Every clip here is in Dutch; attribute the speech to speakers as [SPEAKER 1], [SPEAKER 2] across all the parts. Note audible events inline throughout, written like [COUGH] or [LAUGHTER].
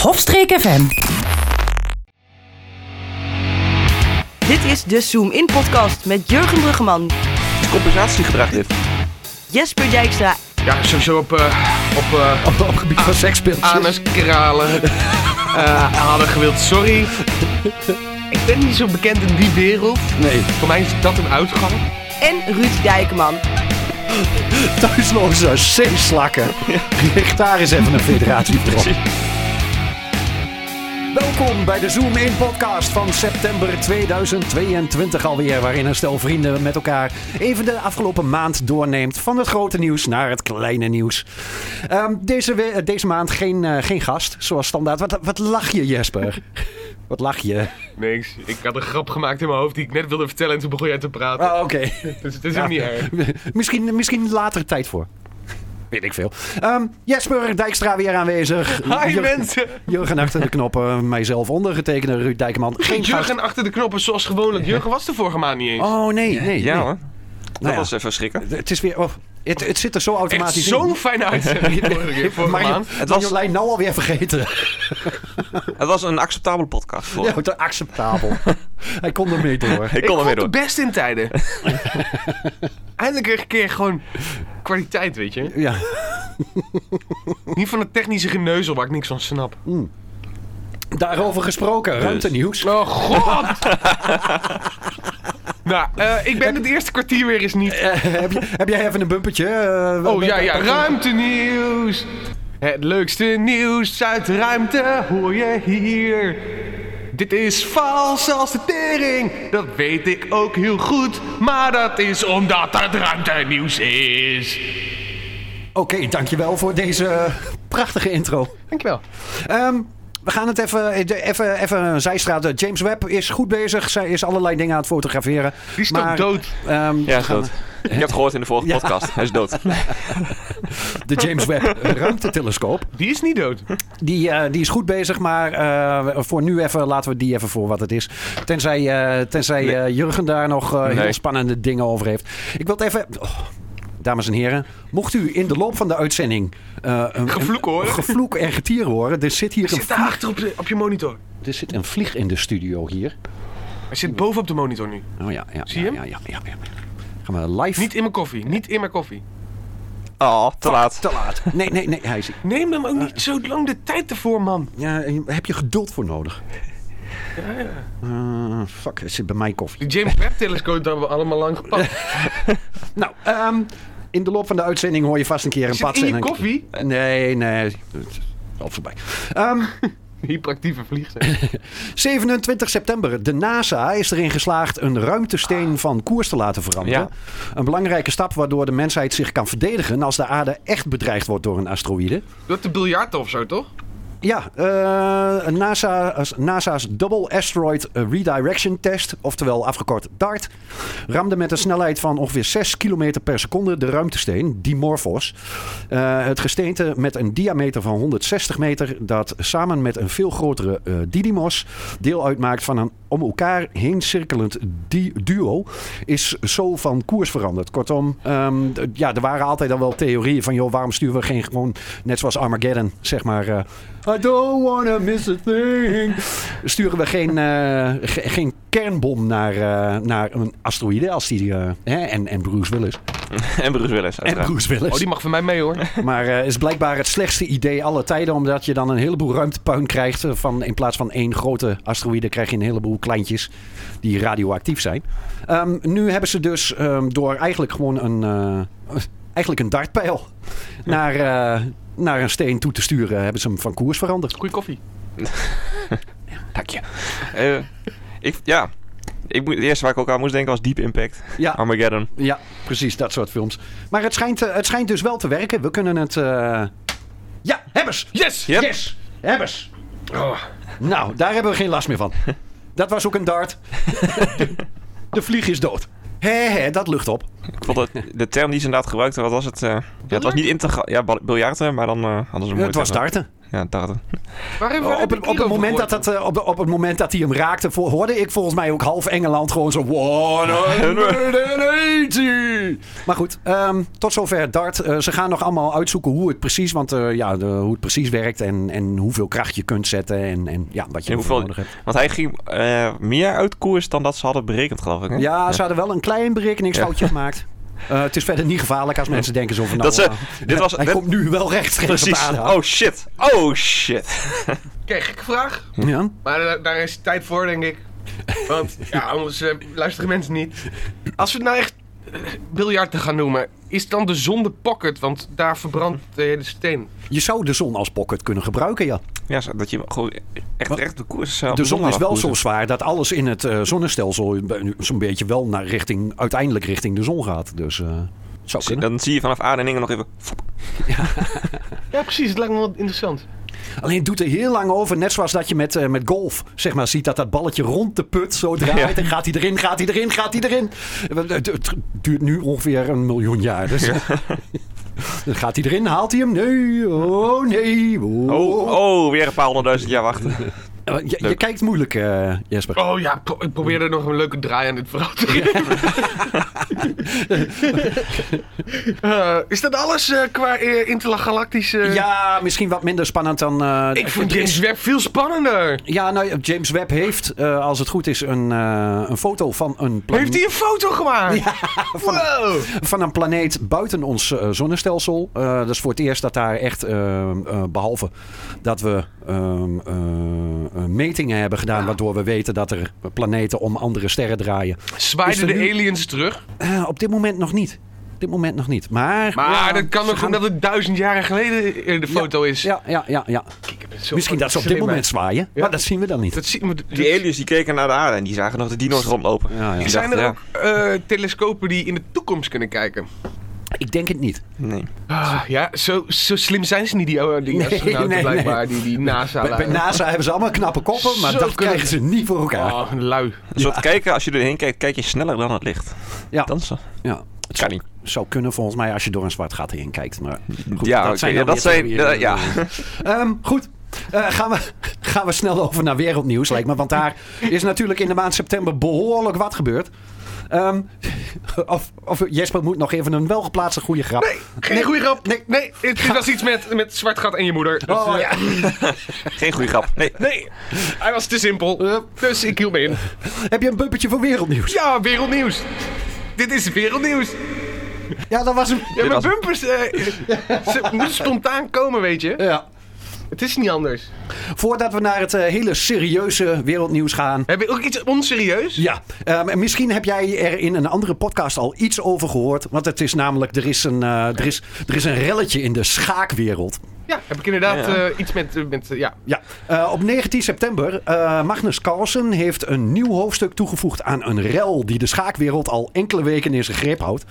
[SPEAKER 1] Hofstreek FM.
[SPEAKER 2] Dit is de Zoom In Podcast met Jurgen Bruggeman,
[SPEAKER 3] compensatiegedrag dit.
[SPEAKER 2] Jesper Dijkstra
[SPEAKER 4] Ja, sowieso op, eh, op, eh,
[SPEAKER 5] [LAUGHS] Op het gebied van sekspeeltjes. [LAUGHS]
[SPEAKER 4] anuskralen. Eh hadden gewild, sorry. Ik ben niet zo bekend in die wereld.
[SPEAKER 5] Nee,
[SPEAKER 4] Voor mij is dat een uitgang.
[SPEAKER 2] en Ruud Dijkman.
[SPEAKER 5] thuisloze zeeslakken. Richt daar eens even een [LAUGHS] federatie voor. Welkom bij de Zoom In podcast van september 2022 alweer, waarin een stel vrienden met elkaar even de afgelopen maand doorneemt van het grote nieuws naar het kleine nieuws. Ehm, deze, we- eh, deze maand geen, eh, geen gast, zoals standaard. Wat, wat lach je [LAUGHS] Jesper? Wat lach je?
[SPEAKER 4] Niks. Ik had een grap gemaakt in mijn hoofd die ik net wilde vertellen en toen begon jij te praten.
[SPEAKER 5] Ah, oké.
[SPEAKER 4] Dus het is ook niet
[SPEAKER 5] [LAUGHS]
[SPEAKER 4] erg.
[SPEAKER 5] misschien, misschien later tijd voor. Weet ik veel. Ehm, Jesper Dijkstra weer aanwezig.
[SPEAKER 4] Hi
[SPEAKER 5] Jur-
[SPEAKER 4] mensen!
[SPEAKER 5] Jurgen achter de knoppen, mijzelf ondergetekende Ruud Dijkman. Geen gast.
[SPEAKER 4] Jurgen achter de knoppen zoals gewoonlijk. Jurgen was de vorige maand niet eens.
[SPEAKER 5] Oh nee, nee.
[SPEAKER 3] Ja
[SPEAKER 5] nee.
[SPEAKER 3] hoor. Dat
[SPEAKER 5] Nou ja.
[SPEAKER 3] was even schrikken.
[SPEAKER 5] Het is weer. oh, het, het zit er zo
[SPEAKER 4] eh, Echt
[SPEAKER 5] automatisch
[SPEAKER 4] zo'n [LAUGHS]
[SPEAKER 5] in. [LAUGHS]
[SPEAKER 4] fijne uitzending vorige keer, vorige
[SPEAKER 5] Maar
[SPEAKER 4] maand.
[SPEAKER 5] je,
[SPEAKER 3] Het
[SPEAKER 5] het
[SPEAKER 3] was-
[SPEAKER 5] was lijn nou alweer
[SPEAKER 4] [LAUGHS]
[SPEAKER 5] vergeten.
[SPEAKER 3] Het was een acceptabele podcast voor.
[SPEAKER 5] Ja, te acceptabel.
[SPEAKER 4] [LAUGHS]
[SPEAKER 5] Hij kon ermee door.
[SPEAKER 3] Ik kon er weer door.
[SPEAKER 4] de best in
[SPEAKER 5] [LAUGHS]
[SPEAKER 4] tijden. Eindelijk een keer gewoon kwaliteit, weet je.
[SPEAKER 5] Ja,
[SPEAKER 4] Niet van het technische geneuzel waar ik niks van snap.
[SPEAKER 5] daarover gesproken. Ruimte nieuws.
[SPEAKER 4] Oh [LAUGHS] god! nou, eh, ik ben het eerste kwartier weer eens niet.
[SPEAKER 5] [LAUGHS] heb, je- heb jij even een bumpertje? Eh,
[SPEAKER 4] Oh ja, ja, ruimtenieuws. Het leukste nieuws uit de ruimte hoor je hier. Dit is vals als de tering, dat weet ik ook heel goed. Maar dat is omdat het ruimtenieuws is.
[SPEAKER 5] Oké, dankjewel voor deze eh, prachtige intro.
[SPEAKER 4] Dankjewel.
[SPEAKER 5] Ehm, we gaan het even, even, even een zijstraat. Eh, James Webb is goed bezig. Zij is allerlei dingen aan het fotograferen.
[SPEAKER 4] Die is toch
[SPEAKER 5] Maar,
[SPEAKER 4] dood?
[SPEAKER 5] ehm,
[SPEAKER 3] Ja, is dood. Ik heb het gehoord in de vorige
[SPEAKER 5] Ja.
[SPEAKER 3] podcast. Hij is dood.
[SPEAKER 5] [LAUGHS] de James
[SPEAKER 3] [LAUGHS]
[SPEAKER 5] Webb ruimtetelescoop.
[SPEAKER 4] Die is niet dood.
[SPEAKER 5] Die, eh, die is goed bezig, maar eh, voor nu even laten we die even voor wat het is. Tenzij, eh, tenzij
[SPEAKER 3] Nee.
[SPEAKER 5] eh, Jurgen daar nog eh, heel
[SPEAKER 3] Nee.
[SPEAKER 5] spannende dingen over heeft. Ik wil het even. oh, dames en heren, mocht u in de loop van de uitzending eh, een,
[SPEAKER 4] Gevloek
[SPEAKER 5] een
[SPEAKER 4] hoor.
[SPEAKER 5] gevloek en getier horen, er zit hier een,
[SPEAKER 4] Zit daar achter op, de- op je monitor.
[SPEAKER 5] er zit een vlieg in de studio hier.
[SPEAKER 4] Hij zit boven op de monitor nu.
[SPEAKER 5] Oh ja, ja.
[SPEAKER 4] Zie
[SPEAKER 5] ja,
[SPEAKER 4] je
[SPEAKER 5] Ja, ja, ja, ja. Gaan we live?
[SPEAKER 4] Niet in mijn koffie. Niet in mijn koffie.
[SPEAKER 3] Oh, te laat.
[SPEAKER 5] te laat. Nee, nee, nee. Hij is,
[SPEAKER 4] Neem hem ook niet zo lang de tijd ervoor, man.
[SPEAKER 5] ja, daar heb je geduld voor nodig? Eh, fuck, het zit bij mij koffie.
[SPEAKER 4] Die James Webb-telescoop hebben we allemaal lang gepakt.
[SPEAKER 5] Nou, ehm, in de loop van de uitzending hoor je vast een keer een
[SPEAKER 4] Zit
[SPEAKER 5] pats
[SPEAKER 4] in
[SPEAKER 5] en
[SPEAKER 4] je
[SPEAKER 5] een...
[SPEAKER 4] koffie?
[SPEAKER 5] Nee, nee. het is Al voorbij.
[SPEAKER 4] [LAUGHS]
[SPEAKER 5] Ehm,
[SPEAKER 4] Hyperactieve vliegtuig.
[SPEAKER 5] 27 september. De NASA is erin geslaagd een ruimtesteen van koers te laten veranderen.
[SPEAKER 3] Ja.
[SPEAKER 5] Een belangrijke stap waardoor de mensheid zich kan verdedigen als de aarde echt bedreigd wordt door een asteroïde.
[SPEAKER 4] Dat de biljarten of zo, toch?
[SPEAKER 5] Ja, eh, een NASA's, NASA's Double Asteroid Redirection Test, oftewel afgekort DART, ramde met een snelheid van ongeveer 6 km per seconde de ruimtesteen, Dimorphos. Eh, het gesteente met een diameter van 160 meter, dat samen met een veel grotere eh, Didymos deel uitmaakt van een om elkaar heen cirkelend di- duo, is zo van koers veranderd. Kortom, ehm, d- ja, er waren altijd al wel theorieën van, joh, waarom sturen we geen gewoon, net zoals Armageddon, zeg maar. eh, I don't wanna miss a thing. Sturen we geen, eh, ge- geen kernbom naar, eh, naar een asteroïde als die. eh, hè? En, en Bruce Willis.
[SPEAKER 3] En Bruce Willis,
[SPEAKER 5] En
[SPEAKER 3] uiteraard.
[SPEAKER 5] Bruce Willis.
[SPEAKER 4] Oh, die mag van mij mee, hoor.
[SPEAKER 5] Maar eh is blijkbaar het slechtste idee aller tijden. Omdat je dan een heleboel ruimtepuin krijgt. eh, Van, in plaats van één grote asteroïde krijg je een heleboel kleintjes die radioactief zijn. Ehm, nu hebben ze dus ehm, door eigenlijk gewoon een, eh, eigenlijk een dartpijl naar, eh, naar een steen toe te sturen. Hebben ze hem van koers veranderd.
[SPEAKER 4] Goeie koffie.
[SPEAKER 5] Dank je.
[SPEAKER 3] Eh, ik, ja. Ik, moet- het eerste waar ik ook aan moest denken was Deep Impact.
[SPEAKER 5] Ja.
[SPEAKER 3] Armageddon.
[SPEAKER 5] Ja, precies, dat soort films. Maar het schijnt, eh, het schijnt dus wel te werken. We kunnen het. eh, Ja, hebbers!
[SPEAKER 4] Yes!
[SPEAKER 3] Yep.
[SPEAKER 5] Yes! Hebbers!
[SPEAKER 4] Oh,
[SPEAKER 5] Nou, daar hebben we geen last meer van. Dat was ook een dart. De vlieg is dood. Hé, hé, dat lucht op.
[SPEAKER 3] Ik vond het, de term die ze inderdaad gebruikten, wat was het? eh, ja, het was niet integraal. Ja, bal- biljarten, maar dan eh, hadden ze een mooie
[SPEAKER 5] het was
[SPEAKER 3] term.
[SPEAKER 5] darten.
[SPEAKER 3] Ja, 80.
[SPEAKER 4] Waarom
[SPEAKER 5] Op het, op, het moment dat dat, eh, op, op het moment dat hij hem raakte, vo- hoorde ik volgens mij ook half Engeland gewoon zo... 180! Maar goed, ehm, tot zover Dart. Eh, ze gaan nog allemaal uitzoeken hoe het precies, want, eh, ja, de- hoe het precies werkt en, en hoeveel kracht je kunt zetten en, en ja, wat je
[SPEAKER 3] En
[SPEAKER 5] hoeveel...
[SPEAKER 3] hoeveel-
[SPEAKER 5] nodig hebt.
[SPEAKER 3] Want hij ging eh, meer uit koers dan dat ze hadden berekend, geloof ik. Hè?
[SPEAKER 5] Ja, ze hadden wel een klein berekeningsfoutje gemaakt. Eh, het is verder niet gevaarlijk als mensen denken zo van... Nou,
[SPEAKER 3] Dat ze-
[SPEAKER 5] eh,
[SPEAKER 3] dit was-
[SPEAKER 5] hij
[SPEAKER 3] dit-
[SPEAKER 5] komt nu wel rechtstreeks op
[SPEAKER 3] Precies.
[SPEAKER 5] de
[SPEAKER 3] Oh shit. Oh shit.
[SPEAKER 4] Kijk, gekke vraag.
[SPEAKER 5] Oh. Ja.
[SPEAKER 4] Maar eh, daar- daar is tijd voor, denk ik. Want ja, anders eh, luisteren mensen niet. Als we het nou echt eh, biljarten gaan noemen, is het dan de zonde pocket? Want daar verbrandt de hele steen.
[SPEAKER 5] Je zou de zon als pocket kunnen gebruiken, ja.
[SPEAKER 3] Ja, zo- dat je hem gewoon echt, echt de koers zou
[SPEAKER 5] De zon is wel
[SPEAKER 3] dus.
[SPEAKER 5] zo zwaar dat alles in het eh, zonnestelsel be- zo'n beetje wel naar richting, uiteindelijk richting de zon gaat. Dus eh zou kunnen.
[SPEAKER 3] Dan zie je vanaf Adeningen nog even... foep.
[SPEAKER 4] Ja, precies. Het lijkt me wel interessant.
[SPEAKER 5] Alleen het doet er heel lang over, net zoals dat je met, eh, met golf zeg maar, ziet dat dat balletje rond de put zo draait. En gaat hij erin, gaat hij erin, gaat hij erin. Eh, Het, het duurt nu ongeveer een miljoen jaar. Dus. [LAUGHS] Dan gaat hij erin, haalt hij hem? Nee, oh nee. Oh.
[SPEAKER 3] Oh, oh, weer een paar honderdduizend jaar
[SPEAKER 5] [LAUGHS]
[SPEAKER 3] wachten.
[SPEAKER 5] Eh, Je, je
[SPEAKER 3] Leuk.
[SPEAKER 5] kijkt moeilijk, eh, Jesper.
[SPEAKER 4] Oh ja, pro- ik probeerde nog een leuke draai aan dit verhaal te geven.
[SPEAKER 5] [LAUGHS]
[SPEAKER 4] Eh, is dat alles eh, qua eh, intergalactische...
[SPEAKER 5] Ja, misschien wat minder spannend dan... eh,
[SPEAKER 4] Ik vind James Webb veel spannender.
[SPEAKER 5] Ja, nou, James Webb heeft, eh, als het goed is, een, eh, een foto van een, plan-
[SPEAKER 4] Heeft hij een foto gemaakt? Wow.
[SPEAKER 5] van een planeet buiten ons eh, zonnestelsel. Eh, dat is voor het eerst dat daar echt, eh, eh, behalve dat we ehm, eh, eh, metingen hebben gedaan, waardoor we weten dat er planeten om andere sterren draaien. Is
[SPEAKER 4] Zwaaiden
[SPEAKER 5] er
[SPEAKER 4] de
[SPEAKER 5] nu-
[SPEAKER 4] aliens terug?
[SPEAKER 5] Eh, op dit moment nog niet. Op dit moment nog niet. Maar,
[SPEAKER 4] Maar
[SPEAKER 5] Ja,
[SPEAKER 4] dat kan
[SPEAKER 5] ze
[SPEAKER 4] ook
[SPEAKER 5] gaan-
[SPEAKER 4] omdat het duizend jaren geleden eh, de foto is.
[SPEAKER 5] Ja, ja, ja, ja.
[SPEAKER 4] Ik ben zo
[SPEAKER 5] Misschien dat ze op dit
[SPEAKER 4] slim,
[SPEAKER 5] moment
[SPEAKER 4] hè.
[SPEAKER 5] zwaaien,
[SPEAKER 4] Ja.
[SPEAKER 5] maar dat zien we dan niet.
[SPEAKER 4] Dat zien we... dat-
[SPEAKER 3] Die aliens die keken naar de aarde en die zagen nog de dino's rondlopen.
[SPEAKER 5] Ja, ja.
[SPEAKER 3] Die
[SPEAKER 4] Zijn er
[SPEAKER 3] dachten,
[SPEAKER 4] ook eh, telescopen die in de toekomst kunnen kijken?
[SPEAKER 5] Ik denk het niet.
[SPEAKER 3] ja, Nee.
[SPEAKER 4] Ah, ja, zo, zo slim zijn ze niet, die, oh, die
[SPEAKER 5] Nee,
[SPEAKER 4] astronauten
[SPEAKER 5] nee,
[SPEAKER 4] blijkbaar, die, die NASA...
[SPEAKER 5] Bij, bij NASA hebben ze allemaal knappe koppen, maar
[SPEAKER 4] nou Zo
[SPEAKER 5] dat
[SPEAKER 4] kunnen-
[SPEAKER 5] krijgen ze niet voor elkaar.
[SPEAKER 4] Oh, lui.
[SPEAKER 3] Een soort kijken, als je erheen kijkt, kijk je sneller dan het licht.
[SPEAKER 5] Ja.
[SPEAKER 3] Dan zo.
[SPEAKER 5] Ja. Het
[SPEAKER 3] Kan
[SPEAKER 5] zou,
[SPEAKER 3] niet.
[SPEAKER 5] zou kunnen volgens mij als je door een zwart gat heen kijkt. Maar goed,
[SPEAKER 3] ja, oké,
[SPEAKER 5] zijn
[SPEAKER 3] ja,
[SPEAKER 5] dan
[SPEAKER 3] dat
[SPEAKER 5] weer
[SPEAKER 3] zijn.
[SPEAKER 5] theorieën.
[SPEAKER 3] eh, ja.
[SPEAKER 5] Ehm, goed. Eh, gaan, we, [LAUGHS] gaan we snel over naar wereldnieuws, lijkt me. Want daar is natuurlijk in de maand september behoorlijk wat gebeurd. Ehm, [LAUGHS] of, of Jesper moet nog even een welgeplaatste goede grap.
[SPEAKER 4] Nee, geen goede grap. Nee, nee het, dit was iets met, met zwart gat en je moeder. Dus,
[SPEAKER 5] Oh,
[SPEAKER 4] eh,
[SPEAKER 5] ja.
[SPEAKER 3] Geen goede grap. Nee.
[SPEAKER 4] Nee, hij was te simpel. Dus ik hield me in.
[SPEAKER 5] Heb je een bumpertje voor wereldnieuws?
[SPEAKER 4] Ja, wereldnieuws. Dit is wereldnieuws.
[SPEAKER 5] Ja, dat was hem.
[SPEAKER 4] Ja, maar
[SPEAKER 3] was-
[SPEAKER 4] bumpers, eh, [LAUGHS] ze moeten spontaan komen, weet je.
[SPEAKER 5] Ja.
[SPEAKER 4] Het is niet anders.
[SPEAKER 5] Voordat we naar het eh, hele serieuze wereldnieuws gaan,
[SPEAKER 4] Hebben we ook iets onserieus?
[SPEAKER 5] Ja, ehm, en misschien heb jij er in een andere podcast al iets over gehoord. Want het is namelijk, er is een, eh, er is, er is een relletje in de schaakwereld.
[SPEAKER 4] Ja, heb ik inderdaad
[SPEAKER 3] Ja.
[SPEAKER 4] eh, iets met, eh, met eh, ja.
[SPEAKER 5] Ja, eh, op 19 september, eh, Magnus Carlsen heeft een nieuw hoofdstuk toegevoegd aan een rel die de schaakwereld al enkele weken in zijn greep houdt.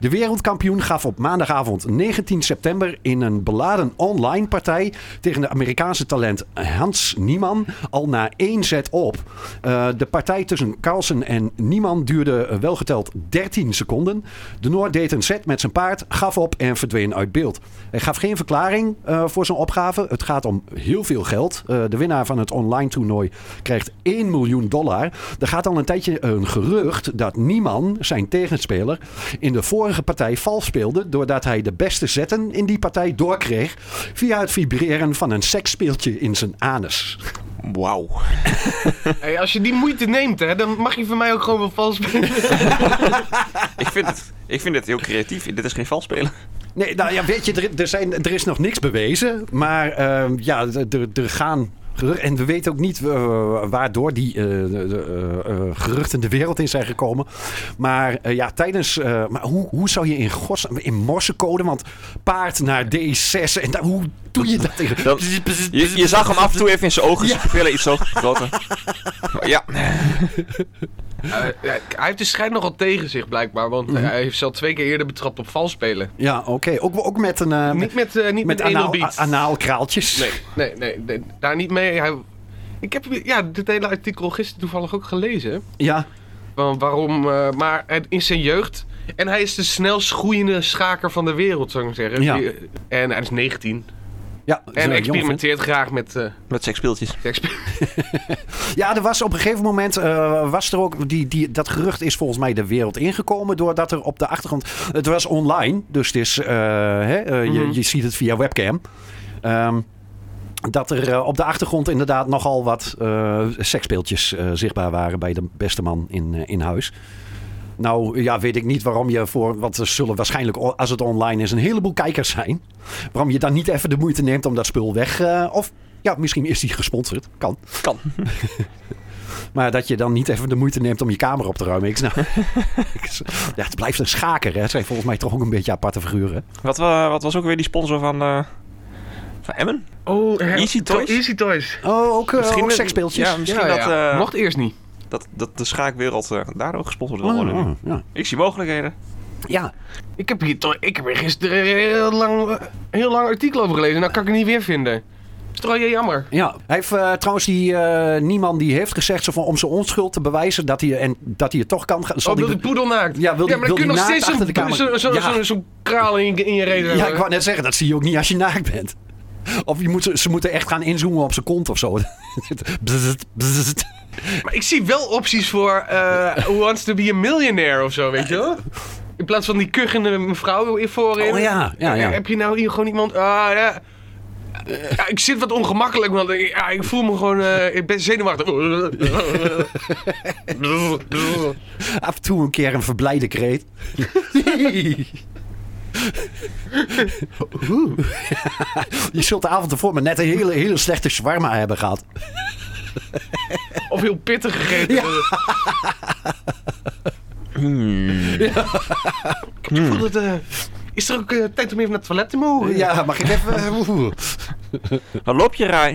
[SPEAKER 5] De wereldkampioen gaf op maandagavond 19 september in een beladen online partij tegen de Amerikaanse talent Hans Nieman al na één zet op. Eh, de partij tussen Carlsen en Nieman duurde eh, welgeteld 13 seconden. De Noord deed een set met zijn paard, gaf op en verdween uit beeld. Hij gaf geen verklaring eh, voor zijn opgave. Het gaat om heel veel geld. Eh, de winnaar van het online toernooi krijgt 1 miljoen dollar. Er gaat al een tijdje een gerucht dat Nieman, zijn tegenspeler, in de vorige partij vals speelde. Doordat hij de beste zetten in die partij doorkreeg. Via het vibreren van een seksspeeltje in zijn anus.
[SPEAKER 3] Wauw.
[SPEAKER 4] Hey, als je die moeite neemt, hè, dan mag je van mij ook gewoon wel vals [LAUGHS] spelen.
[SPEAKER 3] Ik vind, het, ik vind het heel creatief. Dit is geen vals spelen.
[SPEAKER 5] Nee, nou ja, weet je, er, er, zijn, er is nog niks bewezen. Maar ehm, ja, d- d- er gaan. gerucht- En we weten ook niet eh, waardoor die eh, de- de, eh, eh, geruchten de wereld in zijn gekomen. Maar eh, ja, tijdens. eh, maar hoe, hoe zou je in, gods, in morsecode, want paard naar D6. En daar- hoe doe je dat? in-
[SPEAKER 3] Dat- je, je zag hem af en toe even in zijn ogen. Zijn pupillen iets hoger gesloten. Maar Ja.
[SPEAKER 4] Eh, ja, hij heeft de strijd nogal tegen zich, blijkbaar. Want eh, hij heeft ze al twee keer eerder betrapt op vals spelen.
[SPEAKER 5] Ja, oké. Ook, ook met een. eh,
[SPEAKER 4] Niet met, eh niet met,
[SPEAKER 5] met anaal,
[SPEAKER 4] anal beats.
[SPEAKER 5] a- anaalkraaltjes.
[SPEAKER 4] Nee, nee, nee, nee, daar niet mee. Hij, ik heb ja, dit hele artikel gisteren toevallig ook gelezen.
[SPEAKER 5] Ja,
[SPEAKER 4] Van waarom, eh, maar het- in zijn jeugd. En hij is de snelst groeiende schaker van de wereld, zou ik maar zeggen.
[SPEAKER 5] Ja.
[SPEAKER 4] Die- En hij is 19.
[SPEAKER 5] Ja, dat is
[SPEAKER 4] En
[SPEAKER 5] wel een jong vent.
[SPEAKER 4] experimenteert graag met eh
[SPEAKER 3] Met seksspeeltjes.
[SPEAKER 4] seks-
[SPEAKER 5] Ja, er was op een gegeven moment eh, was er ook die, die, dat gerucht is volgens mij de wereld ingekomen doordat er op de achtergrond het was online, dus het is eh, hè, eh, je, je ziet het via webcam. Ehm, dat er eh, op de achtergrond inderdaad nogal wat eh seksspeeltjes eh, zichtbaar waren bij de beste man in, eh, in huis. Nou ja, weet ik niet waarom je voor. Want er zullen waarschijnlijk, o- als het online is, een heleboel kijkers zijn. Waarom je dan niet even de moeite neemt om dat spul weg. eh, of ja, misschien is die gesponsord. Kan.
[SPEAKER 3] Kan.
[SPEAKER 5] Maar dat je dan niet even de moeite neemt om je kamer op te ruimen. Ik [LAUGHS] snap. ik s- ja, het blijft een schaker. Hè. Het zijn volgens mij toch ook een beetje aparte figuren.
[SPEAKER 3] Wat, eh, wat was ook weer die sponsor van, eh, van Emmen?
[SPEAKER 4] Oh, her-
[SPEAKER 3] Easy
[SPEAKER 4] to-
[SPEAKER 3] Toys?
[SPEAKER 4] Easy Toys.
[SPEAKER 5] Oh, ook, eh ook
[SPEAKER 3] een-
[SPEAKER 5] seksspeeltjes.
[SPEAKER 3] Ja, misschien
[SPEAKER 4] Ja,
[SPEAKER 3] dat,
[SPEAKER 4] ja.
[SPEAKER 3] eh,
[SPEAKER 4] Mocht eerst niet.
[SPEAKER 3] dat, dat de schaakwereld eh, daar ook gesponsord wil
[SPEAKER 5] Oh,
[SPEAKER 3] worden.
[SPEAKER 5] oh, ja.
[SPEAKER 3] Ik zie mogelijkheden.
[SPEAKER 5] ja,
[SPEAKER 4] Ik heb hier, toch- ik heb hier gisteren heel lang, heel lang artikel over gelezen. Nou kan ik het niet weer vinden. Strooi je jammer.
[SPEAKER 5] Ja, hij heeft eh, trouwens die eh niemand die heeft gezegd zo van, om zijn onschuld te bewijzen dat hij, en, dat hij het toch kan gaan. zal
[SPEAKER 4] Oh, wil
[SPEAKER 5] die
[SPEAKER 4] die poedel naakt?
[SPEAKER 5] Ja, wil
[SPEAKER 4] maar
[SPEAKER 5] die- wil
[SPEAKER 4] dan kun je
[SPEAKER 5] die
[SPEAKER 4] nog
[SPEAKER 5] naakt
[SPEAKER 4] steeds
[SPEAKER 5] achter de
[SPEAKER 4] zo'n
[SPEAKER 5] kamer?
[SPEAKER 4] zo, zo,
[SPEAKER 5] Ja.
[SPEAKER 4] zo, zo'n kraal in, je- in je reden
[SPEAKER 5] be- ja, ik
[SPEAKER 4] hebben.
[SPEAKER 5] wou net zeggen, dat zie je ook niet als je naakt bent. Of je moet, ze- ze moeten echt gaan inzoomen op zijn kont of zo. [LAUGHS] Bzzzt, bzzzt.
[SPEAKER 4] Maar ik zie wel opties voor
[SPEAKER 5] [LAUGHS]
[SPEAKER 4] eh Who Wants to be a Millionaire of zo, weet je wel? In plaats van die kuchende mevrouw hier voorin.
[SPEAKER 5] Oh ja, ja, ja.
[SPEAKER 4] Heb je nou hier gewoon iemand... Ah, ja. Ja, ik zit wat ongemakkelijk, want ik, ja, ik voel me gewoon... eh, ik ben zenuwachtig.
[SPEAKER 5] [LAUGHS]
[SPEAKER 4] [LAUGHS]
[SPEAKER 5] Af en toe een keer een verblijde kreet. Oeh. [LAUGHS] je zult de avond ervoor maar net een hele, hele slechte shawarma hebben gehad.
[SPEAKER 4] of heel pittig gegeten. Ik voel dat... eh, is er ook eh, tijd om even naar het toilet te mogen?
[SPEAKER 5] Ja, mag ik even... eh, oeh.
[SPEAKER 3] Dan loop je raar.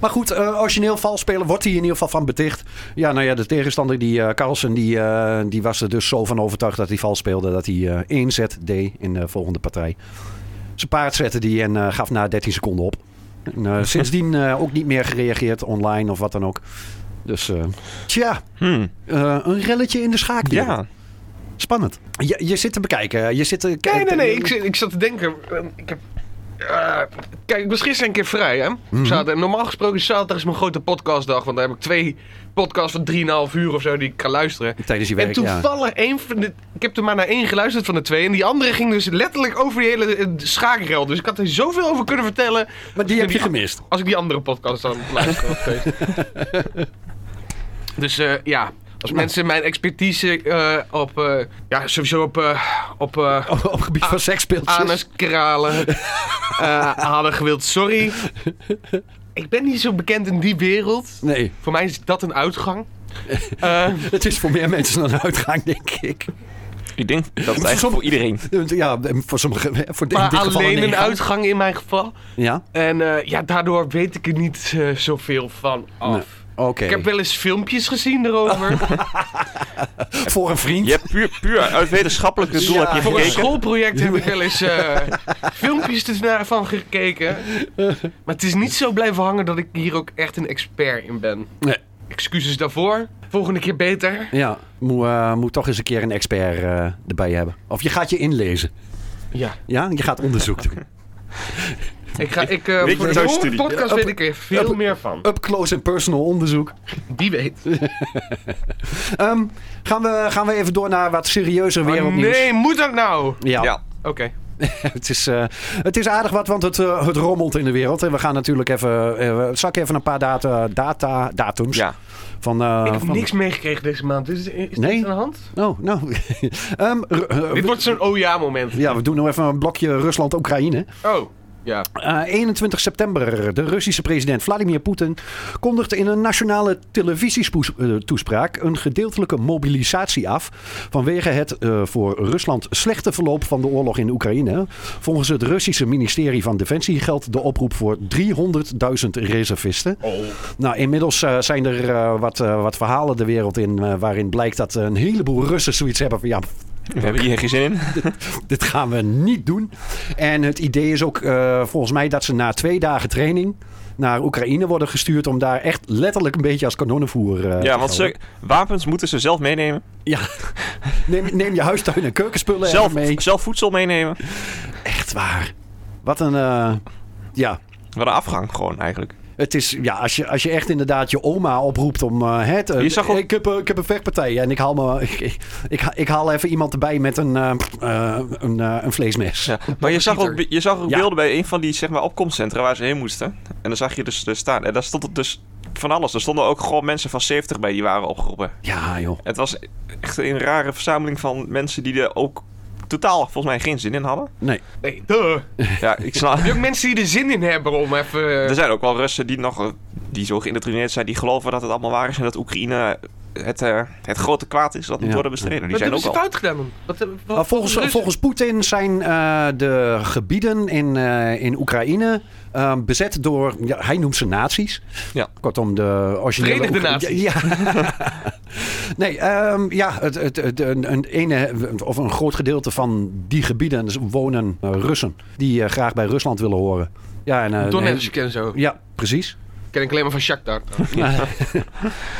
[SPEAKER 5] Maar goed, eh, origineel vals spelen wordt hij in ieder geval van beticht. Ja, nou ja, de tegenstander, die eh Carlsen, die, eh, die was er dus zo van overtuigd dat hij vals speelde. Dat hij eh één zet deed in de volgende partij. Zijn paard zette die en eh, gaf na 13 seconden op. En, eh, [LAUGHS] sindsdien eh, ook niet meer gereageerd online of wat dan ook. Dus eh, tja,
[SPEAKER 3] Hmm.
[SPEAKER 5] eh, een relletje in de schaak.
[SPEAKER 3] Ja.
[SPEAKER 5] Spannend. Je, je zit te bekijken. Je zit te,
[SPEAKER 4] Nee, nee, nee. Ik, zit- ik zat te denken. eh, Ik heb, eh, kijk, ik was gisteren een keer vrij, hè? op
[SPEAKER 5] Mhm.
[SPEAKER 4] Zaterdag. En Normaal gesproken is zaterdag is mijn grote podcastdag. Want dan heb ik twee podcasts van 3,5 uur of zo die ik kan luisteren.
[SPEAKER 5] Tijdens je
[SPEAKER 4] En
[SPEAKER 5] werk, ja.
[SPEAKER 4] toevallig één van de... Ik heb er maar naar één geluisterd van de twee. En die andere ging dus letterlijk over die hele eh, schaakrel. Dus ik had er zoveel over kunnen vertellen.
[SPEAKER 5] Maar die heb je gemist.
[SPEAKER 4] Als ik die andere podcast
[SPEAKER 5] [LAUGHS]
[SPEAKER 4] dan luister. nog steeds. dus eh, ja, als mensen mijn expertise eh, op... eh, ja, sowieso op... eh, op eh,
[SPEAKER 5] Op, op gebied van seksspeeltjes. [LAUGHS]
[SPEAKER 4] anuskralen eh hadden gewild. Sorry. Ik ben niet zo bekend in die wereld.
[SPEAKER 5] Nee.
[SPEAKER 4] Voor mij is dat een
[SPEAKER 5] [LAUGHS]
[SPEAKER 4] uitgang. Eh,
[SPEAKER 5] Het is voor meer mensen dan een uitgang, denk ik.
[SPEAKER 3] Ik denk dat het echt
[SPEAKER 5] Sommige-
[SPEAKER 3] voor iedereen.
[SPEAKER 5] Ja, voor sommige. Voor dit- in
[SPEAKER 4] maar
[SPEAKER 5] dit geval
[SPEAKER 4] alleen een
[SPEAKER 5] ingang.
[SPEAKER 4] uitgang in mijn geval.
[SPEAKER 5] Ja,
[SPEAKER 4] En eh, ja, daardoor weet ik er niet eh, zoveel van af.
[SPEAKER 5] Nee, oké.
[SPEAKER 4] Ik heb wel eens filmpjes gezien
[SPEAKER 5] [LAUGHS]
[SPEAKER 4] erover.
[SPEAKER 5] Voor een vriend.
[SPEAKER 3] Je hebt puur, puur uit wetenschappelijk doel
[SPEAKER 5] Ja.
[SPEAKER 3] heb je
[SPEAKER 4] Voor een
[SPEAKER 3] gekeken.
[SPEAKER 4] schoolproject heb
[SPEAKER 5] [LAUGHS]
[SPEAKER 4] ik wel eens eh, filmpjes ervan gekeken. Maar het is niet zo blijven hangen dat ik hier ook echt een expert in ben.
[SPEAKER 5] Nee.
[SPEAKER 4] Excuses daarvoor. Volgende keer beter.
[SPEAKER 5] Ja, moet, eh, moet toch eens een keer een expert eh, erbij hebben. Of je gaat je inlezen.
[SPEAKER 4] Ja.
[SPEAKER 5] Ja, je gaat onderzoek doen.
[SPEAKER 4] Ik ga, ik, eh,
[SPEAKER 3] Weet
[SPEAKER 4] voor
[SPEAKER 3] je
[SPEAKER 4] de
[SPEAKER 3] thuis
[SPEAKER 4] volgende
[SPEAKER 3] studie?
[SPEAKER 4] podcast
[SPEAKER 5] Ja,
[SPEAKER 4] weet
[SPEAKER 5] op-
[SPEAKER 4] ik er veel
[SPEAKER 5] op-
[SPEAKER 4] meer van.
[SPEAKER 5] [LAUGHS] Up close and personal onderzoek.
[SPEAKER 4] Die weet.
[SPEAKER 5] Ehm, gaan, we, gaan we even door naar wat serieuzer
[SPEAKER 4] Oh,
[SPEAKER 5] wereldnieuws.
[SPEAKER 4] nee, moet dat nou?
[SPEAKER 5] Ja,
[SPEAKER 3] Ja.
[SPEAKER 4] Oké.
[SPEAKER 5] Het, is, eh, het is aardig wat, want het, eh, het rommelt in de wereld. En we gaan natuurlijk even... eh, we zakken even een paar data, data, datums.
[SPEAKER 3] Ja.
[SPEAKER 5] Van, eh,
[SPEAKER 4] ik heb
[SPEAKER 5] van-
[SPEAKER 4] niks meegekregen deze maand. Is, is er
[SPEAKER 5] Nee.
[SPEAKER 4] iets aan de hand?
[SPEAKER 5] Oh, nou. [LAUGHS] Ehm, r- eh,
[SPEAKER 4] Dit wordt zo'n oh ja moment.
[SPEAKER 5] ja, we doen nog even een blokje Rusland-Oekraïne.
[SPEAKER 4] Oh. Ja.
[SPEAKER 5] Eh, 21 september, de Russische president Vladimir Poetin kondigt in een nationale televisietoespraak een gedeeltelijke mobilisatie af vanwege het eh, voor Rusland slechte verloop van de oorlog in Oekraïne. Volgens het Russische ministerie van Defensie geldt de oproep voor 300.000 reservisten. Nou, inmiddels eh, zijn er eh, wat, eh, wat verhalen de wereld in eh, waarin blijkt dat een heleboel Russen zoiets hebben van ja,
[SPEAKER 3] We hebben hier geen zin in.
[SPEAKER 5] dit gaan we niet doen. En het idee is ook eh, volgens mij dat ze na twee dagen training naar Oekraïne worden gestuurd om daar echt letterlijk een beetje als kanonnenvoer eh,
[SPEAKER 3] Ja,
[SPEAKER 5] te
[SPEAKER 3] want ze,
[SPEAKER 5] gelden.
[SPEAKER 3] wapens moeten ze zelf meenemen.
[SPEAKER 5] Ja, neem, neem je huistuin en keukenspullen
[SPEAKER 3] Zelf,
[SPEAKER 5] even mee.
[SPEAKER 3] zelf voedsel meenemen.
[SPEAKER 5] Echt waar. Wat een... eh, ja,
[SPEAKER 3] Wat een afgang gewoon eigenlijk.
[SPEAKER 5] Het is, ja, als je, als je echt inderdaad je oma oproept om... eh, het, eh,
[SPEAKER 3] Je zag ook-
[SPEAKER 5] ik, heb, eh, ik heb een vechtpartij en ik haal, me, [LAUGHS] ik, ik, ik ha- ik haal even iemand erbij met een, eh, eh, een, eh, een vleesmes.
[SPEAKER 3] Ja. Maar je zag ook,
[SPEAKER 5] Pieter.
[SPEAKER 3] je zag ook
[SPEAKER 5] Ja.
[SPEAKER 3] beelden bij een van die zeg maar, opkomstcentra waar ze heen moesten. En dan zag je dus, dus staan. En daar stond het dus van alles. Er stonden ook gewoon mensen van 70 bij die waren opgeroepen.
[SPEAKER 5] Ja, joh.
[SPEAKER 3] Het was echt een rare verzameling van mensen die er ook totaal volgens mij geen zin in hadden.
[SPEAKER 5] Nee.
[SPEAKER 4] Nee, duh.
[SPEAKER 3] Ja, ik
[SPEAKER 4] [LAUGHS]
[SPEAKER 3] snap.
[SPEAKER 4] Heb je ook mensen die er zin in hebben om even...
[SPEAKER 3] Er zijn ook wel Russen die nog eh, die zo geïndoctrineerd zijn, die geloven dat het allemaal waar is en dat Oekraïne het, eh, het grote kwaad is dat moet
[SPEAKER 5] Ja.
[SPEAKER 3] worden bestreden. Die
[SPEAKER 4] Wat
[SPEAKER 3] zijn
[SPEAKER 4] hebben
[SPEAKER 3] ook
[SPEAKER 4] ze
[SPEAKER 3] al.
[SPEAKER 4] fout gedaan dan? Wat, hebben- wat-
[SPEAKER 5] Nou, volgens,
[SPEAKER 4] wat hebben
[SPEAKER 5] volgens Poetin zijn eh, de gebieden in, eh, in Oekraïne eh, bezet door... Ja, hij noemt ze nazi's.
[SPEAKER 3] Ja.
[SPEAKER 5] Kortom, de originele...
[SPEAKER 4] Verenigde
[SPEAKER 5] Oekra-
[SPEAKER 4] Naties.
[SPEAKER 5] Ja. nee, ehm, ja, het, het, het- een, een ene, of een groot gedeelte van die gebieden wonen eh, Russen. Die eh, graag bij Rusland willen horen. Ja, en, eh,
[SPEAKER 4] Donetsk en zo.
[SPEAKER 5] en- ja, precies.
[SPEAKER 4] Ken ik alleen maar van Shakhtar.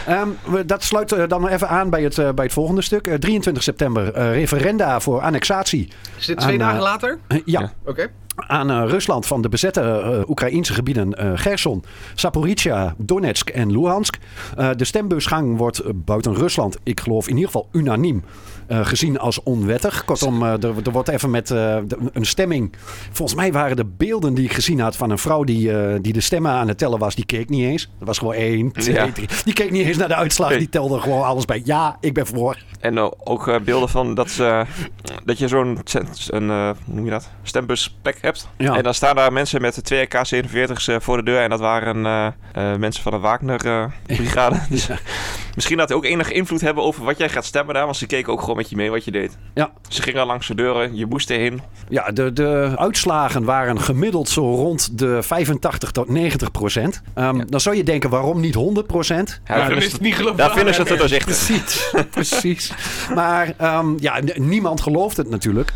[SPEAKER 5] Ehm, we- dat sluit eh, dan maar even aan bij het, eh, bij het volgende stuk. Eh, 23 september, eh, referenda voor annexatie.
[SPEAKER 4] Is dit twee
[SPEAKER 5] Aan, eh,
[SPEAKER 4] dagen later?
[SPEAKER 5] Eh, ja.
[SPEAKER 3] Ja.
[SPEAKER 4] Oké.
[SPEAKER 5] aan eh, Rusland van de bezette eh, Oekraïense gebieden eh Gerson, Zaporizhia, Donetsk en Luhansk. Eh, de stembusgang wordt eh, buiten Rusland, ik geloof in ieder geval unaniem, eh, gezien als onwettig. Kortom, eh, er, er wordt even met eh, de- een stemming. Volgens mij waren de beelden die ik gezien had van een vrouw die, eh, die de stemmen aan het tellen was, die keek niet eens. Dat was gewoon één, twee,
[SPEAKER 3] Ja.
[SPEAKER 5] drie. Die keek niet eens naar de uitslag,
[SPEAKER 3] Nee.
[SPEAKER 5] die telde gewoon alles bij. Ja, ik ben voor.
[SPEAKER 3] En eh, ook eh, beelden van dat, ze, eh, dat je zo'n cent- een, eh, hoe noem je dat? stembusplek hebt.
[SPEAKER 5] Ja.
[SPEAKER 3] En dan staan daar mensen met twee AK-47's eh, voor de deur. En dat waren eh, eh, mensen van de
[SPEAKER 5] [LAUGHS]
[SPEAKER 3] Wagner-brigade. dus, Misschien dat die ook enig invloed hebben over wat jij gaat stemmen daar. Want ze keken ook gewoon met je mee wat je deed.
[SPEAKER 5] Ja.
[SPEAKER 3] Ze gingen langs de deuren, je moest erheen.
[SPEAKER 5] Ja, de, de uitslagen waren gemiddeld zo rond de 85 tot 90 procent. Ehm, Dan zou je denken, waarom niet 100 procent?
[SPEAKER 3] Ja,
[SPEAKER 4] dan is het niet geloofwaardig.
[SPEAKER 3] daar vinden ze het dus te doorzichtig.
[SPEAKER 5] Precies, [LAUGHS] precies. Maar ehm, ja, n- niemand gelooft het natuurlijk.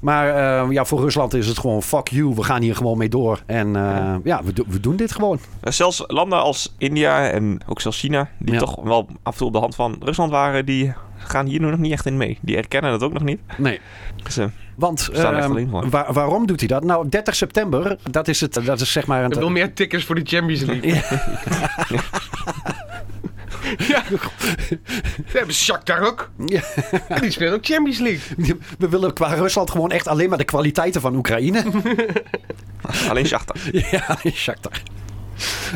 [SPEAKER 5] Maar ehm, ja, voor Rusland is het gewoon fuck you, we gaan hier gewoon mee door. En eh, ja, we, do- we doen dit gewoon.
[SPEAKER 3] Eh, Zelfs landen als India en ook zelfs China, die
[SPEAKER 5] Ja.
[SPEAKER 3] toch wel af en toe op de hand van Rusland waren, die gaan hier nu nog niet echt in mee. Die erkennen het ook nog niet.
[SPEAKER 5] Nee.
[SPEAKER 3] Dus, eh,
[SPEAKER 5] Want
[SPEAKER 3] staan echt
[SPEAKER 5] ehm,
[SPEAKER 3] alleen voor.
[SPEAKER 5] waar- waarom doet hij dat? Nou, 30 september, dat is, het, dat is zeg maar
[SPEAKER 4] Ik wil
[SPEAKER 5] een,
[SPEAKER 4] meer tickets voor de Champions League.
[SPEAKER 5] Ja.
[SPEAKER 4] Ja. [LAUGHS] We hebben Shakhtar ook.
[SPEAKER 5] Ja.
[SPEAKER 4] En die speelt ook Champions League.
[SPEAKER 5] [LAUGHS] We willen qua Rusland gewoon echt alleen maar de kwaliteiten van Oekraïne.
[SPEAKER 3] alleen
[SPEAKER 5] [LAUGHS]
[SPEAKER 3] Shakhtar.
[SPEAKER 5] Ja, Shakhtar.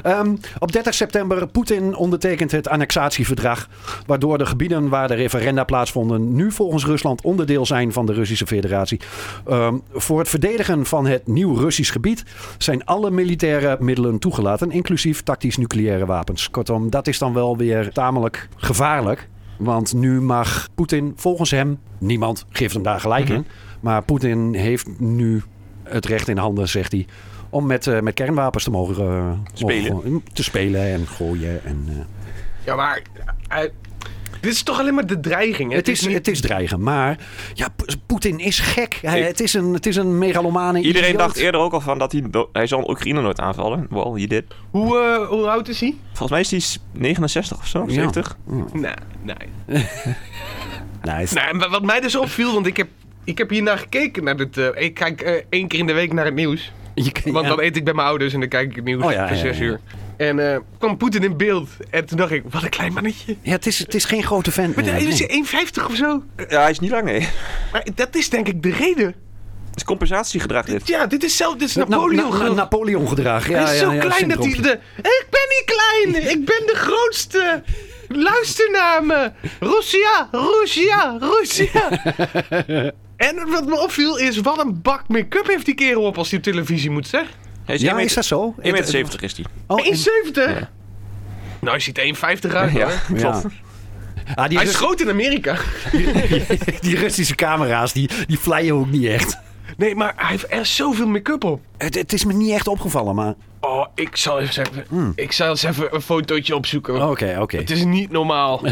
[SPEAKER 5] Ehm, op 30 september, Poetin ondertekent het annexatieverdrag, waardoor de gebieden waar de referenda plaatsvonden nu volgens Rusland onderdeel zijn van de Russische Federatie. Ehm, voor het verdedigen van het nieuw Russisch gebied zijn alle militaire middelen toegelaten, inclusief tactisch nucleaire wapens. Kortom, dat is dan wel weer tamelijk gevaarlijk, want nu mag Poetin volgens hem, niemand geeft hem daar gelijk in, maar Poetin heeft nu het recht in handen, zegt hij, om met, eh, met kernwapens te mogen, eh, mogen
[SPEAKER 3] Spelen.
[SPEAKER 5] gewoon- te spelen en gooien. En, eh,
[SPEAKER 4] Ja, maar... eh, dit is toch alleen maar de dreiging, hè?
[SPEAKER 5] het, is,
[SPEAKER 4] niet-
[SPEAKER 5] het is dreigen, maar ja, P- Poetin is gek. Hij,
[SPEAKER 3] Ik-
[SPEAKER 5] het, is een, het is een megalomane
[SPEAKER 3] Iedereen
[SPEAKER 5] idioot.
[SPEAKER 3] dacht eerder ook al van dat hij, do- hij zal Oekraïne nooit aanvallen. Well, he did.
[SPEAKER 4] Hoe, eh, hoe oud is hij?
[SPEAKER 3] Volgens mij is hij s- 69 of zo,
[SPEAKER 5] Ja.
[SPEAKER 3] 70.
[SPEAKER 4] Nou, nee.
[SPEAKER 5] Nice.
[SPEAKER 4] Nou, en wa- wat mij dus opviel, want ik heb, ik heb hiernaar gekeken. Naar dit, eh, ik kijk eh, één keer in de week naar het nieuws.
[SPEAKER 5] Je kan-
[SPEAKER 4] Want
[SPEAKER 5] ja.
[SPEAKER 4] dan eet ik bij mijn ouders en dan kijk ik het nieuws
[SPEAKER 5] Oh, ja,
[SPEAKER 4] voor
[SPEAKER 5] ja,
[SPEAKER 4] zes
[SPEAKER 5] ja.
[SPEAKER 4] uur. En eh, kwam Poetin in beeld. En toen dacht ik, wat een klein mannetje.
[SPEAKER 5] ja, het, is, het is geen grote vent.
[SPEAKER 4] Maar
[SPEAKER 5] meer,
[SPEAKER 4] hij
[SPEAKER 5] nee.
[SPEAKER 4] is 1,50 of zo.
[SPEAKER 3] Ja, hij is niet lang, nee. Het
[SPEAKER 4] Maar dat is denk ik de reden.
[SPEAKER 3] is compensatiegedrag dit.
[SPEAKER 4] Ja, dit is zelf, dit is
[SPEAKER 5] Na- na-
[SPEAKER 4] Napoleon.
[SPEAKER 5] na-
[SPEAKER 4] geworden.
[SPEAKER 5] Napoleon gedrag. Ja,
[SPEAKER 4] hij is
[SPEAKER 5] ja,
[SPEAKER 4] zo
[SPEAKER 5] ja,
[SPEAKER 4] klein dat hij
[SPEAKER 5] syndroompje.
[SPEAKER 4] de... Ik ben niet klein, ik ben de grootste. Luister naar me. Russia, Russia,
[SPEAKER 5] [LAUGHS]
[SPEAKER 4] Russia. en wat me opviel is, wat een bak make-up heeft die kerel op als hij op televisie moet, zeg.
[SPEAKER 3] Hij is
[SPEAKER 5] Ja,
[SPEAKER 3] 1 meter-
[SPEAKER 5] is dat zo? Eh,
[SPEAKER 3] 1,70 meter 70 is hij.
[SPEAKER 5] Oh, en-
[SPEAKER 4] 1,70. Nou, hij ziet 1,50 uit,
[SPEAKER 3] Ja,
[SPEAKER 4] hoor.
[SPEAKER 5] ja. Ah, die,
[SPEAKER 4] Hij is
[SPEAKER 5] Rus-
[SPEAKER 4] groot in Amerika.
[SPEAKER 5] die Russische camera's, die, die flyen ook niet echt.
[SPEAKER 4] Nee, maar hij heeft er zoveel make-up op.
[SPEAKER 5] Het, het is me niet echt opgevallen, maar...
[SPEAKER 4] Oh, ik zal eens even, ik zal eens even een fotootje opzoeken.
[SPEAKER 5] Oké, Oh, oké.
[SPEAKER 4] Het is niet normaal.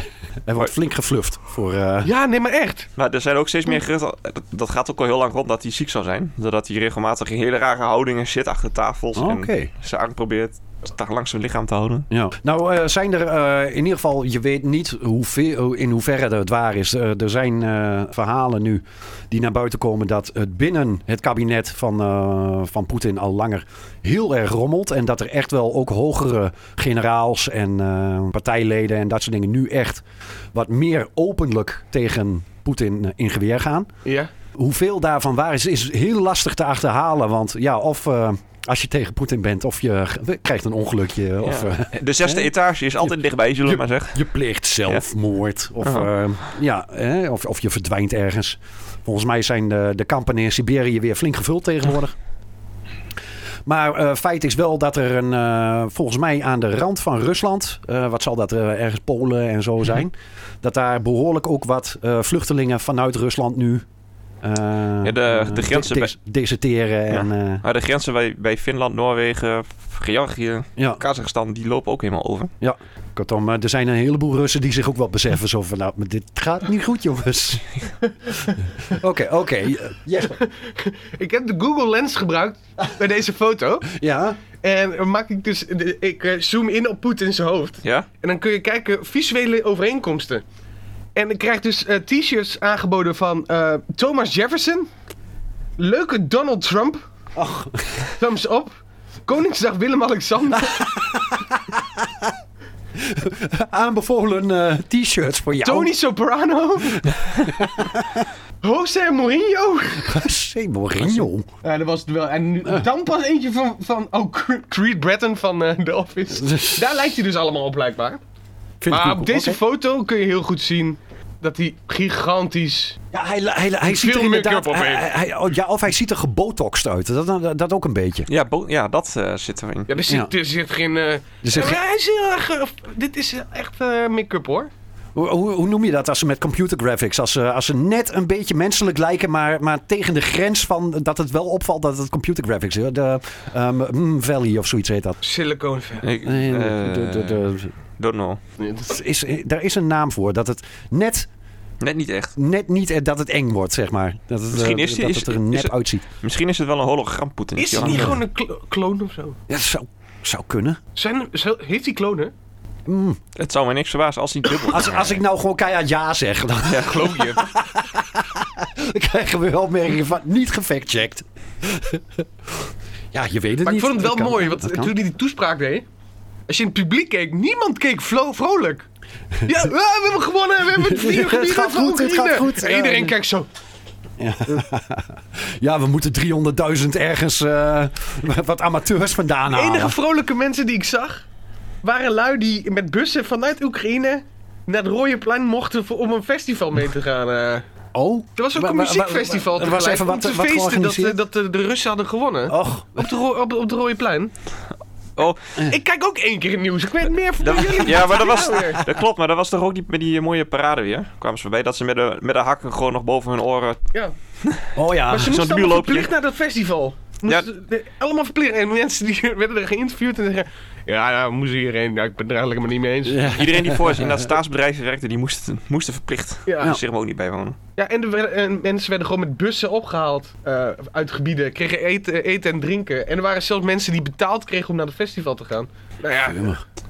[SPEAKER 5] Er wordt flink gefluft voor... eh,
[SPEAKER 4] ja, nee, maar echt.
[SPEAKER 3] Maar er zijn ook steeds meer geruchten. dat- Dat gaat ook al heel lang rond dat hij ziek zou zijn. Doordat hij regelmatig in hele rare houdingen zit achter tafels.
[SPEAKER 5] Oké.
[SPEAKER 3] En zijn arm probeert daar langs zijn lichaam te houden.
[SPEAKER 5] Ja. Nou, eh, zijn er eh, in ieder geval, je weet niet hoeveel, in hoeverre het waar is. Eh, er zijn eh, verhalen nu die naar buiten komen dat het binnen het kabinet van, eh, van Poetin al langer heel erg rommelt. En dat er echt wel ook hogere generaals en eh, partijleden en dat soort dingen nu echt wat meer openlijk tegen Poetin eh, in geweer gaan.
[SPEAKER 4] Ja.
[SPEAKER 5] Hoeveel daarvan waar is, is heel lastig te achterhalen. Want ja, of eh, als je tegen Poetin bent, of je g- krijgt een ongelukje. Of eh,
[SPEAKER 3] De zesde etage is altijd dichtbij, zullen we maar zeggen.
[SPEAKER 5] je pleegt zelfmoord. Of,
[SPEAKER 3] Aha.
[SPEAKER 5] eh, ja, hè, of, of je verdwijnt ergens. Volgens mij zijn de, de kampen in Siberië weer flink gevuld tegenwoordig. Maar eh, feit is wel dat er een, eh, volgens mij aan de rand van Rusland, eh, wat zal dat eh, ergens Polen en
[SPEAKER 3] Mhm.
[SPEAKER 5] zo zijn, dat daar behoorlijk ook wat eh, vluchtelingen vanuit Rusland nu eh,
[SPEAKER 3] de- de
[SPEAKER 5] eh,
[SPEAKER 3] grenzen
[SPEAKER 5] des- deserteren.
[SPEAKER 3] Ja.
[SPEAKER 5] En, eh,
[SPEAKER 3] Maar de grenzen bij, bij Finland, Noorwegen, Georgië,
[SPEAKER 5] ja.
[SPEAKER 3] Kazachstan, die lopen ook helemaal over.
[SPEAKER 5] Kortom, eh, er zijn een heleboel Russen die zich ook wel beseffen. Zo van, nou, maar dit gaat niet
[SPEAKER 4] [LAUGHS]
[SPEAKER 5] goed, jongens. Oké, oké. eh, Jesper.
[SPEAKER 4] Ik heb de Google Lens gebruikt bij deze foto.
[SPEAKER 5] Ja,
[SPEAKER 4] En dan maak ik dus. Ik eh, zoom in op Poetin's hoofd.
[SPEAKER 3] Ja?
[SPEAKER 4] En dan kun je kijken visuele overeenkomsten. En ik krijg dus eh, t-shirts aangeboden van eh, Thomas Jefferson. Leuke Donald Trump.
[SPEAKER 5] Ach.
[SPEAKER 4] Thumbs op. Koningsdag Willem-Alexander.
[SPEAKER 5] aanbevolen eh, t-shirts voor jou. [LAUGHS]
[SPEAKER 4] Tony Soprano. oh. [LAUGHS] José Mourinho.
[SPEAKER 5] José Mourinho.
[SPEAKER 4] Ja, dat was het wel. En nu, dan pas eentje van, van oh, Ah. Cre- Creed Bratton van eh, The Office. Daar lijkt hij [LAUGHS] dus allemaal op blijkbaar.
[SPEAKER 5] Vind ik
[SPEAKER 4] Maar
[SPEAKER 5] ook-
[SPEAKER 4] op deze
[SPEAKER 5] oké.
[SPEAKER 4] foto kun je heel goed zien dat hij gigantisch...
[SPEAKER 5] Ja, hij, hij, hij ziet er
[SPEAKER 4] Veel make-up
[SPEAKER 5] inderdaad...
[SPEAKER 4] op
[SPEAKER 5] hij-
[SPEAKER 4] heeft.
[SPEAKER 5] hij- hij- ja, of hij ziet er gebotoxed uit. Dat, dat, dat ook een beetje.
[SPEAKER 3] Ja, bo- ja dat eh, zit erin.
[SPEAKER 4] Ja, er zit,
[SPEAKER 5] Ja.
[SPEAKER 4] Er zit geen... eh,
[SPEAKER 5] zit
[SPEAKER 4] ja, hij is heel erg... eh, dit is echt eh, make-up hoor.
[SPEAKER 5] Hoe, hoe, hoe noem je dat als ze met computer graphics... Als ze, als ze net een beetje menselijk lijken... Maar, maar tegen de grens van dat het wel opvalt dat het computer graphics is. De ehm, mm, Valley of zoiets heet dat.
[SPEAKER 4] Silicone Valley.
[SPEAKER 3] Ik,
[SPEAKER 5] Nee,
[SPEAKER 3] eh,
[SPEAKER 5] de- de- de-
[SPEAKER 3] Don't know.
[SPEAKER 5] is, daar is een naam voor. Dat het net,
[SPEAKER 3] Net niet echt.
[SPEAKER 5] net niet eh, dat het eng wordt, zeg maar. Dat het,
[SPEAKER 3] Misschien
[SPEAKER 5] eh,
[SPEAKER 3] is die-
[SPEAKER 5] dat
[SPEAKER 3] is-
[SPEAKER 5] het er
[SPEAKER 3] is
[SPEAKER 5] nep
[SPEAKER 3] het-
[SPEAKER 5] uitziet.
[SPEAKER 3] Misschien is het wel een hologram Poetin.
[SPEAKER 4] Is
[SPEAKER 3] Ja.
[SPEAKER 4] het niet gewoon een klo- kloon of zo?
[SPEAKER 5] Dat zou, zou kunnen.
[SPEAKER 4] Zijn, zo- heeft hij klonen?
[SPEAKER 3] Het zou mij niks verbazen als hij
[SPEAKER 4] [LAUGHS]
[SPEAKER 3] dubbel
[SPEAKER 5] Als, als ik nou gewoon keihard ja zeg, dan
[SPEAKER 3] Ja, geloof
[SPEAKER 5] [LAUGHS]
[SPEAKER 3] je.
[SPEAKER 5] krijgen we wel opmerkingen van niet gefactcheckt. ja, je weet het
[SPEAKER 4] Maar ik
[SPEAKER 5] niet.
[SPEAKER 4] vond het wel
[SPEAKER 5] Dat kan.
[SPEAKER 4] mooi, want
[SPEAKER 5] Dat
[SPEAKER 4] eh,
[SPEAKER 5] kan.
[SPEAKER 4] toen hij die toespraak deed... Als je in het publiek keek, niemand keek vlo-
[SPEAKER 5] [LAUGHS]
[SPEAKER 4] vrolijk. Ja, ah, we hebben gewonnen, we hebben het vier gebieden
[SPEAKER 5] gaat
[SPEAKER 4] van
[SPEAKER 5] goed, het
[SPEAKER 4] Oekraïne.
[SPEAKER 5] gaat goed.
[SPEAKER 4] En iedereen
[SPEAKER 5] Ja.
[SPEAKER 4] kijkt zo.
[SPEAKER 5] Ja, we moeten 300.000 ergens eh, [LAUGHS] wat amateurs vandaan
[SPEAKER 4] De
[SPEAKER 5] halen.
[SPEAKER 4] enige vrolijke mensen die ik zag waren lui die met bussen vanuit Oekraïne naar het Rode Plein mochten voor- om een festival mee te gaan. eh.
[SPEAKER 5] Oh?
[SPEAKER 4] Er was ook
[SPEAKER 5] Wa-
[SPEAKER 4] een
[SPEAKER 5] wa- wa-
[SPEAKER 4] muziekfestival
[SPEAKER 5] Er was
[SPEAKER 4] tegelijk
[SPEAKER 5] even
[SPEAKER 4] om
[SPEAKER 5] wat,
[SPEAKER 4] te
[SPEAKER 5] wat
[SPEAKER 4] feesten dat, eh,
[SPEAKER 5] georganiseerd. Oh.
[SPEAKER 4] dat eh, de Russen hadden gewonnen.
[SPEAKER 5] Och,
[SPEAKER 4] Op, de Ro- op, op het Rode Plein.
[SPEAKER 3] Oh,
[SPEAKER 5] Eh.
[SPEAKER 4] Ik kijk ook één keer het nieuws. Ik weet meer van
[SPEAKER 3] dat-
[SPEAKER 4] jullie.
[SPEAKER 3] ja, maar dat was...
[SPEAKER 4] Nou weer.
[SPEAKER 3] Dat klopt, maar dat was toch ook die, met die eh, mooie parade weer? Kwamen ze voorbij dat ze met de, met de hakken gewoon nog boven hun oren...
[SPEAKER 4] Ja.
[SPEAKER 5] oh ja.
[SPEAKER 4] Maar ze
[SPEAKER 3] zo'n
[SPEAKER 4] moesten
[SPEAKER 3] Ah, debiel
[SPEAKER 4] allemaal
[SPEAKER 3] loopje.
[SPEAKER 4] verplicht naar dat festival. Moesten
[SPEAKER 3] Ja.
[SPEAKER 4] ze- de- allemaal verplicht. En mensen die [LAUGHS] werden er geïnterviewd en zeggen... Ja, nou, we moesten hierheen. Ja, ik ben het er eigenlijk maar niet mee eens. Ja,
[SPEAKER 3] Iedereen die
[SPEAKER 5] [LAUGHS]
[SPEAKER 3] voor ze in dat staatsbedrijf werkte, die moesten, moesten verplicht
[SPEAKER 4] Ja.
[SPEAKER 3] zich er ook niet bij wonen.
[SPEAKER 4] Ja, en, er werden- en mensen werden gewoon met bussen opgehaald eh, uit gebieden, kregen eten, eten en drinken. En er waren zelfs mensen die betaald kregen om naar het festival te gaan. Nou ja,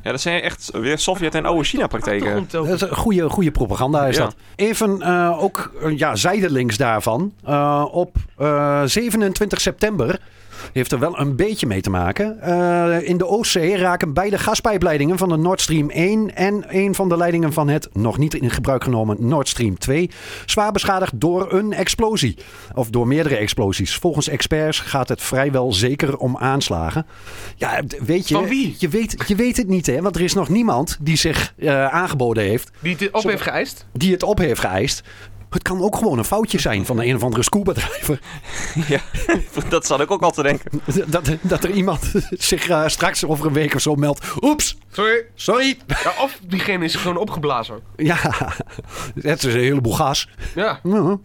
[SPEAKER 3] Ja, dat zijn echt weer Sovjet- en oude
[SPEAKER 4] toch
[SPEAKER 3] [LAUGHS] China-praktijken.
[SPEAKER 4] ontzettend.
[SPEAKER 5] Dat is een goede, goede propaganda is
[SPEAKER 3] Ja.
[SPEAKER 5] dat. Even eh, ook eh, ja, zijdelings daarvan. Eh, op eh, 27 september heeft er wel een beetje mee te maken. Eh, in de Oostzee raken beide gaspijpleidingen van de Nord Stream 1 en een van de leidingen van het nog niet in gebruik genomen Nord Stream 2 zwaar beschadigd door een explosie. Of door meerdere explosies. Volgens experts gaat het vrijwel zeker om aanslagen. Ja, d- weet je,
[SPEAKER 4] Van wie?
[SPEAKER 5] Je, weet, je weet het niet, hè? Want er is nog niemand die zich eh, aangeboden heeft
[SPEAKER 4] Die het op heeft geëist.
[SPEAKER 5] die het op heeft geëist. Het kan ook gewoon een foutje zijn van de een of andere scuba driver.
[SPEAKER 3] Ja, dat zat ik ook al te denken.
[SPEAKER 5] [LAUGHS] Dat, dat er iemand [LAUGHS] zich eh, straks over een week of zo meldt. Oeps,
[SPEAKER 4] Sorry.
[SPEAKER 5] sorry. [LAUGHS]
[SPEAKER 4] Ja, of diegene is gewoon opgeblazen.
[SPEAKER 5] Ja, het is een heleboel gas.
[SPEAKER 4] Ja, nou,
[SPEAKER 5] Ja.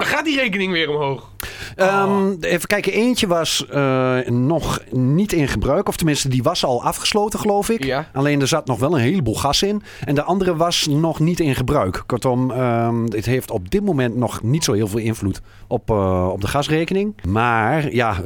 [SPEAKER 4] dan gaat die rekening weer omhoog. Oh.
[SPEAKER 5] Ehm, even kijken, eentje was eh, nog niet in gebruik. Of tenminste, die was al afgesloten, geloof ik.
[SPEAKER 4] Ja.
[SPEAKER 5] Alleen er zat nog wel een heleboel gas in. En de andere was nog niet in gebruik. Kortom, ehm, het heeft op dit moment nog niet zo heel veel invloed op, eh, op de gasrekening. Maar ja, eh,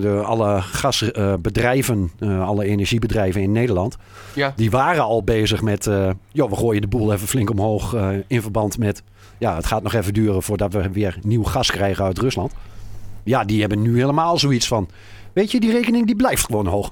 [SPEAKER 5] de, alle gasbedrijven, eh, alle energiebedrijven in Nederland...
[SPEAKER 4] Ja.
[SPEAKER 5] die waren al bezig met... eh joh, we gooien de boel even flink omhoog eh, in verband met... ja, het gaat nog even duren voordat we weer nieuw gas krijgen uit Rusland. Ja, die hebben nu helemaal zoiets van. Weet je, die rekening die blijft gewoon hoog.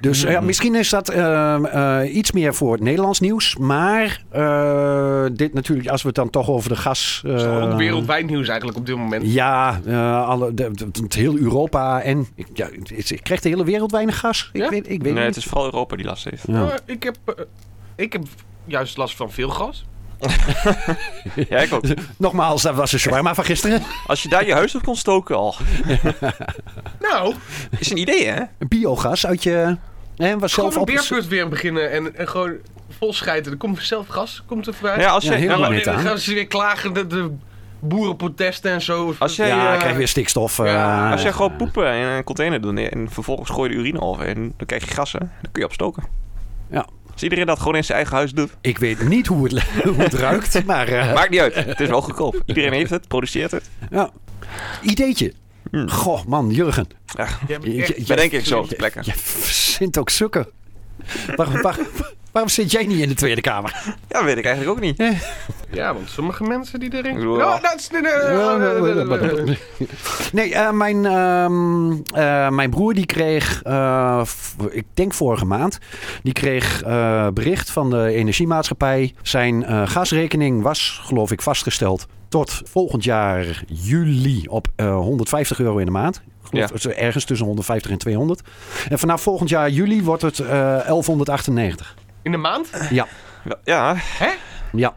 [SPEAKER 5] Dus eh, ja, misschien is dat ehm, eh, iets meer voor het Nederlands nieuws. Maar eh, dit natuurlijk, als we het dan toch over de gas.
[SPEAKER 4] Dat is
[SPEAKER 5] eh,
[SPEAKER 4] ook wereldwijd nieuws eigenlijk op dit moment.
[SPEAKER 5] ja, eh, alle, de, de- het heel Europa en... Ik, ja, het is- ik krijg de hele wereld weinig gas. Ik
[SPEAKER 4] Ja?
[SPEAKER 5] weet, ik weet
[SPEAKER 3] Nee,
[SPEAKER 5] niet.
[SPEAKER 3] het is vooral Europa die last
[SPEAKER 5] [LAUGHS]
[SPEAKER 3] heeft.
[SPEAKER 5] Ja.
[SPEAKER 4] Maar ik, heb, eh, ik heb juist last van veel gas.
[SPEAKER 3] Ja, ik ook.
[SPEAKER 5] Nogmaals, dat was een shawarma van gisteren.
[SPEAKER 3] Als je daar je huis op kon stoken al.
[SPEAKER 4] Nou,
[SPEAKER 3] Is een idee, hè?
[SPEAKER 5] Biogas uit je... En was
[SPEAKER 4] gewoon
[SPEAKER 5] zelf
[SPEAKER 4] een
[SPEAKER 5] op een-
[SPEAKER 4] beerput weer beginnen en, en gewoon vol schijten. Er komt vanzelf gas, komt er voorbij.
[SPEAKER 3] Ja, als
[SPEAKER 5] Ja,
[SPEAKER 3] je...
[SPEAKER 5] heel
[SPEAKER 3] nou,
[SPEAKER 5] lang
[SPEAKER 4] en
[SPEAKER 5] niet
[SPEAKER 4] dan
[SPEAKER 5] aan.
[SPEAKER 4] gaan ze weer klagen dat de boerenprotesten en zo.
[SPEAKER 3] als jij,
[SPEAKER 5] Ja,
[SPEAKER 3] eh,
[SPEAKER 5] krijg weer stikstof.
[SPEAKER 4] ja,
[SPEAKER 5] eh,
[SPEAKER 3] als jij gewoon poepen in een container doet en vervolgens gooi je de urine over en dan krijg je gassen, dan kun je opstoken.
[SPEAKER 5] Ja.
[SPEAKER 3] Als iedereen dat gewoon in zijn eigen huis doet,
[SPEAKER 5] Ik weet niet hoe het, [LAUGHS] hoe het ruikt, maar... eh,
[SPEAKER 3] maakt niet uit. Het is
[SPEAKER 5] [LAUGHS]
[SPEAKER 3] wel goedkoop. Iedereen heeft het, produceert het.
[SPEAKER 5] ja. Ideetje.
[SPEAKER 3] Hmm.
[SPEAKER 5] Goh, man, Jurgen.
[SPEAKER 4] Jij bent
[SPEAKER 5] je-
[SPEAKER 4] echt-
[SPEAKER 5] je-
[SPEAKER 3] Dat denk ik zo op de plekken.
[SPEAKER 5] Je zint ook sukken. Waarom, waar- waarom zit jij niet in de Tweede Kamer?
[SPEAKER 3] Ja, weet ik eigenlijk ook niet.
[SPEAKER 4] Ja, want sommige mensen die erin...
[SPEAKER 3] Ik bedoel,
[SPEAKER 4] Nou,
[SPEAKER 3] ja.
[SPEAKER 4] dat is... eh,
[SPEAKER 5] Nee, eh, mijn, ehm, eh, mijn broer die kreeg, eh, v- ik denk vorige maand, die kreeg eh, bericht van de energiemaatschappij. Zijn eh, gasrekening was, geloof ik, vastgesteld tot volgend jaar juli op eh, 150 euro in de maand. Ik geloof
[SPEAKER 3] Ja.
[SPEAKER 5] het is ergens tussen 150 en 200. En vanaf volgend jaar juli wordt het eh, 1198.
[SPEAKER 4] In de maand?
[SPEAKER 5] Ja,
[SPEAKER 3] Ja,
[SPEAKER 5] ja.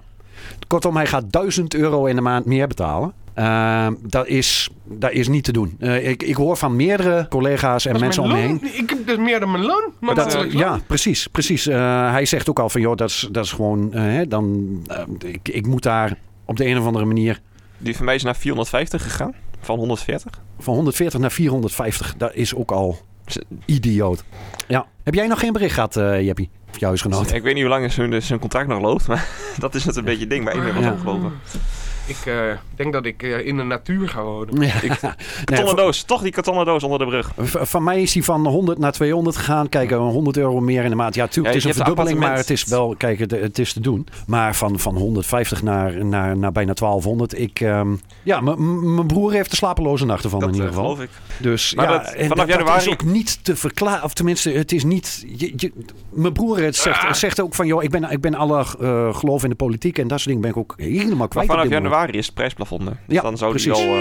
[SPEAKER 5] Kortom, hij gaat 1000 euro in de maand meer betalen. Ehm, dat, is, dat is niet te doen. Eh, ik, ik hoor van meerdere collega's en
[SPEAKER 4] Dat is
[SPEAKER 5] mensen om me
[SPEAKER 4] mijn
[SPEAKER 5] heen.
[SPEAKER 4] loon. Ik heb dus meer dan mijn loon. eh, Maar
[SPEAKER 5] Dat,
[SPEAKER 4] natuurlijk wel.
[SPEAKER 5] ja, precies. precies. Eh, hij zegt ook al van, joh, dat is, dat is gewoon, eh, hè, dan, eh, ik, ik moet daar op de een of andere manier
[SPEAKER 3] die van mij is naar 450 gegaan. Van 140.
[SPEAKER 5] van 140 naar 450. Dat is ook al idioot. Ja. Heb jij nog geen bericht gehad, eh Jeppie? Of je huisgenoot?
[SPEAKER 3] Dus Ik weet niet hoe lang zijn, zijn contract nog loopt, maar [LAUGHS] dat is het een beetje het ding waar ik mee was
[SPEAKER 5] Ja.
[SPEAKER 3] opgelopen.
[SPEAKER 4] Ik eh, denk dat ik eh, in de natuur ga wonen.
[SPEAKER 5] [LAUGHS] Nee,
[SPEAKER 3] Kartonnen doos, toch die kartonnen doos onder de brug.
[SPEAKER 5] v- v- van mij is hij van 100 naar 200 gegaan. Kijk, eh, 100 euro meer in de maand. Ja, tuurlijk,
[SPEAKER 3] Ja,
[SPEAKER 5] het
[SPEAKER 3] je
[SPEAKER 5] is een
[SPEAKER 3] hebt een
[SPEAKER 5] verdubbeling, maar het
[SPEAKER 3] appartement.
[SPEAKER 5] is wel, kijk, het, het is te doen. Maar van, van 150 naar, naar, naar bijna 1200. Ik, ehm, ja, m- m- mijn broer heeft de slapeloze nachten van
[SPEAKER 3] dat
[SPEAKER 5] in ieder
[SPEAKER 3] eh,
[SPEAKER 5] geval.
[SPEAKER 3] geloof ik.
[SPEAKER 5] Dus
[SPEAKER 3] Maar
[SPEAKER 5] ja,
[SPEAKER 3] dat-
[SPEAKER 5] en
[SPEAKER 3] vanaf
[SPEAKER 5] dat, dat
[SPEAKER 3] januari-
[SPEAKER 5] is ook niet te verklaren. Of tenminste, het is niet... je- je- mijn broer het zegt,
[SPEAKER 3] Ah.
[SPEAKER 5] zegt ook van... joh, ik ben, ik ben alle eh, geloof in de politiek en dat soort dingen ben ik ook helemaal
[SPEAKER 3] Maar
[SPEAKER 5] kwijt. op
[SPEAKER 3] vanaf
[SPEAKER 5] dit moment.
[SPEAKER 3] januari is het prijsplafond. hè. Dus
[SPEAKER 5] Ja,
[SPEAKER 3] dan zou
[SPEAKER 5] precies.
[SPEAKER 3] die wel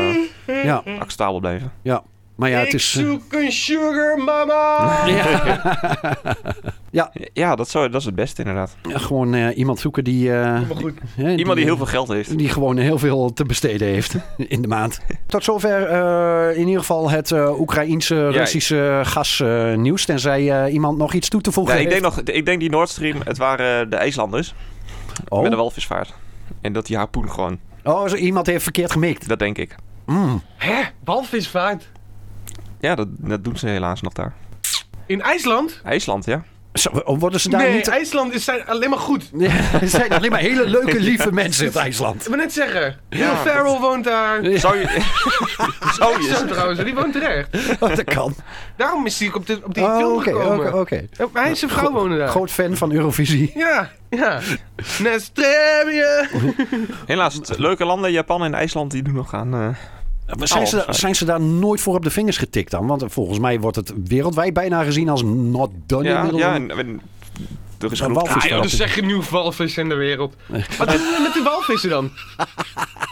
[SPEAKER 3] eh,
[SPEAKER 5] Ja,
[SPEAKER 3] acceptabel blijven.
[SPEAKER 5] ja. Maar ja, het
[SPEAKER 4] ik
[SPEAKER 5] is... eh,
[SPEAKER 4] zoek een sugar
[SPEAKER 5] [LAUGHS]
[SPEAKER 4] mama!
[SPEAKER 3] [LAUGHS] Ja, dat, zou, dat is het beste inderdaad.
[SPEAKER 5] gewoon eh, iemand zoeken die... eh,
[SPEAKER 4] Maar goed,
[SPEAKER 5] hè,
[SPEAKER 3] Iemand die heel veel geld heeft.
[SPEAKER 5] Die eh, gewoon heel veel te besteden heeft in de maand. Tot zover eh, in ieder geval het eh, Oekraïense, Russische eh, gasnieuws. tenzij eh, iemand nog iets toe te voegen
[SPEAKER 3] Ja, ik, denk
[SPEAKER 5] heeft.
[SPEAKER 3] nog, ik denk die Nord Stream, het waren eh, de IJslanders
[SPEAKER 5] Oh,
[SPEAKER 3] met de walvisvaart. En dat die harpoen gewoon,
[SPEAKER 5] oh, zo- iemand heeft verkeerd gemikt.
[SPEAKER 3] dat denk ik.
[SPEAKER 5] Mm.
[SPEAKER 4] hè? Walvisvaart?
[SPEAKER 3] Ja, dat, dat doen ze helaas nog daar.
[SPEAKER 4] In IJsland?
[SPEAKER 3] IJsland, ja.
[SPEAKER 5] Zo, worden ze daar
[SPEAKER 4] nee,
[SPEAKER 5] niet... [LAUGHS]
[SPEAKER 4] IJsland is zijn alleen maar goed. Ik
[SPEAKER 5] Er zijn alleen maar hele leuke, lieve mensen in IJsland.
[SPEAKER 4] wil net zeggen, Will
[SPEAKER 3] Ja,
[SPEAKER 4] Ferrell woont daar.
[SPEAKER 3] [LAUGHS] Zou je... [LAUGHS] zou je...
[SPEAKER 4] Zo trouwens, die woont terecht.
[SPEAKER 5] Oh, [LAUGHS] dat kan.
[SPEAKER 4] Daarom is hij op, dit op die
[SPEAKER 5] Oh,
[SPEAKER 4] film
[SPEAKER 5] Oké,
[SPEAKER 4] gekomen.
[SPEAKER 5] oké, oké.
[SPEAKER 4] Ja, Hij en zijn vrouw wonen daar.
[SPEAKER 5] Groot fan van Eurovisie.
[SPEAKER 4] Ja, ja. Nestremje!
[SPEAKER 3] Helaas, het- leuke landen, Japan en IJsland, die doen nog aan... eh,
[SPEAKER 5] Zijn ze,
[SPEAKER 3] Oh,
[SPEAKER 5] zijn ze daar nooit voor op de vingers getikt dan? Want eh, volgens mij wordt het wereldwijd bijna gezien als not done.
[SPEAKER 3] ja,
[SPEAKER 5] inmiddels.
[SPEAKER 3] ja, en, en- er is
[SPEAKER 5] Een
[SPEAKER 3] genoeg...
[SPEAKER 5] walvis.
[SPEAKER 4] Ah, joh, er zijn genoeg walvissen in de wereld. Wat doen we met de walvissen dan?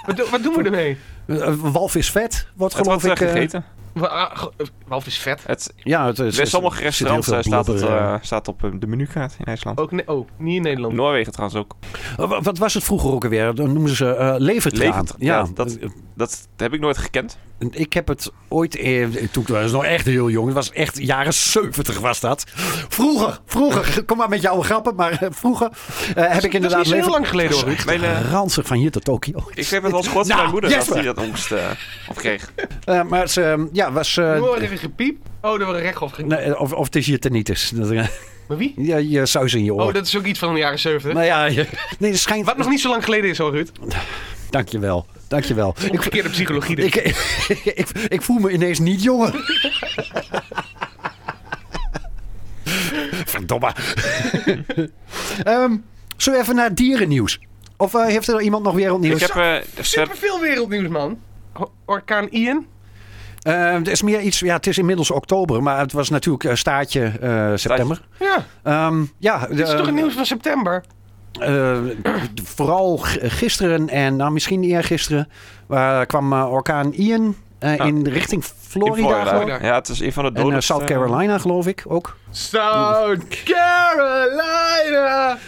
[SPEAKER 4] Wat, do- wat doen we ermee?
[SPEAKER 5] Eh, Walvisvet wordt
[SPEAKER 3] Het
[SPEAKER 5] geloof
[SPEAKER 3] wordt eh,
[SPEAKER 5] ik... eh,
[SPEAKER 3] gegeten.
[SPEAKER 4] Wa- ah, go- eh, Walvis vet.
[SPEAKER 3] Het,
[SPEAKER 5] ja, het is,
[SPEAKER 3] bij sommige
[SPEAKER 5] er zit heel
[SPEAKER 3] restaurants eh,
[SPEAKER 5] veel
[SPEAKER 3] staat, het,
[SPEAKER 5] blubber,
[SPEAKER 3] eh, staat op eh, de menukaart in IJsland.
[SPEAKER 4] Ook ne- oh, niet in Nederland.
[SPEAKER 3] Noorwegen trouwens ook.
[SPEAKER 5] eh. Wa- Wat was het vroeger ook alweer? Dan noemden ze eh levertraan.
[SPEAKER 3] Levertraan,
[SPEAKER 5] Ja, eh,
[SPEAKER 3] ja, dat- Dat heb ik nooit gekend.
[SPEAKER 5] Ik heb het ooit, eh, toen ik was nog echt heel jong, het was echt jaren 70 was dat. Vroeger, vroeger, [LAUGHS] kom maar met jouw grappen, maar eh, vroeger eh, heb ik
[SPEAKER 4] dat is
[SPEAKER 5] inderdaad
[SPEAKER 4] niet zo heel
[SPEAKER 5] lever-
[SPEAKER 4] lang geleden hoor. Ruud.
[SPEAKER 3] Mijn, eh,
[SPEAKER 5] ranzig van hier tot Tokio.
[SPEAKER 3] ik heb het wel eens gehoord van
[SPEAKER 5] Nou,
[SPEAKER 3] mijn moeder
[SPEAKER 5] Jesper.
[SPEAKER 3] dat hij dat angst eh of kreeg.
[SPEAKER 5] Eh, maar het, eh, ja, was, eh,
[SPEAKER 4] Nu hoor even gepiep. Oh, daar wordt rechtop ging.
[SPEAKER 5] nee, of, of het is je tinnitus. Dat, eh, [LAUGHS]
[SPEAKER 4] Maar wie?
[SPEAKER 5] ja, je saus in je oor.
[SPEAKER 4] Oh, dat is ook iets van de jaren 70.
[SPEAKER 5] Nou ja, je- [LAUGHS] nee, dat schijnt...
[SPEAKER 4] Wat nog niet zo lang geleden is hoor, Ruud.
[SPEAKER 5] Dankjewel, dankjewel. Ik,
[SPEAKER 4] Omgekeerde psychologie dit.
[SPEAKER 5] ik, ik, [LAUGHS] ik, ik voel me ineens niet jonger. Verdomme. Ehm zullen we even naar dierennieuws? Of eh, heeft er iemand nog wereldnieuws?
[SPEAKER 3] Ik heb, eh, ze-
[SPEAKER 4] Superveel wereldnieuws, man. Ho- Orkaan Ian.
[SPEAKER 5] Eh, er is meer iets, ja, het is inmiddels oktober, maar het was natuurlijk eh, staartje eh, september.
[SPEAKER 4] Ja,
[SPEAKER 5] Ehm, ja,
[SPEAKER 4] dit is
[SPEAKER 5] de-
[SPEAKER 4] toch het nieuws van september?
[SPEAKER 5] eh, d- vooral g- gisteren en nou, misschien eergisteren eh kwam eh, orkaan Ian eh,
[SPEAKER 3] Ah.
[SPEAKER 5] in richting Florida. geloof ik.
[SPEAKER 4] Florida.
[SPEAKER 3] Ja, het is een van de
[SPEAKER 5] En eh,
[SPEAKER 3] dodelijkste-
[SPEAKER 5] South Carolina, geloof ik ook.
[SPEAKER 4] South Carolina!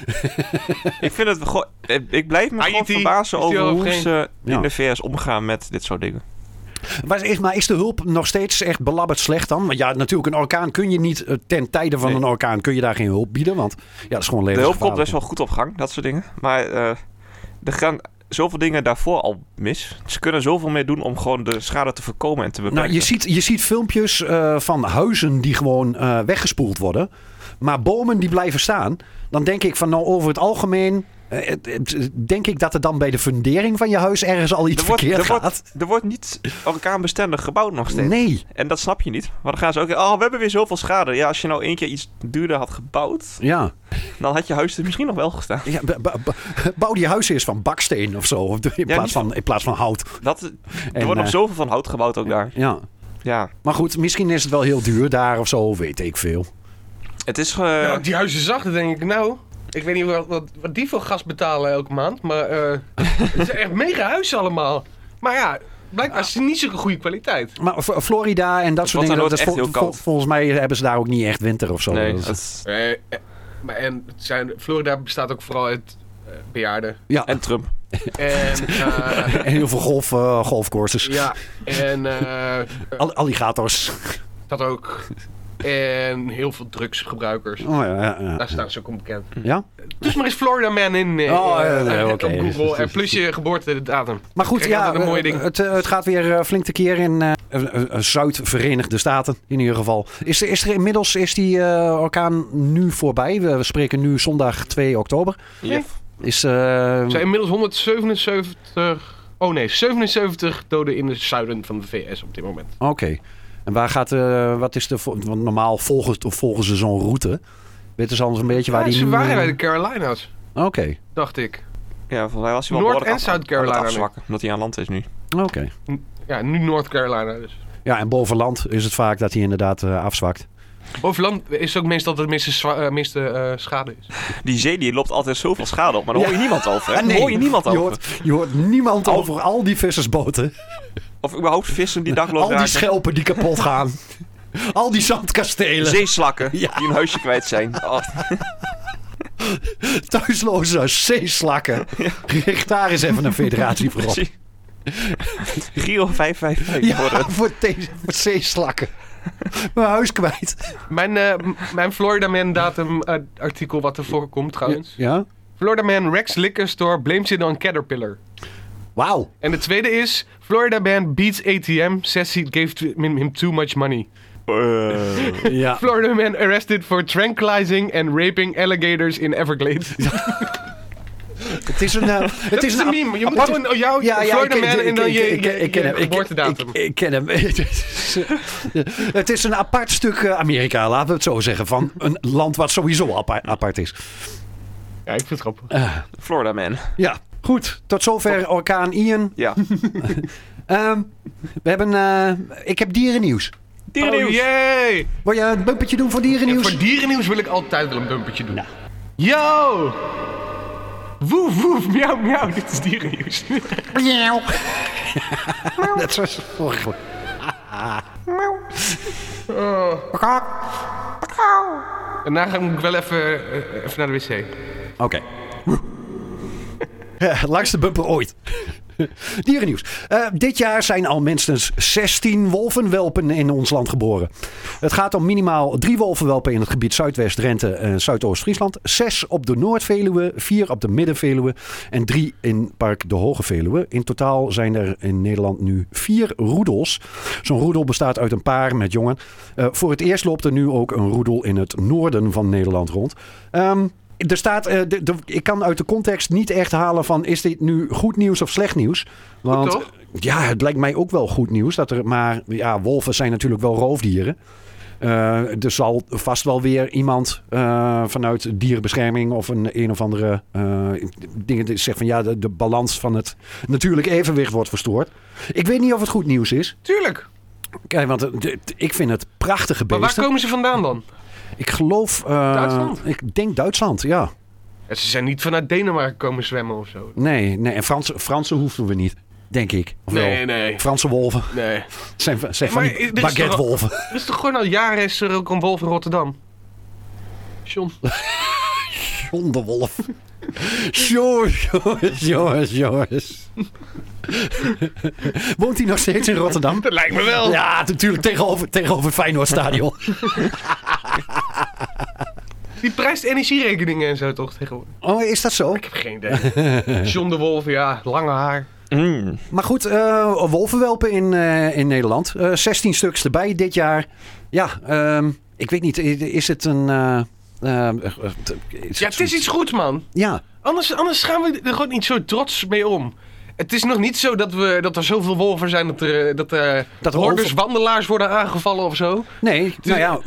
[SPEAKER 3] Ik vind het gewoon... eh, Ik blijf me gewoon
[SPEAKER 4] Haiti,
[SPEAKER 3] verbazen
[SPEAKER 4] is
[SPEAKER 3] over
[SPEAKER 4] die al
[SPEAKER 3] hoe
[SPEAKER 4] geen-
[SPEAKER 3] ze
[SPEAKER 5] Ja.
[SPEAKER 3] in de VS omgaan met dit soort dingen.
[SPEAKER 5] Maar is, maar is de hulp nog steeds echt belabberd slecht dan? Want ja, natuurlijk, een orkaan kun je niet, eh, ten tijde van
[SPEAKER 3] Nee.
[SPEAKER 5] een orkaan kun je daar geen hulp bieden. Want ja, dat is gewoon
[SPEAKER 3] De hulp komt
[SPEAKER 5] levensgevaarlijk.
[SPEAKER 3] best wel goed op gang, dat soort dingen. Maar eh, er gaan zoveel dingen daarvoor al mis. Ze kunnen zoveel meer doen om gewoon de schade te voorkomen en te beperken.
[SPEAKER 5] Nou, je ziet, je ziet filmpjes eh, van huizen die gewoon eh, weggespoeld worden. Maar bomen die blijven staan. Dan denk ik van nou over het algemeen... eh, het- het- denk ik dat er dan bij de fundering van je huis ergens al iets
[SPEAKER 3] er wordt,
[SPEAKER 5] verkeerd
[SPEAKER 3] er,
[SPEAKER 5] gaat.
[SPEAKER 3] wordt, er wordt niet orkaanbestendig gebouwd nog steeds.
[SPEAKER 5] Nee.
[SPEAKER 3] En dat snap je niet. Want dan gaan ze ook... Oh, we hebben weer zoveel schade. Ja, als je nou één keer iets duurder had gebouwd...
[SPEAKER 5] Ja.
[SPEAKER 3] dan had je huis er misschien nog wel gestaan. [LAUGHS]
[SPEAKER 5] ja b- b- b- bouw die huizen eens van baksteen of zo. of In, plaats,
[SPEAKER 3] niet
[SPEAKER 5] van, in plaats van hout.
[SPEAKER 3] Dat, er wordt
[SPEAKER 5] eh,
[SPEAKER 3] nog zoveel van hout gebouwd ook daar.
[SPEAKER 5] Ja.
[SPEAKER 3] Ja,
[SPEAKER 5] Maar goed, misschien is het wel heel duur daar of zo. Weet ik veel.
[SPEAKER 3] het is... eh,
[SPEAKER 4] Nou, die huizen zacht, dan denk ik, nou... Ik weet niet wat, wat, wat die voor gas betalen elke maand, maar... eh, [LAUGHS] het is echt mega huizen allemaal. Maar ja, blijkbaar is het niet zulke goede kwaliteit.
[SPEAKER 5] Maar F- Florida en dat soort
[SPEAKER 3] wordt
[SPEAKER 5] dingen.
[SPEAKER 3] dan ook
[SPEAKER 5] Dat is
[SPEAKER 3] echt
[SPEAKER 5] vol-
[SPEAKER 3] heel koud.
[SPEAKER 5] vol- volgens mij hebben ze daar ook niet echt winter of zo.
[SPEAKER 3] nee,
[SPEAKER 5] Dat-
[SPEAKER 3] het-
[SPEAKER 4] Eh, eh, maar en het zijn, Florida bestaat ook vooral uit eh, bejaarden.
[SPEAKER 5] ja. En,
[SPEAKER 3] en Trump.
[SPEAKER 4] [LAUGHS] En, eh,
[SPEAKER 5] [LAUGHS] heel veel golf, eh, golfcourses.
[SPEAKER 4] ja, en eh,
[SPEAKER 5] Al- alligators.
[SPEAKER 4] dat ook. En heel veel drugsgebruikers.
[SPEAKER 5] Oh, ja, ja, ja.
[SPEAKER 4] Daar staan ze ook onbekend.
[SPEAKER 5] Ja?
[SPEAKER 4] Dus maar is Florida Man in eh,
[SPEAKER 5] Oh, ja,
[SPEAKER 4] eh,
[SPEAKER 5] ja,
[SPEAKER 4] op
[SPEAKER 5] oké. dus,
[SPEAKER 4] Google. En plus je geboortedatum.
[SPEAKER 5] Maar goed,
[SPEAKER 4] Kijk,
[SPEAKER 5] ja,
[SPEAKER 4] altijd een mooi
[SPEAKER 5] eh,
[SPEAKER 4] ding.
[SPEAKER 5] Het, eh, het gaat weer eh, flink tekeer in eh, eh, eh, Zuid-Verenigde Staten, in ieder geval. Is er, is er inmiddels is die eh, orkaan nu voorbij? We, we spreken nu zondag 2 oktober.
[SPEAKER 3] Yep.
[SPEAKER 5] Is, eh,
[SPEAKER 4] Er zijn inmiddels 177... Oh nee, 77 doden in het zuiden van de VS op dit moment.
[SPEAKER 5] Oké. En waar gaat, eh, wat is de, vo- want normaal volgen, volgen ze zo'n route. Weten ze anders een beetje waar
[SPEAKER 4] Ja,
[SPEAKER 5] die
[SPEAKER 4] ze
[SPEAKER 5] nu- eh,
[SPEAKER 4] waren bij de Carolinas,
[SPEAKER 5] Oké,
[SPEAKER 4] dacht ik.
[SPEAKER 3] Ja, volgens mij was hij wel
[SPEAKER 4] Noord-
[SPEAKER 3] behoorlijk
[SPEAKER 4] en
[SPEAKER 3] af-
[SPEAKER 4] South
[SPEAKER 3] aan het
[SPEAKER 4] Carolina nu.
[SPEAKER 3] afzwakken, omdat hij aan land is nu.
[SPEAKER 5] oké.
[SPEAKER 4] Ja, nu North Carolina dus.
[SPEAKER 5] Ja, en boven land is het vaak dat hij inderdaad eh, afzwakt.
[SPEAKER 4] Over land is ook meestal dat het meeste, zwa- eh, meeste eh, schade is.
[SPEAKER 3] Die zee die loopt altijd zoveel schade op, maar daar hoor je niemand over. Hè?
[SPEAKER 5] Ah, nee.
[SPEAKER 3] hoor je niemand
[SPEAKER 5] Je
[SPEAKER 3] over.
[SPEAKER 5] hoort, je hoort niemand
[SPEAKER 3] Al-
[SPEAKER 5] over al die vissersboten.
[SPEAKER 3] Of überhaupt vissen die dakloos
[SPEAKER 5] [LAUGHS] Al die
[SPEAKER 3] raken.
[SPEAKER 5] schelpen die kapot gaan.
[SPEAKER 3] [LAUGHS]
[SPEAKER 5] al die zandkastelen.
[SPEAKER 3] Zeeslakken
[SPEAKER 5] [LAUGHS] Ja.
[SPEAKER 3] die hun huisje kwijt
[SPEAKER 5] [LAUGHS]
[SPEAKER 3] zijn. Oh,
[SPEAKER 5] Thuisloze
[SPEAKER 3] [LAUGHS]
[SPEAKER 5] zeeslakken. Richt daar eens even een federatie voor op. [LAUGHS]
[SPEAKER 3] zie. Giro 555
[SPEAKER 5] Ja,
[SPEAKER 3] worden.
[SPEAKER 5] [LAUGHS] voor, deze- voor zeeslakken. Mijn huis kwijt.
[SPEAKER 4] Mijn, eh, m- mijn Florida Man datum eh, artikel wat ervoor komt trouwens.
[SPEAKER 5] Ja?
[SPEAKER 4] Florida Man Rex Liquor Store blames it on Caterpillar.
[SPEAKER 5] Wauw.
[SPEAKER 4] En de tweede is, Florida Man beats ATM, says he gave t- him him too much money.
[SPEAKER 3] Eh,
[SPEAKER 5] Ja.
[SPEAKER 4] Florida man arrested for tranquilizing and raping alligators in Everglades.
[SPEAKER 5] Het
[SPEAKER 4] [LAUGHS]
[SPEAKER 5] is een, eh, het
[SPEAKER 4] Dat
[SPEAKER 5] is
[SPEAKER 4] is
[SPEAKER 5] een
[SPEAKER 4] een
[SPEAKER 5] ap-
[SPEAKER 4] meme. Je moet
[SPEAKER 5] apart-
[SPEAKER 4] gewoon oh, jouw
[SPEAKER 5] Ja, ja,
[SPEAKER 4] Florida
[SPEAKER 5] ik-
[SPEAKER 4] man
[SPEAKER 5] ik-
[SPEAKER 4] en dan
[SPEAKER 5] ik-
[SPEAKER 4] je,
[SPEAKER 5] ik-
[SPEAKER 4] je-
[SPEAKER 5] ik ken
[SPEAKER 4] je
[SPEAKER 5] hem. Ik-
[SPEAKER 4] geboortedatum.
[SPEAKER 5] Ik, ik ken hem. [LAUGHS] eh, het is een apart stuk eh, Amerika, laten we het zo zeggen. Van een land wat sowieso apa- apart is.
[SPEAKER 4] Ja, ik vind het grappig.
[SPEAKER 5] Eh,
[SPEAKER 3] Florida man.
[SPEAKER 5] Ja, goed. Tot zover orkaan Ian.
[SPEAKER 3] Ja.
[SPEAKER 5] Ehm, we hebben, eh, ik heb dierennieuws.
[SPEAKER 4] Oh,
[SPEAKER 3] Dierennieuws.
[SPEAKER 4] yay!
[SPEAKER 5] Wil je een bumpetje doen voor dierennieuws?
[SPEAKER 4] Voor dierennieuws wil ik altijd wel een bumpertje
[SPEAKER 5] Nou.
[SPEAKER 4] doen. Yo! Woef, woef, miauw, miauw. Dit is dierennieuws.
[SPEAKER 5] Dat was
[SPEAKER 4] [LAUGHS]
[SPEAKER 5] vorige [LAUGHS] week.
[SPEAKER 4] Daarna ga ik wel even, eh, even naar de wc.
[SPEAKER 5] Oké. [LAUGHS] Eh, Langste bumper ooit. [LAUGHS] Dierennieuws. Eh, dit jaar zijn al minstens 16 wolvenwelpen in ons land geboren. Het gaat om minimaal drie wolvenwelpen in het gebied Zuidwest-Drenthe en Zuidoost-Friesland. Zes op de Noord-Veluwe, vier op de Midden-Veluwe en drie in Park de Hoge Veluwe. In totaal zijn er in Nederland nu vier roedels. Zo'n roedel bestaat uit een paar met jongen. Eh, voor het eerst loopt er nu ook een roedel in het noorden van Nederland rond. Ehm, er staat, eh, de- de- ik kan uit de context niet echt halen van is dit nu goed nieuws of slecht nieuws. Want eh,
[SPEAKER 4] toch?
[SPEAKER 5] ja, het lijkt mij ook wel goed nieuws. Dat er, maar ja, wolven zijn natuurlijk wel roofdieren. Eh, er zal vast wel weer iemand eh, vanuit dierenbescherming of een, een of andere eh, dingen die zegt van ja, de, de balans van het natuurlijk evenwicht wordt verstoord. Ik weet niet of het goed nieuws is.
[SPEAKER 4] Tuurlijk.
[SPEAKER 5] Kijk, want eh, dit- ik vind het prachtige
[SPEAKER 4] Maar
[SPEAKER 5] beesten.
[SPEAKER 4] waar komen ze vandaan dan?
[SPEAKER 5] Ik geloof... eh,
[SPEAKER 4] Duitsland?
[SPEAKER 5] Ik denk Duitsland, ja.
[SPEAKER 4] Ja, ze zijn niet vanuit Denemarken komen zwemmen of zo.
[SPEAKER 5] Nee, nee. En Franse, Franse hoeven we niet, denk ik. Of wel?
[SPEAKER 4] Nee, nee,
[SPEAKER 5] Franse wolven
[SPEAKER 4] nee.
[SPEAKER 5] zijn, zijn
[SPEAKER 4] Maar dit
[SPEAKER 5] van die
[SPEAKER 4] is toch-
[SPEAKER 5] baguettewolven.
[SPEAKER 4] Er is toch gewoon al jaren is er ook een wolf in Rotterdam? John.
[SPEAKER 5] John de Wolf. Jongens, jongens, jongens, jongens. Woont hij nog steeds in
[SPEAKER 4] [LAUGHS]
[SPEAKER 5] Rotterdam?
[SPEAKER 4] Dat lijkt me wel.
[SPEAKER 5] Ja, natuurlijk, tegenover, tegenover het Feyenoordstadion.
[SPEAKER 4] Die prijst energierekeningen en zo toch tegenwoordig?
[SPEAKER 5] Oh, is dat zo?
[SPEAKER 4] Ik heb geen idee.
[SPEAKER 5] [LAUGHS]
[SPEAKER 4] John de Wolf, ja, lange haar.
[SPEAKER 3] Mm.
[SPEAKER 5] Maar goed, eh, wolvenwelpen in, eh, in Nederland. Eh 16 stuks erbij dit jaar. Ja, ehm, ik weet niet, i- is het een... eh, ehm, eh, eh, is
[SPEAKER 4] Ja, het is iets goeds, man.
[SPEAKER 5] Ja,
[SPEAKER 4] Anders, anders gaan we er gewoon niet zo trots mee om. Het is nog niet zo dat, we, dat er zoveel wolven zijn dat er, eh, dat er
[SPEAKER 5] Dat er
[SPEAKER 4] hordes
[SPEAKER 5] over-
[SPEAKER 4] wandelaars worden aangevallen of zo.
[SPEAKER 5] nee, nou ja.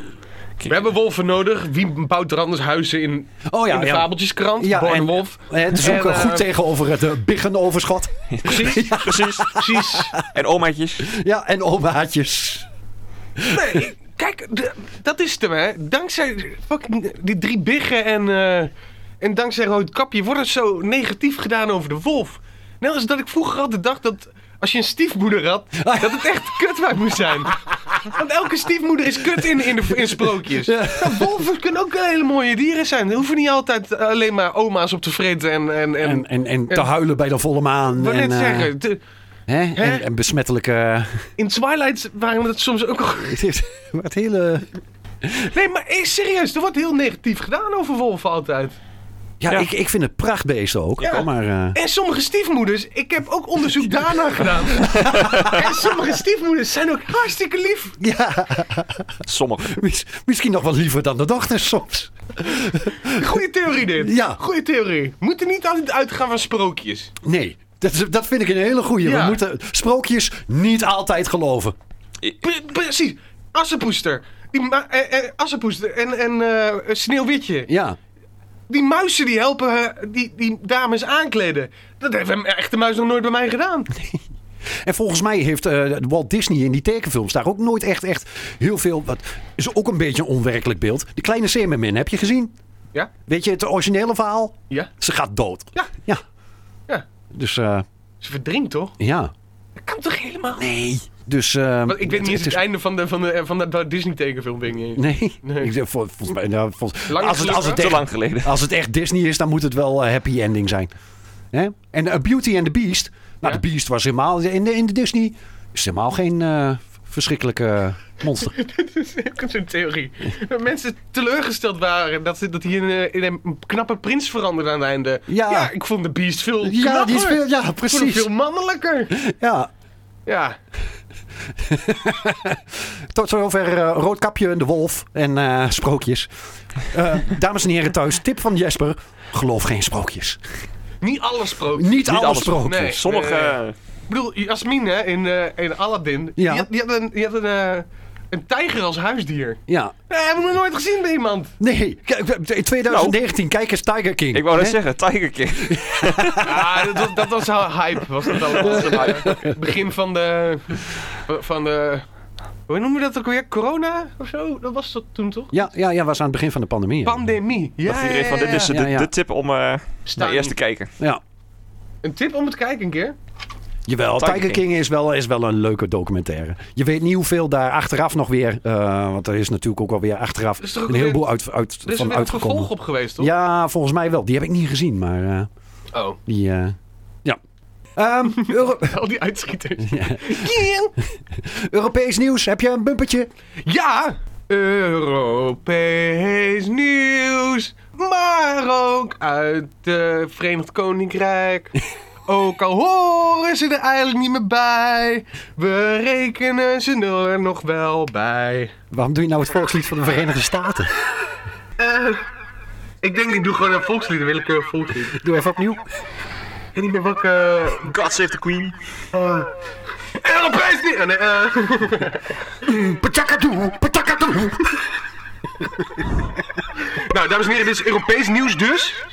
[SPEAKER 4] We hebben wolven nodig. Wie bouwt er anders huizen in,
[SPEAKER 5] Oh ja,
[SPEAKER 4] in de
[SPEAKER 5] ja.
[SPEAKER 4] fabeltjeskrant?
[SPEAKER 5] Ja,
[SPEAKER 4] Ja,
[SPEAKER 5] en- [LAUGHS]
[SPEAKER 4] Wolf.
[SPEAKER 5] Eh, Het is ook
[SPEAKER 4] En,
[SPEAKER 5] eh, goed
[SPEAKER 4] eh,
[SPEAKER 5] tegenover het eh, biggenoverschot.
[SPEAKER 4] Precies,
[SPEAKER 3] Precies.
[SPEAKER 4] precies.
[SPEAKER 3] En omaatjes.
[SPEAKER 5] Ja, en omaatjes.
[SPEAKER 4] Nee, kijk, d- dat is het hem, hè. Dankzij fucking die drie biggen en, eh, en dankzij Roodkapje wordt het zo negatief gedaan over de wolf. Net als dat ik vroeger altijd dacht dat als je een stiefmoeder had,
[SPEAKER 5] Ah.
[SPEAKER 4] dat het echt kutwijf moest zijn. Want elke stiefmoeder is kut in, in, de, in sprookjes. Nou, wolven kunnen ook hele mooie dieren zijn. Ze hoeven niet altijd alleen maar oma's op te vreten en... en, en,
[SPEAKER 5] En, en, en te huilen bij de volle maan.
[SPEAKER 4] ik wou
[SPEAKER 5] en,
[SPEAKER 4] net
[SPEAKER 5] eh,
[SPEAKER 4] zeggen, de-
[SPEAKER 5] hè? En, en [LAUGHS] besmettelijke...
[SPEAKER 4] in Twilight waren we dat soms ook al-
[SPEAKER 5] Het is- wat hele...
[SPEAKER 4] Nee, maar eh, serieus, er wordt heel negatief gedaan over wolven altijd.
[SPEAKER 5] Ja,
[SPEAKER 3] Ja.
[SPEAKER 5] Ik, ik vind het prachtbeesten ook.
[SPEAKER 4] Ja.
[SPEAKER 5] Kom Maar, eh,
[SPEAKER 4] En sommige stiefmoeders, ik heb ook onderzoek daarna gedaan. en sommige stiefmoeders zijn ook hartstikke lief.
[SPEAKER 5] [LAUGHS] ja,
[SPEAKER 3] Sommige.
[SPEAKER 5] mis- misschien nog wel liever dan de dochters soms.
[SPEAKER 4] Goeie theorie dit.
[SPEAKER 5] Ja.
[SPEAKER 4] Goeie theorie. We moeten niet altijd uitgaan van sprookjes.
[SPEAKER 5] Nee, dat, is- dat vind ik een hele goeie.
[SPEAKER 4] Ja.
[SPEAKER 5] We moeten sprookjes niet altijd geloven.
[SPEAKER 4] Pre- precies. Assenpoester. Die ma- eh, eh, Assenpoester en, en eh, Sneeuwwitje.
[SPEAKER 5] Ja,
[SPEAKER 4] Die muizen die helpen eh, die, die dames aankleden. Dat heeft een echte muis nog nooit bij mij gedaan.
[SPEAKER 5] en volgens mij heeft eh, Walt Disney in die tekenfilms daar ook nooit echt, echt heel veel... Wat is ook een beetje een onwerkelijk beeld. Die kleine Zeemermin, heb je gezien?
[SPEAKER 4] Ja?
[SPEAKER 5] Weet je het originele verhaal?
[SPEAKER 4] Ja?
[SPEAKER 5] Ze gaat dood.
[SPEAKER 4] Ja.
[SPEAKER 5] Ja.
[SPEAKER 4] Ja.
[SPEAKER 5] Dus eh,
[SPEAKER 4] Ze verdrinkt toch?
[SPEAKER 5] ja.
[SPEAKER 4] Dat kan toch helemaal niet?
[SPEAKER 5] Nee. Dus. ehm,
[SPEAKER 4] Want Ik weet niet eens
[SPEAKER 5] het
[SPEAKER 4] het
[SPEAKER 5] is-
[SPEAKER 4] einde van, de, van, de, van dat Disney tekenfilm ding. Nee.
[SPEAKER 5] Nee.
[SPEAKER 4] Nee.
[SPEAKER 5] Ik zeg, vol- volgens mij. nou, volgens-
[SPEAKER 4] Lang
[SPEAKER 5] als, het,
[SPEAKER 4] geleden,
[SPEAKER 5] als, het
[SPEAKER 3] Te
[SPEAKER 5] echt,
[SPEAKER 3] lang geleden.
[SPEAKER 5] als het echt Disney is, dan moet het wel eh, happy ending zijn. Hè? En eh, Beauty and the Beast. Nou,
[SPEAKER 4] Ja.
[SPEAKER 5] de Beast was helemaal. In de, in de Disney is helemaal geen eh, verschrikkelijke monster.
[SPEAKER 4] Dat is [LAUGHS] ook zo'n theorie. Dat mensen teleurgesteld waren dat, ze, dat hij in, eh, in een knappe prins veranderde aan het einde.
[SPEAKER 5] Ja.
[SPEAKER 4] ik vond de Beast veel knapper.
[SPEAKER 5] ja, die is veel. Ja,
[SPEAKER 4] Ik vond hem
[SPEAKER 5] precies.
[SPEAKER 4] veel mannelijker.
[SPEAKER 5] Ja.
[SPEAKER 4] Ja,
[SPEAKER 5] Tot zover eh, Roodkapje en de Wolf en eh, sprookjes. Eh, dames en heren thuis, tip van Jesper. Geloof geen sprookjes.
[SPEAKER 4] niet alles sprookjes.
[SPEAKER 5] Niet, alle
[SPEAKER 3] alle
[SPEAKER 5] sprookjes.
[SPEAKER 4] Nee.
[SPEAKER 3] Sommige.
[SPEAKER 4] Eh, Ik bedoel, Jasmin hè, in, eh, in Aladdin,
[SPEAKER 5] Ja.
[SPEAKER 4] die, had, die had een, die had een, eh, een tijger als huisdier.
[SPEAKER 5] Ja,
[SPEAKER 4] Nee, hebben we nog nooit gezien bij iemand.
[SPEAKER 5] Nee, kijk, in 2019, kijk eens Tiger King.
[SPEAKER 3] ik wou net
[SPEAKER 5] Hè?
[SPEAKER 3] zeggen, Tiger King.
[SPEAKER 4] Ja, dat, was- dat was haar hype. Was dat allemaal. Was dat hype. Begin van de... Van de... Hoe noemen we dat ook weer? Corona of zo? Dat was dat toen toch?
[SPEAKER 5] Ja, ja, ja, was aan het begin van de pandemie. ja.
[SPEAKER 4] Pandemie. Ja,
[SPEAKER 3] Dacht iedereen van, dit is de,
[SPEAKER 5] Ja, ja.
[SPEAKER 3] de tip om eh
[SPEAKER 4] Staan.
[SPEAKER 3] naar eerst te kijken.
[SPEAKER 5] ja.
[SPEAKER 4] Nou, Een tip om het kijken een keer.
[SPEAKER 5] Jawel, Tiger,
[SPEAKER 3] Tiger
[SPEAKER 5] King is wel, is wel een leuke documentaire. Je weet niet hoeveel daar achteraf nog weer... eh, want er is natuurlijk ook alweer achteraf
[SPEAKER 4] Is er ook
[SPEAKER 5] een heleboel
[SPEAKER 4] weer-
[SPEAKER 5] uit, uit,
[SPEAKER 4] Er is
[SPEAKER 5] van
[SPEAKER 4] weer een vervolg
[SPEAKER 5] uitgekomen.
[SPEAKER 4] op geweest, toch?
[SPEAKER 5] Ja, volgens mij wel. Die heb ik niet gezien, maar eh,
[SPEAKER 4] Oh,
[SPEAKER 5] die... eh, ja. Ehm,
[SPEAKER 4] [LAUGHS]
[SPEAKER 5] Euro-
[SPEAKER 4] al die uitschieters.
[SPEAKER 5] Ja.
[SPEAKER 4] Ja,
[SPEAKER 5] Europees nieuws, heb je een bumpertje?
[SPEAKER 4] Europees nieuws, maar ook uit het Verenigd Koninkrijk. Ook al horen ze er eigenlijk niet meer bij, we rekenen ze er nog wel bij.
[SPEAKER 5] Waarom doe je nou het volkslied van de Verenigde Staten?
[SPEAKER 4] Eh, ik denk ik doe gewoon een volkslied, een willekeurig volkslied. Ik
[SPEAKER 5] Doe even opnieuw.
[SPEAKER 4] weet niet meer welke
[SPEAKER 3] God save the Queen.
[SPEAKER 4] Eh, Europees niet. Nee, eh,
[SPEAKER 5] Patakadoe, patakadoe.
[SPEAKER 4] [LAUGHS] nou, dames en heren, dit is Europees nieuws dus.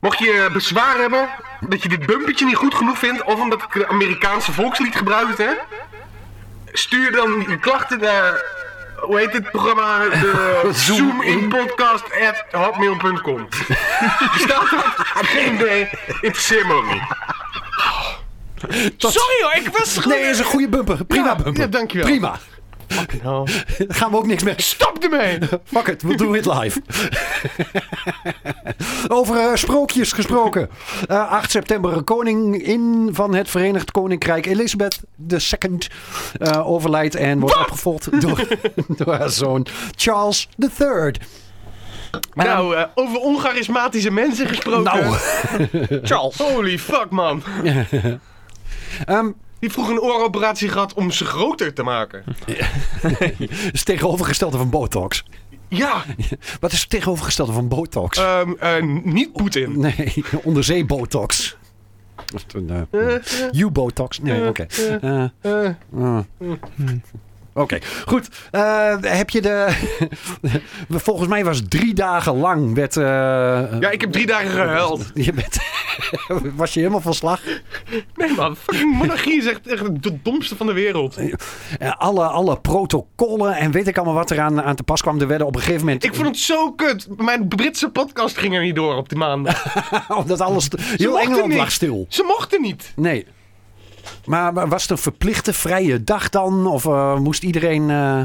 [SPEAKER 4] Mocht je eh, bezwaar hebben dat je dit bumpetje niet goed genoeg vindt, of omdat ik het Amerikaanse volkslied gebruikt, hè? Stuur dan je klachten naar. Hoe heet dit programma? De
[SPEAKER 5] Zoom
[SPEAKER 4] Zoom in podcast at hotmail.com. Bestaat dat? Geen idee. Interesseer me ook niet.
[SPEAKER 1] Sorry hoor, ik was gewoon...
[SPEAKER 5] Nee, is een goede bumper. Prima
[SPEAKER 4] Ja,
[SPEAKER 5] bumper.
[SPEAKER 4] ja, dankjewel.
[SPEAKER 5] Prima. Daar gaan we ook niks mee.
[SPEAKER 4] Stop ermee!
[SPEAKER 5] Fuck it, we'll do it live. Over eh, sprookjes gesproken. Eh, 8 september, koningin van het Verenigd Koninkrijk Elizabeth II eh overlijdt en wordt opgevolgd door, [LAUGHS] door haar zoon Charles III.
[SPEAKER 4] Nou, eh, over oncharismatische mensen gesproken.
[SPEAKER 5] Nou.
[SPEAKER 4] [LAUGHS] Charles. Holy fuck, man.
[SPEAKER 5] Ehm,
[SPEAKER 4] Die vroeg een ooroperatie gehad om ze groter te maken.
[SPEAKER 5] is het tegenovergestelde van Botox.
[SPEAKER 4] Ja,
[SPEAKER 5] Wat is het tegenovergestelde van Botox?
[SPEAKER 4] ehm, eh, niet Poetin.
[SPEAKER 5] [LAUGHS] Nee, onderzee Botox. Of een, eh, U-Botox. Nee, oké. Eh,
[SPEAKER 4] Eh, Hm.
[SPEAKER 5] Ah. Oké, goed. Eh, heb je de. [LAUGHS] Volgens mij was drie dagen lang. Werd, eh,
[SPEAKER 4] ja, ik heb drie dagen gehuild.
[SPEAKER 5] je bent... [LAUGHS] was je helemaal van slag.
[SPEAKER 4] Nee man, fucking monarchie is echt, echt de domste van de wereld.
[SPEAKER 5] Eh, alle, alle protocollen en weet ik allemaal wat eraan aan te pas kwam. Er werden op een gegeven moment.
[SPEAKER 4] Ik vond het zo kut. Mijn Britse podcast ging er niet door op die maandag.
[SPEAKER 5] [LAUGHS] omdat alles. Heel
[SPEAKER 4] mochten
[SPEAKER 5] Engeland
[SPEAKER 4] niet.
[SPEAKER 5] lag stil.
[SPEAKER 4] Ze mochten niet.
[SPEAKER 5] Nee. Maar, maar was het een verplichte vrije dag dan? Of eh, moest iedereen. eh,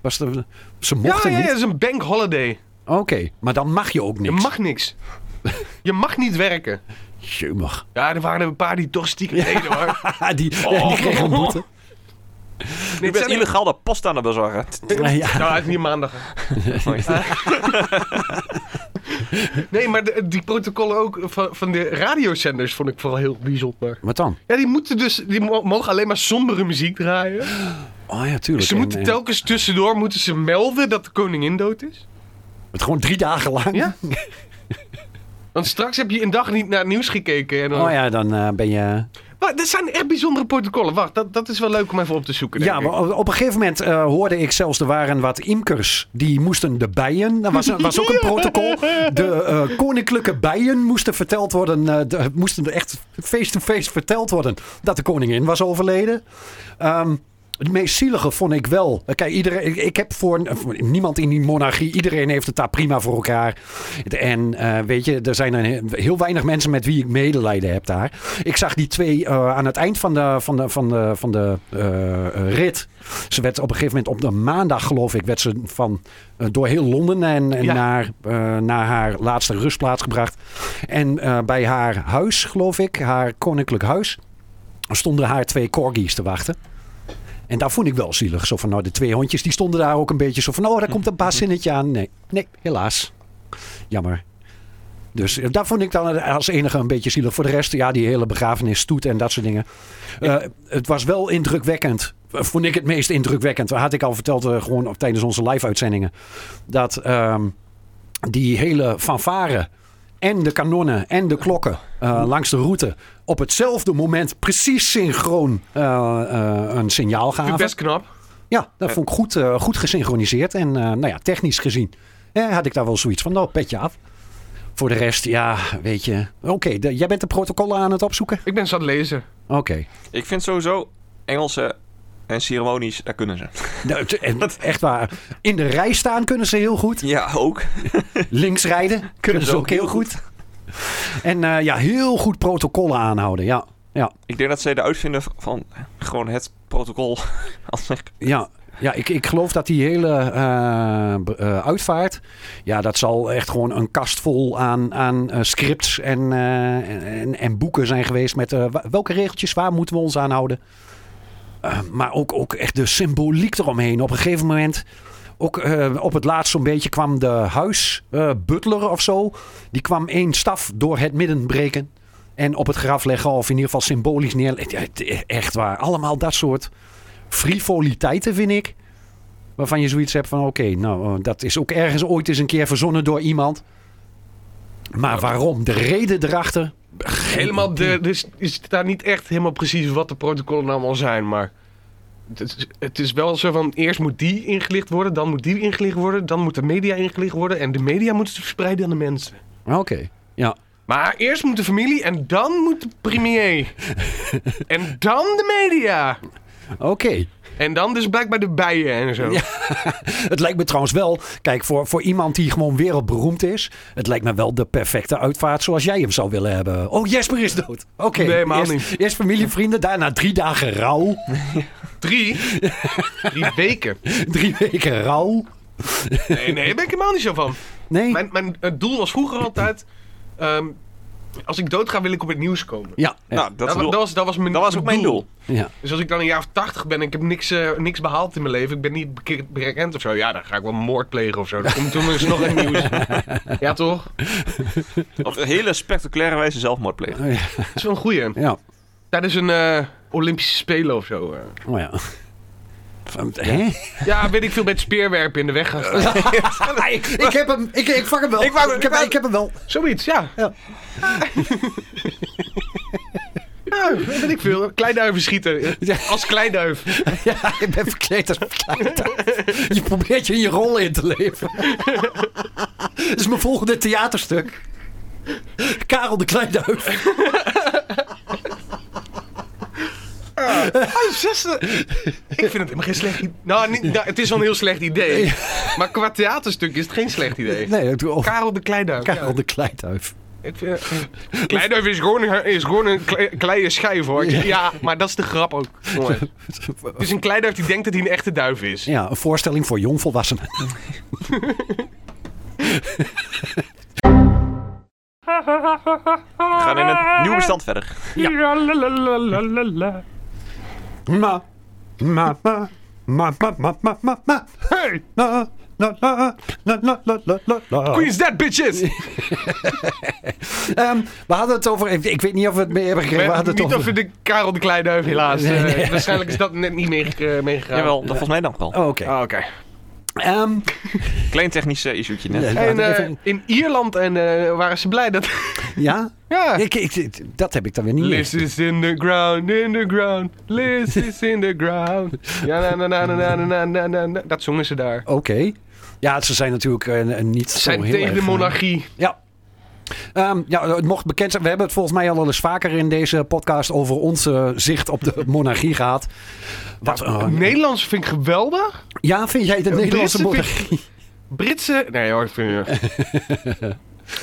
[SPEAKER 5] was er, ze mochten
[SPEAKER 4] ja, ja, ja,
[SPEAKER 5] niet.
[SPEAKER 4] dat is een bank holiday.
[SPEAKER 5] Oké, maar dan mag je ook
[SPEAKER 4] Je
[SPEAKER 5] niks.
[SPEAKER 4] mag
[SPEAKER 5] [LAUGHS]
[SPEAKER 4] niks. Je mag niet werken.
[SPEAKER 5] Jemig.
[SPEAKER 4] Ja, er waren er een paar die toch stiekem deden hoor.
[SPEAKER 5] [LAUGHS] die, die kreeg een boete.
[SPEAKER 3] Je
[SPEAKER 4] Dit
[SPEAKER 3] bent
[SPEAKER 4] zijn
[SPEAKER 3] illegaal de post aan het bezorgen.
[SPEAKER 5] Ja.
[SPEAKER 4] Nou, het is niet
[SPEAKER 5] [LAUGHS]
[SPEAKER 4] maandag. [LAUGHS] Nee, maar de- die protocollen ook van, van de radiozenders vond ik vooral heel bijzonder.
[SPEAKER 5] Wat dan?
[SPEAKER 4] Ja, die moeten dus, die mo- mogen alleen maar sombere muziek draaien. Dus
[SPEAKER 5] Oh ja, tuurlijk.
[SPEAKER 4] Ze
[SPEAKER 5] En,
[SPEAKER 4] moeten
[SPEAKER 5] eh,
[SPEAKER 4] telkens tussendoor moeten ze melden dat de koningin dood is.
[SPEAKER 5] Het gewoon drie dagen lang.
[SPEAKER 4] Ja. Want straks heb je een dag niet naar het nieuws gekeken. En dan...
[SPEAKER 5] Oh ja, dan eh, ben je.
[SPEAKER 4] Maar dat zijn echt bijzondere protocollen. Wacht, dat, dat is wel leuk om even op te zoeken.
[SPEAKER 5] Ja,
[SPEAKER 4] denk ik.
[SPEAKER 5] maar op een gegeven moment eh, hoorde ik zelfs er waren wat imkers die moesten de bijen. Dat was, was ook een protocol. De eh, koninklijke bijen moesten verteld worden. eh, de- moesten er echt face-to-face verteld worden dat de koningin was overleden. Ehm, het meest zielige vond ik wel. eh, Kijk, iedereen, ik- ik heb voor, voor niemand in die monarchie. Iedereen heeft het daar prima voor elkaar. En eh, weet je, er zijn een he- heel weinig mensen met wie ik medelijden heb daar. Ik zag die twee eh, aan het eind van de, van de, van de, van de eh, rit. Ze werd op een gegeven moment op de maandag, geloof ik, werd ze van, eh, door heel Londen en, en
[SPEAKER 4] Ja.
[SPEAKER 5] naar, eh, naar haar laatste rustplaats gebracht. En eh, bij haar huis, geloof ik, haar koninklijk huis, stonden haar twee corgis te wachten. En daar vond ik wel zielig. Zo van, nou, de twee hondjes die stonden daar ook een beetje zo van, oh, daar komt een bazinnetje aan. Nee, nee, helaas. Jammer. Dus eh, daar vond ik dan als enige een beetje zielig. Voor de rest, ja, die hele begrafenis, stoet en dat soort dingen. Eh, het was wel indrukwekkend. Eh, Vond ik het meest indrukwekkend. Had ik al verteld eh, gewoon op, tijdens onze live-uitzendingen. Dat ehm, die hele fanfare en de kanonnen en de klokken eh, langs de route... op hetzelfde moment precies synchroon eh, eh, een signaal
[SPEAKER 4] Vind ik
[SPEAKER 5] gaven.
[SPEAKER 4] best knap.
[SPEAKER 5] Ja, dat vond ik goed, eh, goed gesynchroniseerd. En eh, nou ja, technisch gezien eh, had ik daar wel zoiets van, nou, petje af. Voor de rest, ja, weet je. Oké, de- jij bent de protocollen aan het opzoeken?
[SPEAKER 4] Ik ben ze aan het lezen.
[SPEAKER 5] Oké.
[SPEAKER 3] Ik vind sowieso Engelse en ceremonies, daar kunnen ze.
[SPEAKER 5] Nou, het- en echt waar. In de rij staan kunnen ze heel goed.
[SPEAKER 3] Ja, ook.
[SPEAKER 5] Links rijden kunnen ze ook heel goed. En eh, ja, heel goed protocollen aanhouden. Ja, ja,
[SPEAKER 3] Ik denk dat zij de uitvinder van gewoon het protocol. [LAUGHS] Als ik-
[SPEAKER 5] ja. Ja, ik, ik geloof dat die hele eh, b- eh, uitvaart. Ja, dat zal echt gewoon een kast vol aan, aan eh, scripts en, eh, en, en boeken zijn geweest. Met eh, wa- welke regeltjes, waar moeten we ons aan houden? Eh, maar ook, ook echt de symboliek eromheen. Op een gegeven moment, ook eh, op het laatst zo'n beetje kwam de huisbutler of zo. Die kwam één staf door het midden breken. En op het graf leggen, of in ieder geval symbolisch neer. Ja, het- Echt waar. Allemaal dat soort frivoliteiten, vind ik. Waarvan je zoiets hebt van: oké, nou, eh, dat is ook ergens ooit eens een keer verzonnen door iemand. Maar waarom? De reden erachter? Geen
[SPEAKER 4] Helemaal, de, dus is daar niet echt helemaal precies wat de protocollen nou allemaal zijn, maar... Het is, het is wel zo van, eerst moet die ingelicht worden, dan moet die ingelicht worden, dan moet de media ingelicht worden en de media moet ze verspreiden aan de mensen.
[SPEAKER 5] Oké. Ja.
[SPEAKER 4] Maar eerst moet de familie en dan moet de premier. en dan de media.
[SPEAKER 5] Oké.
[SPEAKER 4] En dan dus blijkbaar de bijen en zo.
[SPEAKER 5] Ja. Het lijkt me trouwens wel, kijk, voor, voor iemand die gewoon wereldberoemd is, het lijkt me wel de perfecte uitvaart zoals jij hem zou willen hebben. Oh, Jesper is dood. Oké.
[SPEAKER 4] Nee, helemaal
[SPEAKER 5] eerst,
[SPEAKER 4] niet.
[SPEAKER 5] Eerst familie, vrienden, daarna drie dagen rouw.
[SPEAKER 4] Drie. Drie weken.
[SPEAKER 5] drie weken rouw.
[SPEAKER 4] Nee, nee, daar ben ik helemaal niet zo van. [LAUGHS]
[SPEAKER 5] Nee.
[SPEAKER 4] Mijn, mijn eh, doel was vroeger altijd... ehm, als ik dood ga, wil ik op het nieuws komen.
[SPEAKER 5] Ja.
[SPEAKER 3] Nou, dat,
[SPEAKER 4] Dat, wa-
[SPEAKER 3] doel-
[SPEAKER 4] dat was, dat was, mijn,
[SPEAKER 3] dat was ook mijn doel.
[SPEAKER 5] ja.
[SPEAKER 4] Dus als ik dan een jaar of tachtig ben en ik heb niks, eh, niks behaald in mijn leven, ik ben niet beke- bekend of zo, ja, dan ga ik wel moord plegen of zo. Dan komt toen eens nog een
[SPEAKER 3] [LAUGHS]
[SPEAKER 4] nieuws. Ja, toch? Dat
[SPEAKER 3] Op een hele spectaculaire wijze zelfmoord plegen.
[SPEAKER 4] is wel een goeie.
[SPEAKER 5] Ja.
[SPEAKER 4] Tijdens een eh, Olympische Spelen of zo. eh.
[SPEAKER 5] Oh ja. Van- Hè?
[SPEAKER 4] Ja, weet ik veel, met speerwerpen in de weg gaan staan.
[SPEAKER 3] [LAUGHS]
[SPEAKER 5] ik heb hem, ik, ik vang hem wel.
[SPEAKER 3] Ik wou-
[SPEAKER 5] heb,
[SPEAKER 3] ik wou-
[SPEAKER 5] ik heb hem wel.
[SPEAKER 4] Zoiets, ja.
[SPEAKER 5] Ja.
[SPEAKER 4] [LAUGHS] Ja, weet ik veel. Kleinduiven schieten. Als kleinduif.
[SPEAKER 5] Ja, ik ben verkleed als verkleed. Je probeert je in je rol in te leven. Dat is mijn volgende theaterstuk. Karel de Kleinduif.
[SPEAKER 4] Ah, zesde. Ik vind het helemaal geen slecht idee. Nou, niet, nou, het is wel een heel slecht idee. Maar qua theaterstuk is het geen slecht idee.
[SPEAKER 5] Nee, ik doe oh,
[SPEAKER 4] Karel de Kleinduif. ja.
[SPEAKER 5] Karel de Kleinduif.
[SPEAKER 4] Ik vind- Kleinduif is gewoon, een- is gewoon een kle- kleine schijf hoor. Ja. maar dat is de grap ook. jongen. Het is een kleinduif die denkt dat hij een echte duif is.
[SPEAKER 5] Ja, een voorstelling voor jongvolwassenen.
[SPEAKER 3] We gaan in een nieuw bestand verder.
[SPEAKER 5] Ma, ma, ma, ma, ma, ma, ma, ma, ma,
[SPEAKER 4] Hey,
[SPEAKER 5] la, la, la, la, la, la, la, la, la.
[SPEAKER 4] queen's dead bitches!
[SPEAKER 5] Ehm, we hadden het over, ik, ik weet niet of we het mee hebben gekregen. We
[SPEAKER 4] Maar
[SPEAKER 5] hadden
[SPEAKER 4] niet
[SPEAKER 5] het
[SPEAKER 4] over
[SPEAKER 5] over...
[SPEAKER 4] de Karel de Kleinduif helaas.
[SPEAKER 5] Nee, nee.
[SPEAKER 4] Eh, waarschijnlijk is dat net niet meege- eh, meegegaan.
[SPEAKER 3] Jawel, dat volgens mij dan wel.
[SPEAKER 5] Oh, Oké.
[SPEAKER 4] Ah, Oké.
[SPEAKER 5] Ehm,
[SPEAKER 3] Klein technisch eh, issuetje net.
[SPEAKER 5] ja,
[SPEAKER 4] En
[SPEAKER 5] laten we
[SPEAKER 4] eh,
[SPEAKER 5] even-
[SPEAKER 4] in Ierland en, eh, waren ze blij dat...
[SPEAKER 5] ja?
[SPEAKER 4] ja.
[SPEAKER 5] Ik, ik- ik- dat heb ik dan weer niet
[SPEAKER 4] Liz
[SPEAKER 5] meer.
[SPEAKER 4] is in the ground, in the ground. Liz is in the ground. [LAUGHS] Ja, na, na, na, na, na, na, na, na, na. Dat zongen ze daar.
[SPEAKER 5] Oké. Ja, ze zijn natuurlijk eh, niet
[SPEAKER 4] Ze
[SPEAKER 5] zo
[SPEAKER 4] zijn
[SPEAKER 5] heel
[SPEAKER 4] tegen de
[SPEAKER 5] erg, eh,
[SPEAKER 4] monarchie.
[SPEAKER 5] Ja. Ehm, ja, het mocht bekend zijn. We hebben het volgens mij al eens vaker in deze podcast over onze eh, zicht op
[SPEAKER 4] [LAUGHS]
[SPEAKER 5] de monarchie gehad. Wat,
[SPEAKER 4] Oh,
[SPEAKER 5] eh,
[SPEAKER 4] Nederlands vind ik geweldig.
[SPEAKER 5] ja, vind jij de Nederlandse
[SPEAKER 4] Britse
[SPEAKER 5] monarchie?
[SPEAKER 4] vind ik- Britse. Nee hoor, ik [LAUGHS] vind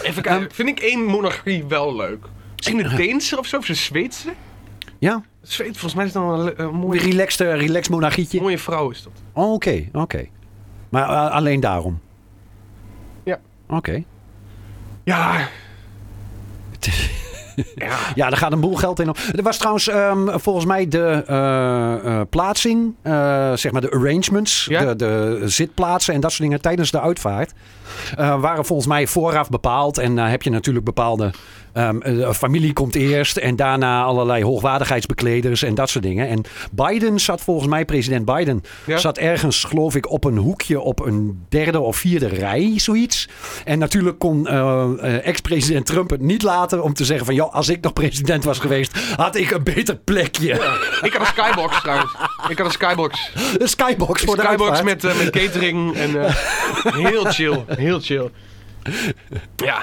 [SPEAKER 4] Even kijken. Vind ik één monarchie wel leuk? Misschien de Deense of zo, of de Zweedse?
[SPEAKER 5] Ja,
[SPEAKER 4] Zweed, volgens mij is dat wel een, le- een
[SPEAKER 5] een
[SPEAKER 4] mooie,
[SPEAKER 5] relaxed, eh, relaxed monarchietje.
[SPEAKER 4] mooie vrouw is dat.
[SPEAKER 5] Oh, Oké, oké. Maar eh, alleen daarom?
[SPEAKER 4] Ja.
[SPEAKER 5] Oké.
[SPEAKER 4] Ja. ja.
[SPEAKER 5] Ja, daar gaat een boel geld in. op. Er was trouwens ehm, volgens mij de eh, eh, plaatsing, eh, zeg maar de arrangements,
[SPEAKER 4] Ja?
[SPEAKER 5] de, de zitplaatsen en dat soort dingen tijdens de uitvaart. eh, waren volgens mij vooraf bepaald. En dan heb je natuurlijk bepaalde. ehm, eh, familie komt eerst en daarna allerlei hoogwaardigheidsbekleders en dat soort dingen. En Biden zat volgens mij, president Biden,
[SPEAKER 4] Ja?
[SPEAKER 5] zat ergens, geloof ik, op een hoekje op een derde of vierde rij, zoiets. En natuurlijk kon eh, eh, ex-president Trump het niet laten om te zeggen van... joh, als ik nog president was geweest, had ik een beter plekje.
[SPEAKER 4] Ik had een skybox trouwens. Ik had een skybox.
[SPEAKER 5] [LAUGHS] Een skybox voor de
[SPEAKER 4] skybox
[SPEAKER 5] uitvaart.
[SPEAKER 4] met, eh, met catering en [LAUGHS] eh, heel chill. Heel chill. Ja.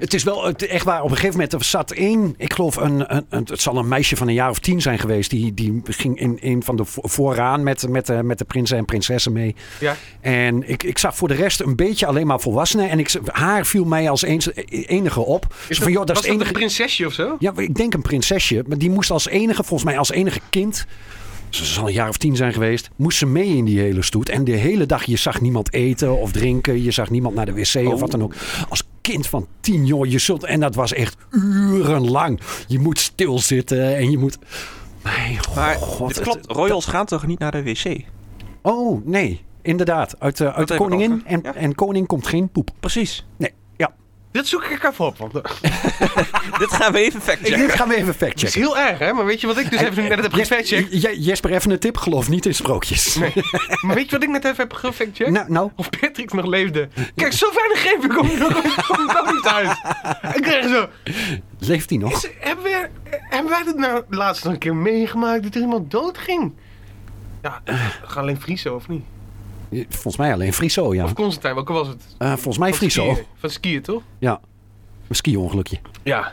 [SPEAKER 5] Het is wel het- echt waar. Op een gegeven moment er zat één, ik geloof, een, een, een- het zal een meisje van een jaar of tien zijn geweest. Die, die ging in een van de vo- vooraan met, met, de- met de prinsen en prinsessen mee.
[SPEAKER 4] Ja.
[SPEAKER 5] En ik, ik zag voor de rest een beetje alleen maar volwassenen. En ik, haar viel mij als eens- enige op. Zo van, joh, dat is
[SPEAKER 4] was
[SPEAKER 5] het enige.
[SPEAKER 4] dat een prinsesje of zo?
[SPEAKER 5] Ja, ik denk een prinsesje. Maar die moest als enige, volgens mij als enige kind... Ze zal een jaar of tien zijn geweest. Moest ze mee in die hele stoet. En de hele dag, je zag niemand eten of drinken. Je zag niemand naar de wc
[SPEAKER 3] Oh.
[SPEAKER 5] of wat dan ook. Als kind van tien, joh. Je zult, en dat was echt urenlang. Je moet stilzitten en je moet... Mijn god.
[SPEAKER 3] Maar
[SPEAKER 5] het-
[SPEAKER 3] dit klopt, royals gaan toch niet naar de wc? [LAUGHS]
[SPEAKER 5] Oh, nee. Inderdaad. Uit, eh, uit
[SPEAKER 3] heb ik ook,
[SPEAKER 5] koningin
[SPEAKER 3] hè?
[SPEAKER 5] en,
[SPEAKER 3] Ja.
[SPEAKER 5] en koning komt geen poep.
[SPEAKER 3] Precies.
[SPEAKER 5] Nee, ja.
[SPEAKER 4] Dit zoek ik even op. Want, dat
[SPEAKER 3] dit gaan we even factchecken.
[SPEAKER 5] Dit gaan we even factchecken.
[SPEAKER 4] is heel erg, hè? Maar weet je wat ik dus even net heb gefactcheckt?
[SPEAKER 5] Je- Je- Jesper, even een tip. Geloof niet in sprookjes.
[SPEAKER 4] Maar weet je wat ik net even heb gefactcheckt?
[SPEAKER 5] Nou, nou.
[SPEAKER 4] Of Patrick nog leefde. Kijk, zo weinig geef ik om kom dat niet uit. Ik kreeg zo...
[SPEAKER 5] Leeft hij nog?
[SPEAKER 4] Is- hebben, we, hebben wij dat nou laatst nog een keer meegemaakt dat er iemand doodging? Ja, gaan alleen Friese of niet?
[SPEAKER 5] Eh, Volgens mij alleen Friso, ja.
[SPEAKER 4] Of Constantijn, welke was het?
[SPEAKER 5] Eh, volgens mij
[SPEAKER 4] Van
[SPEAKER 5] Friso.
[SPEAKER 4] skiën. Van skiën, toch?
[SPEAKER 5] Ja. Een ski-ongelukje.
[SPEAKER 4] Ja.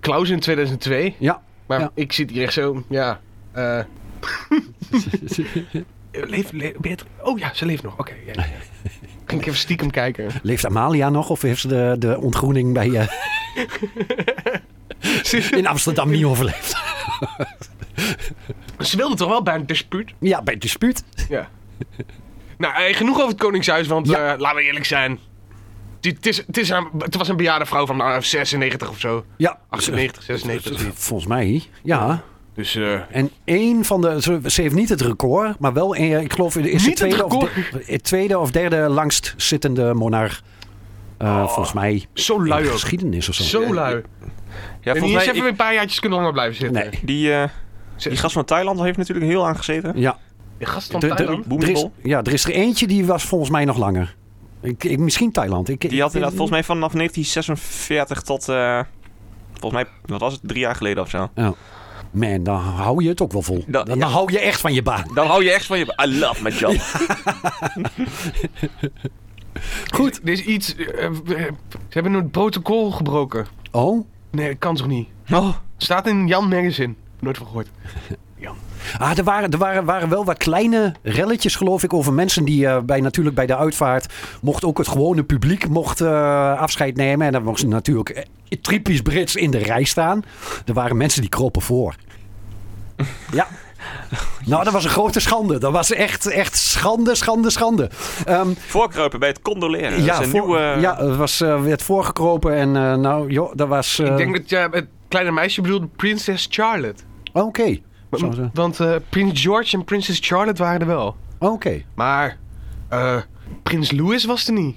[SPEAKER 4] Klaus in 2002.
[SPEAKER 5] Ja.
[SPEAKER 4] Maar
[SPEAKER 5] Ja.
[SPEAKER 4] ik zit hier echt zo, ja. [LAUGHS] Eh leeft, le- Beatrice- Oh ja, ze leeft nog. Oké. ja, ja, [LAUGHS] ja. Ging ik even stiekem kijken.
[SPEAKER 5] Leeft Amalia nog of heeft ze de, de ontgroening bij, eh, in Amsterdam niet overleefd?
[SPEAKER 4] [LAUGHS] Ze wilde toch wel bij een dispuut?
[SPEAKER 5] Ja, bij het dispuut.
[SPEAKER 4] Ja. nou, eh, genoeg over het Koningshuis, want
[SPEAKER 5] Ja.
[SPEAKER 4] eh, laten we eerlijk zijn. Dit- Het, is, het, is een, het was een bejaarde vrouw van eh, 96 of zo.
[SPEAKER 5] Ja.
[SPEAKER 4] 98, [LAUGHS] 96.
[SPEAKER 5] Volgens mij, ja.
[SPEAKER 4] Dus eh,
[SPEAKER 5] En één van de. Ze ze heeft niet het record, maar wel. een- Ik geloof, is de
[SPEAKER 4] Niet het
[SPEAKER 5] tweede, of
[SPEAKER 4] record?
[SPEAKER 5] de- het tweede of derde langst zittende monarch. eh, Volgens mij.
[SPEAKER 4] zo
[SPEAKER 5] in
[SPEAKER 4] lui
[SPEAKER 5] de
[SPEAKER 4] Oh, ook.
[SPEAKER 5] geschiedenis of zo.
[SPEAKER 4] Zo lui.
[SPEAKER 3] Ja,
[SPEAKER 4] en hier
[SPEAKER 3] volgens
[SPEAKER 4] is
[SPEAKER 3] mij,
[SPEAKER 4] even
[SPEAKER 3] ik-
[SPEAKER 4] weer een paar jaartjes kunnen langer blijven zitten.
[SPEAKER 5] Nee.
[SPEAKER 3] die, eh,
[SPEAKER 4] Ze-
[SPEAKER 3] die gast van Thailand heeft natuurlijk heel lang gezeten.
[SPEAKER 5] Ja.
[SPEAKER 4] De gast van
[SPEAKER 5] De- de-
[SPEAKER 4] Thailand.
[SPEAKER 5] Er is,
[SPEAKER 3] Boemibol.
[SPEAKER 5] ja, er is er eentje die was volgens mij nog langer. Ik, ik, misschien Thailand. Ik,
[SPEAKER 3] Die had inderdaad volgens mij vanaf 1946 tot, eh, volgens mij, wat was het, drie jaar geleden of zo.
[SPEAKER 5] Man, dan hou je het ook wel vol.
[SPEAKER 3] Dan-
[SPEAKER 5] Dan, dan hou je echt van je baan.
[SPEAKER 3] Dan hou je echt van je... I love my [LAUGHS] job.
[SPEAKER 4] Goed. Er is iets. eh, eh, ze hebben een protocol gebroken.
[SPEAKER 5] Oh?
[SPEAKER 4] Nee, dat kan toch niet?
[SPEAKER 3] Oh,
[SPEAKER 4] Staat in Jan Magazine. Nooit van gehoord.
[SPEAKER 5] Ah, er waren, er waren, waren wel wat kleine relletjes, geloof ik, over mensen die eh, bij, natuurlijk bij de uitvaart. mocht ook het gewone publiek mocht, eh, afscheid nemen. En dan mocht ze natuurlijk eh, typisch Brits in de rij staan. Er waren mensen die kropen [LAUGHS] voor. Ja. Nou, dat was een grote schande. Dat was echt, echt schande, schande, schande. Ehm,
[SPEAKER 3] voorkruipen bij het condoleren.
[SPEAKER 5] ja,
[SPEAKER 3] Eh, dat is een
[SPEAKER 5] voor-
[SPEAKER 3] nieuwe...
[SPEAKER 5] ja, er was, eh, werd voorgekropen en eh, nou, joh, dat was... eh,
[SPEAKER 4] Ik denk dat jij het kleine meisje bedoelde Prinses Charlotte.
[SPEAKER 5] oh, Oké. Zo,
[SPEAKER 4] Want,
[SPEAKER 5] zo.
[SPEAKER 4] want eh, Prins George en Prinses Charlotte waren er wel.
[SPEAKER 5] Oh, Oké.
[SPEAKER 4] Maar eh, Prins Louis was er niet.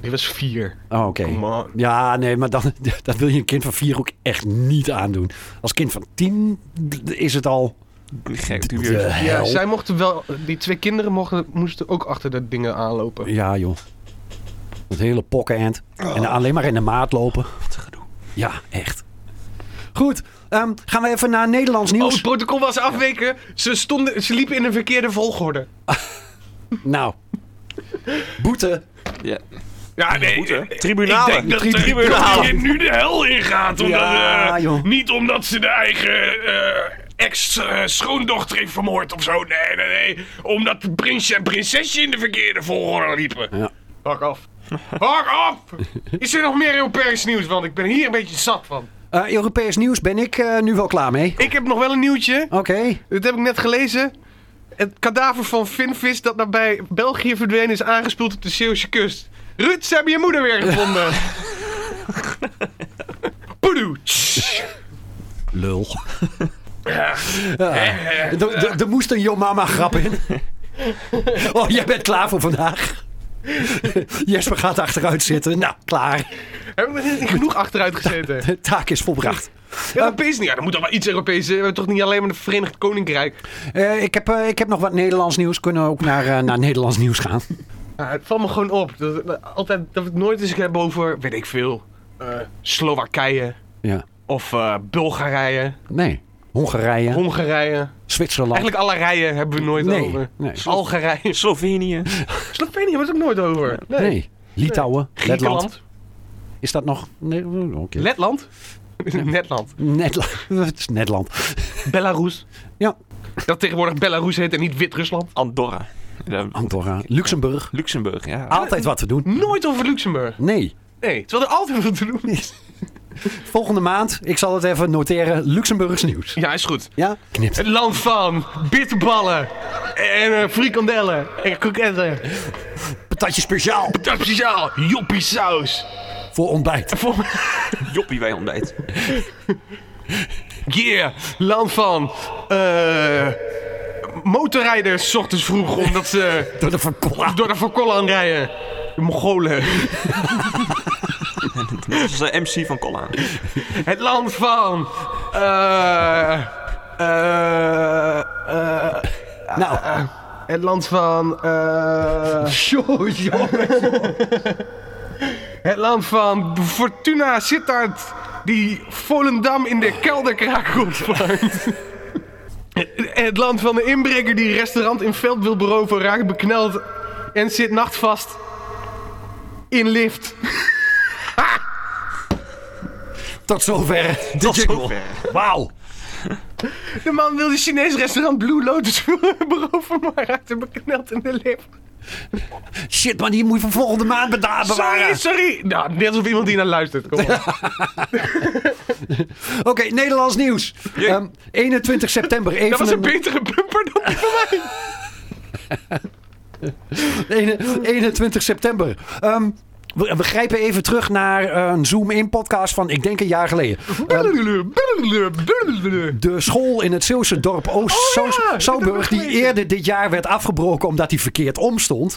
[SPEAKER 4] Die was vier.
[SPEAKER 5] Oh, Oké.
[SPEAKER 4] Come on.
[SPEAKER 5] Ja, nee, maar dan, [LAUGHS] dat wil je een kind van vier ook echt niet aandoen. Als kind van tien is het al
[SPEAKER 3] Gek,
[SPEAKER 5] de
[SPEAKER 3] dubieus.
[SPEAKER 4] Ja,
[SPEAKER 5] hel.
[SPEAKER 4] zij mochten wel, die twee kinderen mochten, moesten ook achter de dingen aanlopen.
[SPEAKER 5] Ja, joh. Het hele pokkenend. En alleen maar in de maat lopen.
[SPEAKER 3] Wat een gedoe.
[SPEAKER 5] Ja, echt. Goed, ehm, gaan we even naar Nederlands
[SPEAKER 4] Oh,
[SPEAKER 5] nieuws.
[SPEAKER 4] het protocol was afweken. Ze, stonden, ze liepen in een verkeerde volgorde.
[SPEAKER 5] Nou, boete.
[SPEAKER 3] Ja.
[SPEAKER 4] Ja, nee.
[SPEAKER 3] Goed, hè?
[SPEAKER 4] eh,
[SPEAKER 3] Tribunalen.
[SPEAKER 4] Ik denk dat de
[SPEAKER 3] Tribunalen.
[SPEAKER 4] koningin nu de hel ingaat. Omdat,
[SPEAKER 5] Ja,
[SPEAKER 4] eh,
[SPEAKER 5] joh.
[SPEAKER 4] niet omdat ze de eigen ex-schoondochter heeft vermoord of zo. Nee, nee, nee. Omdat de prins en prinsesje in de verkeerde volgorde liepen.
[SPEAKER 5] Ja.
[SPEAKER 4] Hak [LAUGHS] af. Hak af! Is er nog meer Europees nieuws? Want ik ben hier een beetje zat van.
[SPEAKER 5] Eh, Europees nieuws ben ik eh, nu wel klaar mee.
[SPEAKER 4] Ik heb nog wel een nieuwtje.
[SPEAKER 5] Oké.
[SPEAKER 4] Dit heb ik net gelezen. Het kadaver van Finvis dat nabij België verdwenen is aangespoeld op de Zeeuwse kust. Ruud, ze hebben je moeder weer [LAUGHS] gevonden. Poedoe.
[SPEAKER 5] Lul. Ja. Er- Er er moest een Yo Mama grap in. Oh, jij bent klaar voor vandaag. Jesper gaat achteruit zitten. Nou, klaar.
[SPEAKER 4] Heb ik er niet genoeg achteruit gezeten?
[SPEAKER 5] De taak is volbracht.
[SPEAKER 4] Europees niet. [LAUGHS] Ja, dan moet dan wel iets Europees. zijn. We hebben toch niet alleen maar het Verenigd Koninkrijk.
[SPEAKER 5] Eh, ik, heb, eh, ik heb nog wat Nederlands nieuws. Kunnen we ook naar, eh, naar Nederlands nieuws gaan?
[SPEAKER 4] Ah, het valt me gewoon op. Dat, dat- altijd, dat we het nooit eens hebben over, weet ik veel, eh, Slowakije
[SPEAKER 5] Ja.
[SPEAKER 4] of eh, Bulgarije,
[SPEAKER 5] Nee. Hongarije,
[SPEAKER 4] Hongarije.
[SPEAKER 5] Zwitserland.
[SPEAKER 4] Eigenlijk alle rijen hebben we nooit
[SPEAKER 5] Nee,
[SPEAKER 4] over.
[SPEAKER 5] nee.
[SPEAKER 4] Algerije.
[SPEAKER 3] Slovenië.
[SPEAKER 4] Slovenië hebben we het ook nooit over. Nee.
[SPEAKER 5] nee. Litouwen, Letland.
[SPEAKER 4] Griekenland.
[SPEAKER 5] Is dat nog? Nee, oh, oké.
[SPEAKER 4] Letland. [LAUGHS] Netland.
[SPEAKER 5] Netla- [LAUGHS] Het is Netland.
[SPEAKER 4] Belarus.
[SPEAKER 5] Ja.
[SPEAKER 4] Dat tegenwoordig Belarus heet en niet Wit-Rusland.
[SPEAKER 3] Andorra. Eh,
[SPEAKER 5] Andorra, Luxemburg.
[SPEAKER 3] Luxemburg, ja.
[SPEAKER 5] Altijd wat te doen.
[SPEAKER 4] Nooit over Luxemburg.
[SPEAKER 5] Nee.
[SPEAKER 4] Nee, terwijl er altijd wat te doen is.
[SPEAKER 5] Volgende maand, ik zal het even noteren, Luxemburgs nieuws.
[SPEAKER 4] Ja, is goed.
[SPEAKER 5] Ja? Knipt.
[SPEAKER 4] Het land van bitterballen en eh, frikandellen en kroketten.
[SPEAKER 5] Patatje speciaal
[SPEAKER 4] Dat is speciaal. Joppie saus.
[SPEAKER 5] voor ontbijt.
[SPEAKER 4] Voor-
[SPEAKER 3] Joppie bij ontbijt.
[SPEAKER 4] Yeah. Land van eh, motorrijders 's ochtends vroeg omdat [LAUGHS] ze
[SPEAKER 5] Door de Van Kolla.
[SPEAKER 4] door de Van aan rijden. De Mongolen.
[SPEAKER 3] Dat is de MC van Collaan.
[SPEAKER 4] Het land van. eh, eh, eh,
[SPEAKER 5] Nou,
[SPEAKER 4] het land van. eh, het land van. Fortuna Sittard. Die Volendam in de kelder kraken ontvangt. Het land van de inbreker die restaurant in veld wil beroven, raakt bekneld en zit nachtvast in lift.
[SPEAKER 5] tot zover. de
[SPEAKER 3] Tot
[SPEAKER 5] jingle.
[SPEAKER 3] zover.
[SPEAKER 5] Wauw.
[SPEAKER 4] De man wilde Chinees restaurant Blue Lotus [LAUGHS] beroven, maar raakte bekneld in de lip.
[SPEAKER 5] Shit, man, die moet je van volgende maand beda-
[SPEAKER 4] Sorry,
[SPEAKER 5] bewaren.
[SPEAKER 4] sorry. Nou, net alsof iemand die naar luistert. Kom op.
[SPEAKER 5] Oké, Nederlands nieuws. Ehm, 21 september. Even
[SPEAKER 4] Dat was een
[SPEAKER 5] een-
[SPEAKER 4] betere bumper dan die van mij.
[SPEAKER 5] 21 september. Ehm, we, we grijpen even terug naar eh, een Zoom-in podcast van, ik denk, een jaar geleden. Ehm, de school in het Zeeuwse dorp Oost
[SPEAKER 4] Oh ja,
[SPEAKER 5] Zou-
[SPEAKER 4] dat heb
[SPEAKER 5] Zouwburg,
[SPEAKER 4] ik
[SPEAKER 5] die
[SPEAKER 4] gelezen.
[SPEAKER 5] eerder dit jaar werd afgebroken omdat hij verkeerd omstond,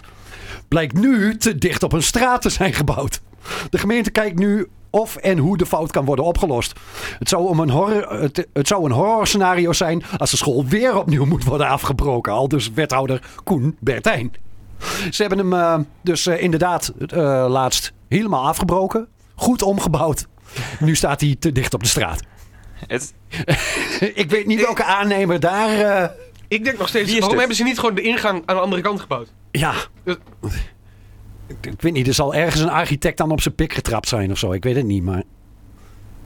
[SPEAKER 5] blijkt nu te dicht op een straat te zijn gebouwd. De gemeente kijkt nu of en hoe de fout kan worden opgelost. Het zou, om een horror, het, het zou een horrorscenario zijn als de school weer opnieuw moet worden afgebroken. Al dus wethouder Koen Bertijn. Ze hebben hem eh, dus eh, inderdaad eh, laatst helemaal afgebroken. Goed omgebouwd. Nu staat hij te dicht op de straat.
[SPEAKER 3] Het,
[SPEAKER 5] Ik weet niet welke aannemer daar. eh,
[SPEAKER 4] Ik denk nog steeds,
[SPEAKER 3] Wie is
[SPEAKER 4] waarom
[SPEAKER 3] dit?
[SPEAKER 4] hebben ze niet gewoon de ingang aan de andere kant gebouwd?
[SPEAKER 5] ja.
[SPEAKER 4] Dat-
[SPEAKER 5] Ik, ik weet niet, er zal ergens een architect dan op zijn pik getrapt zijn of zo. Ik weet het niet, maar.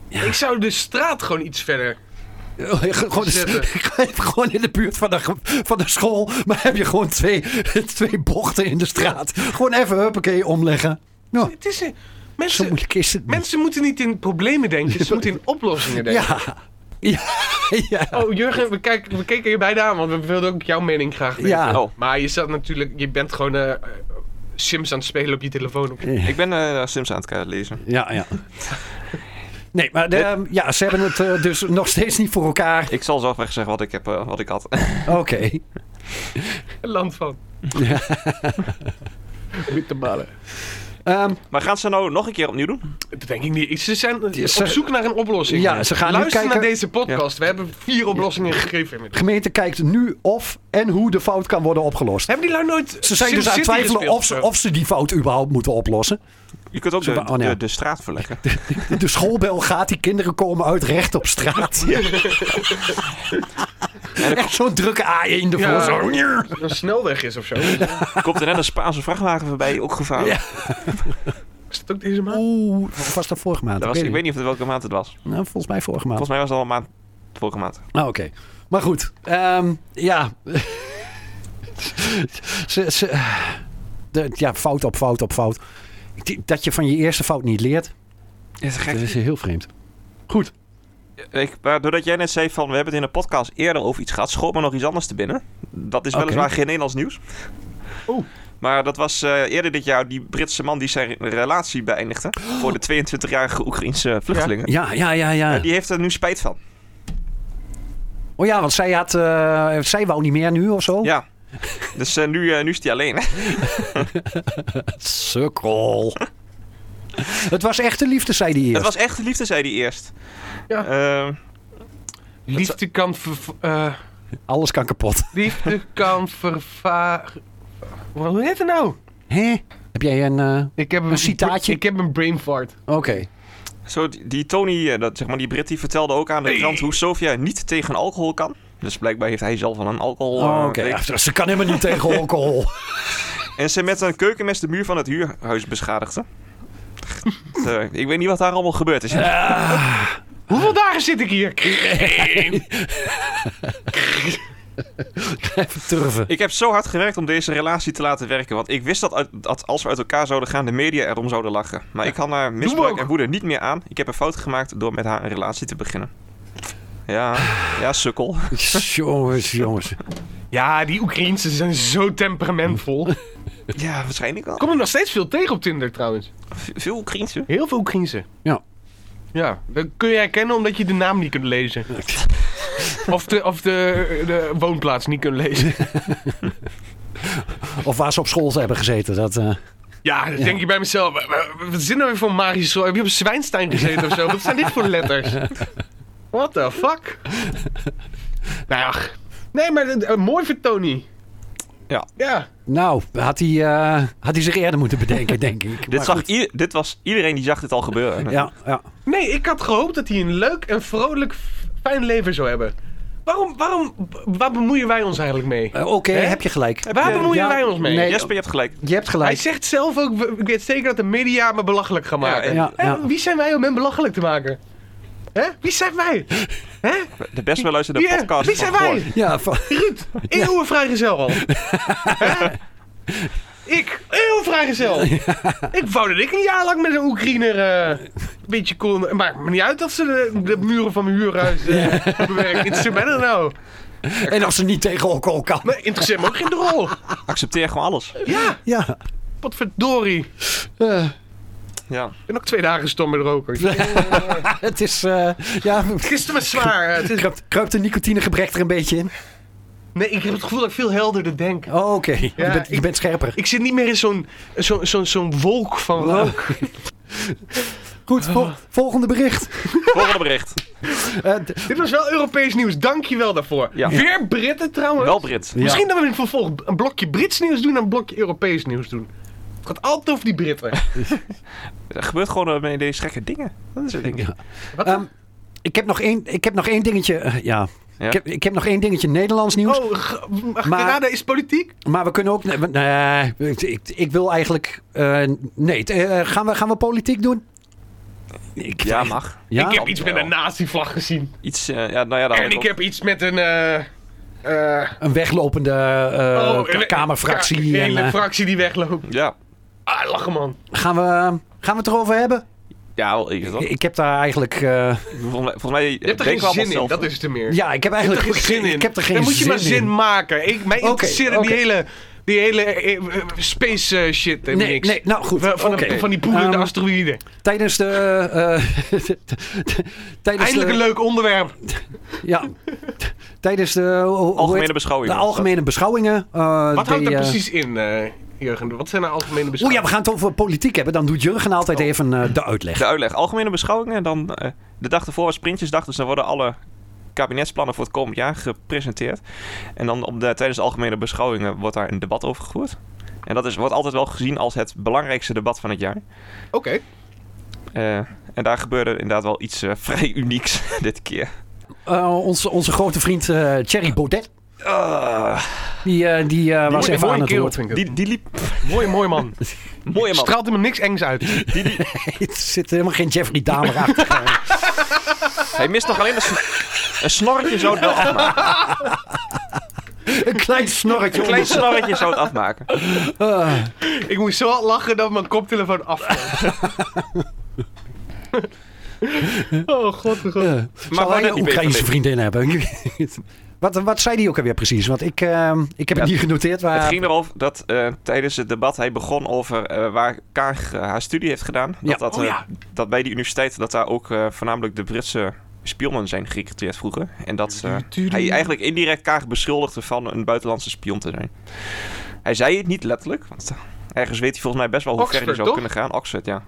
[SPEAKER 4] Ik zou de straat gewoon iets verder. Oh,
[SPEAKER 5] gewoon,
[SPEAKER 4] Zetten.
[SPEAKER 5] [LAUGHS] gewoon in de buurt van de, ge- van de school. Maar heb je gewoon twee, [LAUGHS] twee bochten in de straat. Gewoon even, huppakee, omleggen. Nou,
[SPEAKER 4] Het is, een-
[SPEAKER 5] zo
[SPEAKER 4] mensen,
[SPEAKER 5] moeilijk is het. niet.
[SPEAKER 4] mensen moeten niet in problemen denken, ze moeten in oplossingen denken.
[SPEAKER 5] Ja. Ja. ja. [LAUGHS]
[SPEAKER 4] Oh, Jurgen, we, kijk, we keken je bijna aan, want we wilden ook jouw mening graag weten.
[SPEAKER 5] Ja.
[SPEAKER 3] oh,
[SPEAKER 4] Maar je zat natuurlijk, je bent gewoon eh, eh, Sims aan het spelen op je telefoon. Op je-
[SPEAKER 3] ik ben eh, Sims aan het eh, lezen.
[SPEAKER 5] Ja, ja. Nee, maar de, ehm, ja, ze hebben het eh, dus nog steeds niet voor elkaar.
[SPEAKER 3] Ik zal zelf weg zeggen wat ik, heb, eh, wat ik had. [LAUGHS]
[SPEAKER 5] Oké.
[SPEAKER 4] land van. Witte ballen.
[SPEAKER 5] Ehm,
[SPEAKER 3] maar gaan ze nou nog een keer opnieuw doen?
[SPEAKER 4] Dat denk ik niet. Ze zijn op
[SPEAKER 5] ze-
[SPEAKER 4] zoek naar een oplossing.
[SPEAKER 5] Ja, ze gaan nu
[SPEAKER 4] Luister
[SPEAKER 5] kijken-
[SPEAKER 4] naar deze podcast. We hebben vier oplossingen gegeven. inmiddels.
[SPEAKER 5] gemeente kijkt nu of en hoe de fout kan worden opgelost.
[SPEAKER 4] Hebben die lui nooit
[SPEAKER 5] Ze zijn
[SPEAKER 4] Sim
[SPEAKER 5] dus aan het
[SPEAKER 4] City
[SPEAKER 5] twijfelen
[SPEAKER 4] gespeeld
[SPEAKER 5] of ze,
[SPEAKER 4] zo?
[SPEAKER 5] of ze die fout überhaupt moeten oplossen.
[SPEAKER 3] Je kunt ook de,
[SPEAKER 5] ba- oh, nee.
[SPEAKER 3] de, de straat
[SPEAKER 5] [LAUGHS]
[SPEAKER 3] verleggen.
[SPEAKER 5] De schoolbel gaat, die kinderen komen uit recht op straat. [LAUGHS] Echt zo'n drukke A1 ervoor.
[SPEAKER 4] Ja.
[SPEAKER 5] Zo.
[SPEAKER 4] een snelweg is of zo.
[SPEAKER 3] Komt er net een Spaanse vrachtwagen voorbij, ook gevaarlijk.
[SPEAKER 5] Ja.
[SPEAKER 4] Is dat ook deze maand?
[SPEAKER 5] Oeh, of was dat vorige maand?
[SPEAKER 3] Dat was, ik weet niet of het welke maand het was.
[SPEAKER 5] Nou, volgens mij vorige maand.
[SPEAKER 3] Volgens mij was het al een maand, vorige maand.
[SPEAKER 5] Nou, oké. Maar goed. ehm, ja. [LAUGHS] ze, ze, de, ja, fout op fout op fout. Die- Dat je van je eerste fout niet leert,
[SPEAKER 3] Is
[SPEAKER 5] dat
[SPEAKER 3] gek.
[SPEAKER 5] is heel vreemd.
[SPEAKER 3] Ik, maar doordat jij net zei van, we hebben het in een podcast eerder over iets gehad, schoot me nog iets anders te binnen. Dat is
[SPEAKER 5] Oké.
[SPEAKER 3] weliswaar geen Nederlands nieuws.
[SPEAKER 4] Oeh.
[SPEAKER 3] Maar dat was eh, eerder dit jaar die Britse man die zijn relatie beëindigde.
[SPEAKER 5] [GASPS]
[SPEAKER 3] Voor de 22-jarige Oekraïense vluchtelingen.
[SPEAKER 5] Ja, ja, ja, ja.
[SPEAKER 3] Die heeft er nu spijt van.
[SPEAKER 5] Oh ja, want zij, had, eh, zij wou niet meer nu of zo.
[SPEAKER 3] Ja. Dus eh, nu, eh, nu is hij alleen. [LAUGHS]
[SPEAKER 5] Sukkel. [LAUGHS] Het was echte liefde, zei die
[SPEAKER 3] Het
[SPEAKER 5] eerst.
[SPEAKER 3] was echt liefde, zei hij eerst.
[SPEAKER 4] Ja.
[SPEAKER 3] Ehm,
[SPEAKER 4] [LAUGHS] Liefde kan verv... eh,
[SPEAKER 5] Alles kan kapot.
[SPEAKER 4] liefde kan vervagen... Wat hoe heet het nou?
[SPEAKER 5] Hè? Heb jij een... eh,
[SPEAKER 4] Ik heb een,
[SPEAKER 5] citaatje?
[SPEAKER 4] Ik heb een brain fart.
[SPEAKER 5] Oké.
[SPEAKER 3] Zo, die die Tony, eh, dat, zeg maar die Brit, die vertelde ook aan de krant hoe Sofia niet tegen alcohol kan. Dus blijkbaar heeft hij zelf al een alcohol. eh,
[SPEAKER 5] Oh, Oké,
[SPEAKER 3] week.
[SPEAKER 5] Ja, ze kan helemaal niet tegen alcohol.
[SPEAKER 3] En ze met een keukenmes de muur van het huurhuis
[SPEAKER 5] [LAUGHS]
[SPEAKER 3] beschadigde. Eh, ik weet niet wat daar allemaal gebeurd is.
[SPEAKER 4] Hoeveel dagen zit ik hier?
[SPEAKER 5] [LAUGHS] Even turven.
[SPEAKER 3] Ik heb zo hard gewerkt om deze relatie te laten werken. Want ik wist dat, uit- dat als we uit elkaar zouden gaan, de media erom zouden lachen. Maar ik kan haar misbruik
[SPEAKER 4] ook.
[SPEAKER 3] en woede niet meer aan. Ik heb een fout gemaakt door met haar een relatie te beginnen. Ja, ja
[SPEAKER 4] [LAUGHS]
[SPEAKER 3] sukkel.
[SPEAKER 5] jongens, jongens.
[SPEAKER 4] Ja, die Oekraïensen zijn zo temperamentvol.
[SPEAKER 3] Ja, waarschijnlijk wel.
[SPEAKER 4] [LAUGHS] Kom er nog steeds veel tegen op Tinder trouwens.
[SPEAKER 3] V- Veel Oekraïense.
[SPEAKER 4] Heel veel Oekraïense.
[SPEAKER 5] Ja.
[SPEAKER 4] Ja, dat kun je herkennen omdat je de naam niet kunt
[SPEAKER 5] [LAUGHS]
[SPEAKER 4] lezen. Of, de, of de, de woonplaats niet kunt
[SPEAKER 5] [LAUGHS]
[SPEAKER 4] lezen.
[SPEAKER 5] Of waar ze op school hebben gezeten. Dat, eh,
[SPEAKER 4] Ja, dan denk je bij mezelf. wa- wa- Wat zin er weer voor magische Heb je op Zwijnstein gezeten of zo? Wat zijn dit voor
[SPEAKER 5] [LAUGHS]
[SPEAKER 4] letters? What the fuck? nou ja. ach. Nee, maar dit- eh, mooi voor Tony.
[SPEAKER 3] Ja.
[SPEAKER 4] Ja.
[SPEAKER 5] nou, had hij, eh, had hij zich eerder moeten bedenken, denk ik.
[SPEAKER 3] Dit,
[SPEAKER 5] Maar
[SPEAKER 3] zag
[SPEAKER 5] goed.
[SPEAKER 3] ieder- dit was iedereen die zag dit al gebeuren.
[SPEAKER 5] Ja, ja.
[SPEAKER 4] Nee, ik had gehoopt dat hij een leuk en vrolijk, f- fijn leven zou hebben. Waarom, waarom, b- waar bemoeien wij ons eigenlijk mee?
[SPEAKER 5] Eh, Oké,
[SPEAKER 4] Hè?
[SPEAKER 5] heb je gelijk.
[SPEAKER 4] Waar
[SPEAKER 5] Ja,
[SPEAKER 4] bemoeien
[SPEAKER 5] ja,
[SPEAKER 4] wij ons mee?
[SPEAKER 5] nee,
[SPEAKER 3] Jesper, je hebt gelijk.
[SPEAKER 5] Je hebt
[SPEAKER 4] Hij
[SPEAKER 5] gelijk.
[SPEAKER 4] zegt zelf ook, we- ik weet zeker dat de media me belachelijk gaan maken.
[SPEAKER 5] Ja, ja.
[SPEAKER 4] Hè, Wie zijn wij om hem belachelijk te maken? Hè? Wie zijn wij? Hè?
[SPEAKER 3] De best wel luisterde
[SPEAKER 4] Ja,
[SPEAKER 3] podcast.
[SPEAKER 4] wie
[SPEAKER 3] van
[SPEAKER 4] zijn wij?
[SPEAKER 3] Goor.
[SPEAKER 5] Ja, van-
[SPEAKER 4] Ruud, eeuwen vrijgezel al. Hè? ik, eeuwen vrijgezel. Ik wou dat ik een jaar lang met een Oekraïner eh, een beetje kon. Maakt me niet uit dat ze de, de muren van mijn huurhuis eh, hebben bewerkt. Interesseert mij dat nou?
[SPEAKER 5] en als ze niet tegen alcohol kan.
[SPEAKER 4] Maar interesseert me ook geen rol.
[SPEAKER 3] Accepteer gewoon alles.
[SPEAKER 4] Ja,
[SPEAKER 5] Ja.
[SPEAKER 4] wat verdorie.
[SPEAKER 5] eh,
[SPEAKER 3] Ja.
[SPEAKER 4] Ik ben ook twee dagen gestormd met roken.
[SPEAKER 5] het is... eh, ja,
[SPEAKER 4] Gisteren was zwaar. eh, Het is-
[SPEAKER 5] kruipt, kruipt de nicotinegebrek er een beetje in?
[SPEAKER 4] Nee, ik heb het gevoel dat ik veel helderder denk.
[SPEAKER 5] Oh, oké. je, bent, je
[SPEAKER 4] ik-
[SPEAKER 5] bent scherper.
[SPEAKER 4] Ik zit niet meer in zo'n zo'n zo'n zo'n wolk van rook. [LAUGHS]
[SPEAKER 5] Oh. Goed, vol- volgende bericht.
[SPEAKER 3] Volgende bericht.
[SPEAKER 4] [LAUGHS]
[SPEAKER 5] Eh, d-
[SPEAKER 4] Dit was wel Europees nieuws, dankjewel daarvoor.
[SPEAKER 3] Ja.
[SPEAKER 4] Weer Britten trouwens.
[SPEAKER 3] Wel Brits.
[SPEAKER 5] Ja.
[SPEAKER 4] Misschien dat we in het vervolg een blokje Brits nieuws doen en een blokje Europees nieuws doen. Het gaat altijd over die Britten.
[SPEAKER 3] Er gebeurt gewoon eh, met deze gekke dingen. Dat is het ding.
[SPEAKER 5] Ja. Ehm, ik, heb nog één, ik heb nog één dingetje... eh, ja.
[SPEAKER 3] Ja.
[SPEAKER 5] Ik, heb, ik heb nog één dingetje Nederlands nieuws.
[SPEAKER 4] Oh, g- mag
[SPEAKER 5] Maar-
[SPEAKER 4] Grenada is politiek?
[SPEAKER 5] Maar we kunnen ook... Nee, we- nee, ik, ik, ik wil eigenlijk... eh, nee, t- eh, gaan, we, gaan we politiek doen? Ik,
[SPEAKER 3] Ja, mag.
[SPEAKER 5] Ja?
[SPEAKER 4] ik heb iets met
[SPEAKER 3] wel.
[SPEAKER 4] een nazi-vlag gezien.
[SPEAKER 3] Iets, eh, ja, nou ja, daar
[SPEAKER 4] en ik heb iets met een... eh, eh,
[SPEAKER 5] Een weglopende eh,
[SPEAKER 4] oh, een-
[SPEAKER 5] kamerfractie.
[SPEAKER 4] Een
[SPEAKER 5] en,
[SPEAKER 4] hele
[SPEAKER 5] eh,
[SPEAKER 4] fractie die wegloopt.
[SPEAKER 3] Ja.
[SPEAKER 4] Ah, lachen man.
[SPEAKER 5] gaan, we, gaan we het erover hebben?
[SPEAKER 3] Ja, wel even toch?
[SPEAKER 5] Ik heb daar eigenlijk... eh,
[SPEAKER 3] Volgens mij, volgens mij
[SPEAKER 4] Je hebt er
[SPEAKER 3] denken we
[SPEAKER 4] geen
[SPEAKER 3] allemaal
[SPEAKER 4] zin in,
[SPEAKER 3] zelf.
[SPEAKER 4] dat is het er meer.
[SPEAKER 5] ja, ik heb eigenlijk...
[SPEAKER 4] er geen zin in.
[SPEAKER 5] Ik heb er geen
[SPEAKER 4] Dan moet je maar
[SPEAKER 5] zin
[SPEAKER 4] zin
[SPEAKER 5] in.
[SPEAKER 4] maken. Ik, mij interesseert
[SPEAKER 5] oké.
[SPEAKER 4] die hele, die hele eh, eh, space eh, shit en
[SPEAKER 5] Nee,
[SPEAKER 4] niks.
[SPEAKER 5] nee, nou goed.
[SPEAKER 4] Van, van,
[SPEAKER 5] oké.
[SPEAKER 4] van die poelende
[SPEAKER 5] Ehm,
[SPEAKER 4] asteroïden.
[SPEAKER 5] Tijdens de. eh, [LAUGHS] tijdens
[SPEAKER 4] Eindelijk
[SPEAKER 5] de,
[SPEAKER 4] een leuk onderwerp.
[SPEAKER 5] Ja. [LAUGHS] Tijdens de. eh, hoe- hoe
[SPEAKER 3] Algemene
[SPEAKER 5] heet-
[SPEAKER 3] beschouwingen.
[SPEAKER 5] De algemene beschouwingen. eh,
[SPEAKER 4] Wat houdt
[SPEAKER 5] die,
[SPEAKER 4] dat
[SPEAKER 5] eh,
[SPEAKER 4] precies in, eh Jurgen? Wat zijn nou algemene
[SPEAKER 5] Oh ja,
[SPEAKER 4] beschouwingen?
[SPEAKER 5] we gaan het over politiek hebben. Dan doet Jurgen altijd
[SPEAKER 4] Oh.
[SPEAKER 5] even eh, de uitleg.
[SPEAKER 3] De uitleg. Algemene beschouwingen. En dan eh, de dag ervoor was Printjesdag. Dus dan worden alle kabinetsplannen voor het komend jaar gepresenteerd. En dan op de, tijdens de algemene beschouwingen wordt daar een debat over gevoerd. En dat is, wordt altijd wel gezien als het belangrijkste debat van het jaar.
[SPEAKER 4] Oké.
[SPEAKER 3] Eh, en daar gebeurde inderdaad wel iets eh, [LAUGHS] vrij unieks [LAUGHS] dit keer.
[SPEAKER 5] Eh, onze, onze grote vriend eh, Thierry Baudet.
[SPEAKER 3] Ah,
[SPEAKER 5] Die, eh, die eh, was
[SPEAKER 4] Mooi-
[SPEAKER 5] even
[SPEAKER 4] mooie
[SPEAKER 5] aan het
[SPEAKER 4] kerel,
[SPEAKER 5] woord.
[SPEAKER 4] vind ik het.
[SPEAKER 3] die, die liep...
[SPEAKER 4] [LAUGHS] Mooi, mooi man.
[SPEAKER 3] Mooie man.
[SPEAKER 4] Straalt helemaal niks engs
[SPEAKER 5] [LAUGHS]
[SPEAKER 4] uit.
[SPEAKER 5] Er zit helemaal geen Jeffrey Dahmer
[SPEAKER 4] [LAUGHS]
[SPEAKER 5] achter.
[SPEAKER 3] Hij mist nog alleen een, sn- een snorretje zou
[SPEAKER 4] [LAUGHS]
[SPEAKER 3] het wel afmaken.
[SPEAKER 5] een klein snorretje.
[SPEAKER 3] Een klein snorretje zou het afmaken.
[SPEAKER 5] Eh,
[SPEAKER 4] Ik moest zo hard lachen dat mijn koptelefoon
[SPEAKER 5] [LAUGHS]
[SPEAKER 4] afkwam. oh, god, god.
[SPEAKER 5] eh, zou
[SPEAKER 3] wou
[SPEAKER 5] hij
[SPEAKER 3] net
[SPEAKER 5] een
[SPEAKER 3] niet
[SPEAKER 5] Oekraïnse
[SPEAKER 3] weten.
[SPEAKER 5] vriendin hebben?
[SPEAKER 3] [LAUGHS]
[SPEAKER 5] wat, wat zei die ook alweer precies? Want ik, eh, ik heb het
[SPEAKER 3] Ja,
[SPEAKER 5] niet genoteerd. Maar...
[SPEAKER 3] Het ging erover dat eh, tijdens het debat hij begon over eh, waar Kaag eh, haar studie heeft gedaan. Dat,
[SPEAKER 5] Ja.
[SPEAKER 3] dat,
[SPEAKER 4] Oh
[SPEAKER 3] eh,
[SPEAKER 4] ja.
[SPEAKER 3] dat bij die universiteit dat daar ook eh, voornamelijk de Britse spionnen zijn gerecruiteerd vroeger. En dat eh, hij eigenlijk indirect Kaag beschuldigde van een buitenlandse spion te zijn. Hij zei het niet letterlijk, want ergens weet hij volgens mij best wel hoe ver hij
[SPEAKER 4] Oxford,
[SPEAKER 3] zou
[SPEAKER 4] toch?
[SPEAKER 3] kunnen gaan. Oxford, ja.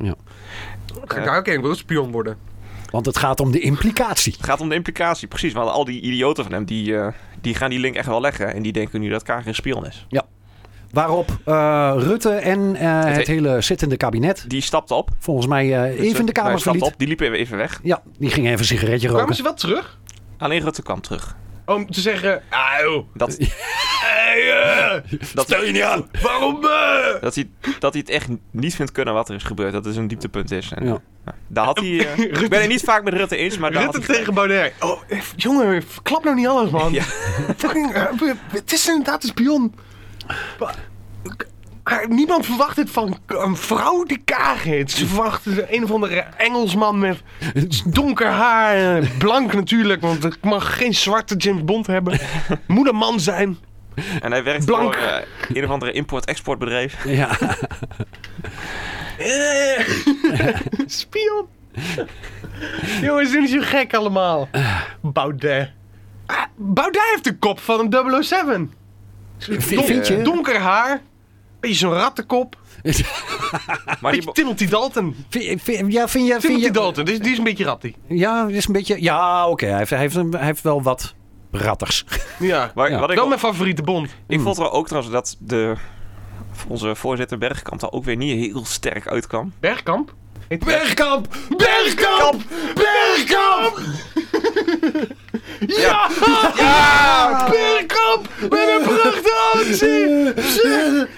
[SPEAKER 4] Ga ik daar ook een, ik wil spion worden.
[SPEAKER 5] Want het gaat om de implicatie.
[SPEAKER 3] Het gaat om de implicatie, precies. Want al die idioten van hem, die, eh, die gaan die link echt wel leggen. En die denken nu dat Kaag een spion is.
[SPEAKER 5] Waarop eh, Rutte en eh, het,
[SPEAKER 3] he-
[SPEAKER 5] hele zittende kabinet,
[SPEAKER 3] Die stapt op.
[SPEAKER 5] volgens mij eh, even de
[SPEAKER 3] Hij
[SPEAKER 5] Kamer
[SPEAKER 3] stapt
[SPEAKER 5] verliet.
[SPEAKER 3] op, die liep even weg.
[SPEAKER 5] Ja, die ging even een sigaretje
[SPEAKER 4] Kwamen
[SPEAKER 5] roken.
[SPEAKER 4] ze wel terug?
[SPEAKER 3] Alleen Rutte kwam terug.
[SPEAKER 4] Om te zeggen, ah joh,
[SPEAKER 5] [LAUGHS]
[SPEAKER 3] Dat,
[SPEAKER 4] hey, eh,
[SPEAKER 3] dat,
[SPEAKER 5] je niet aan!
[SPEAKER 4] waarom eh?"
[SPEAKER 3] dat, hij, dat hij het echt niet vindt kunnen wat er is gebeurd. Dat is een dieptepunt is. En,
[SPEAKER 5] Ja.
[SPEAKER 3] nou, daar had hij,
[SPEAKER 4] [LAUGHS]
[SPEAKER 3] eh, ik ben het niet vaak met Rutte eens, maar daar
[SPEAKER 4] Rutte
[SPEAKER 3] had hij...
[SPEAKER 4] tegen Baudet. Oh, eh, jongen, klap nou niet alles, man.
[SPEAKER 3] Ja.
[SPEAKER 4] Fucking, eh, het is inderdaad een spion. Maar, eh, Niemand verwacht dit van een vrouw die kaag heet. Ze verwachten een of andere Engelsman met donker haar. eh, Blank natuurlijk, want ik mag geen zwarte James Bond hebben. Moet een man zijn.
[SPEAKER 3] En hij werkt
[SPEAKER 4] Blank.
[SPEAKER 3] voor eh, een of andere import-exportbedrijf.
[SPEAKER 5] Ja,
[SPEAKER 3] [LAUGHS]
[SPEAKER 4] Eh, Spion. [LAUGHS] Jongens, dit is zo gek allemaal. Baudet. Ah, Baudet heeft de kop van een 007. Don-
[SPEAKER 5] vind je?
[SPEAKER 4] Donker haar. Beetje zo'n rattenkop.
[SPEAKER 3] Maar die,
[SPEAKER 4] Beetje
[SPEAKER 3] be-
[SPEAKER 4] Timothy Dalton.
[SPEAKER 5] vind, vind- ja, vind je... Vind
[SPEAKER 4] Timothy
[SPEAKER 5] je
[SPEAKER 4] Dalton, die is, die is een beetje ratty.
[SPEAKER 5] ja, is een beetje... Ja, oké, hij, heeft, hij, heeft, een- hij heeft wel wat ratters.
[SPEAKER 4] Ja.
[SPEAKER 3] maar
[SPEAKER 5] Ja. Hmm.
[SPEAKER 3] wat ik,
[SPEAKER 4] Wel
[SPEAKER 3] wel-
[SPEAKER 4] mijn favoriete Bond.
[SPEAKER 3] ik vond wel ook trouwens dat de, onze voorzitter Bergkamp daar ook weer niet heel sterk uitkwam.
[SPEAKER 4] Bergkamp. Heet-
[SPEAKER 5] Bergkamp!
[SPEAKER 4] Bergkamp! Bergkamp!
[SPEAKER 3] Ja.
[SPEAKER 4] Ja! Bergkamp met een prachtige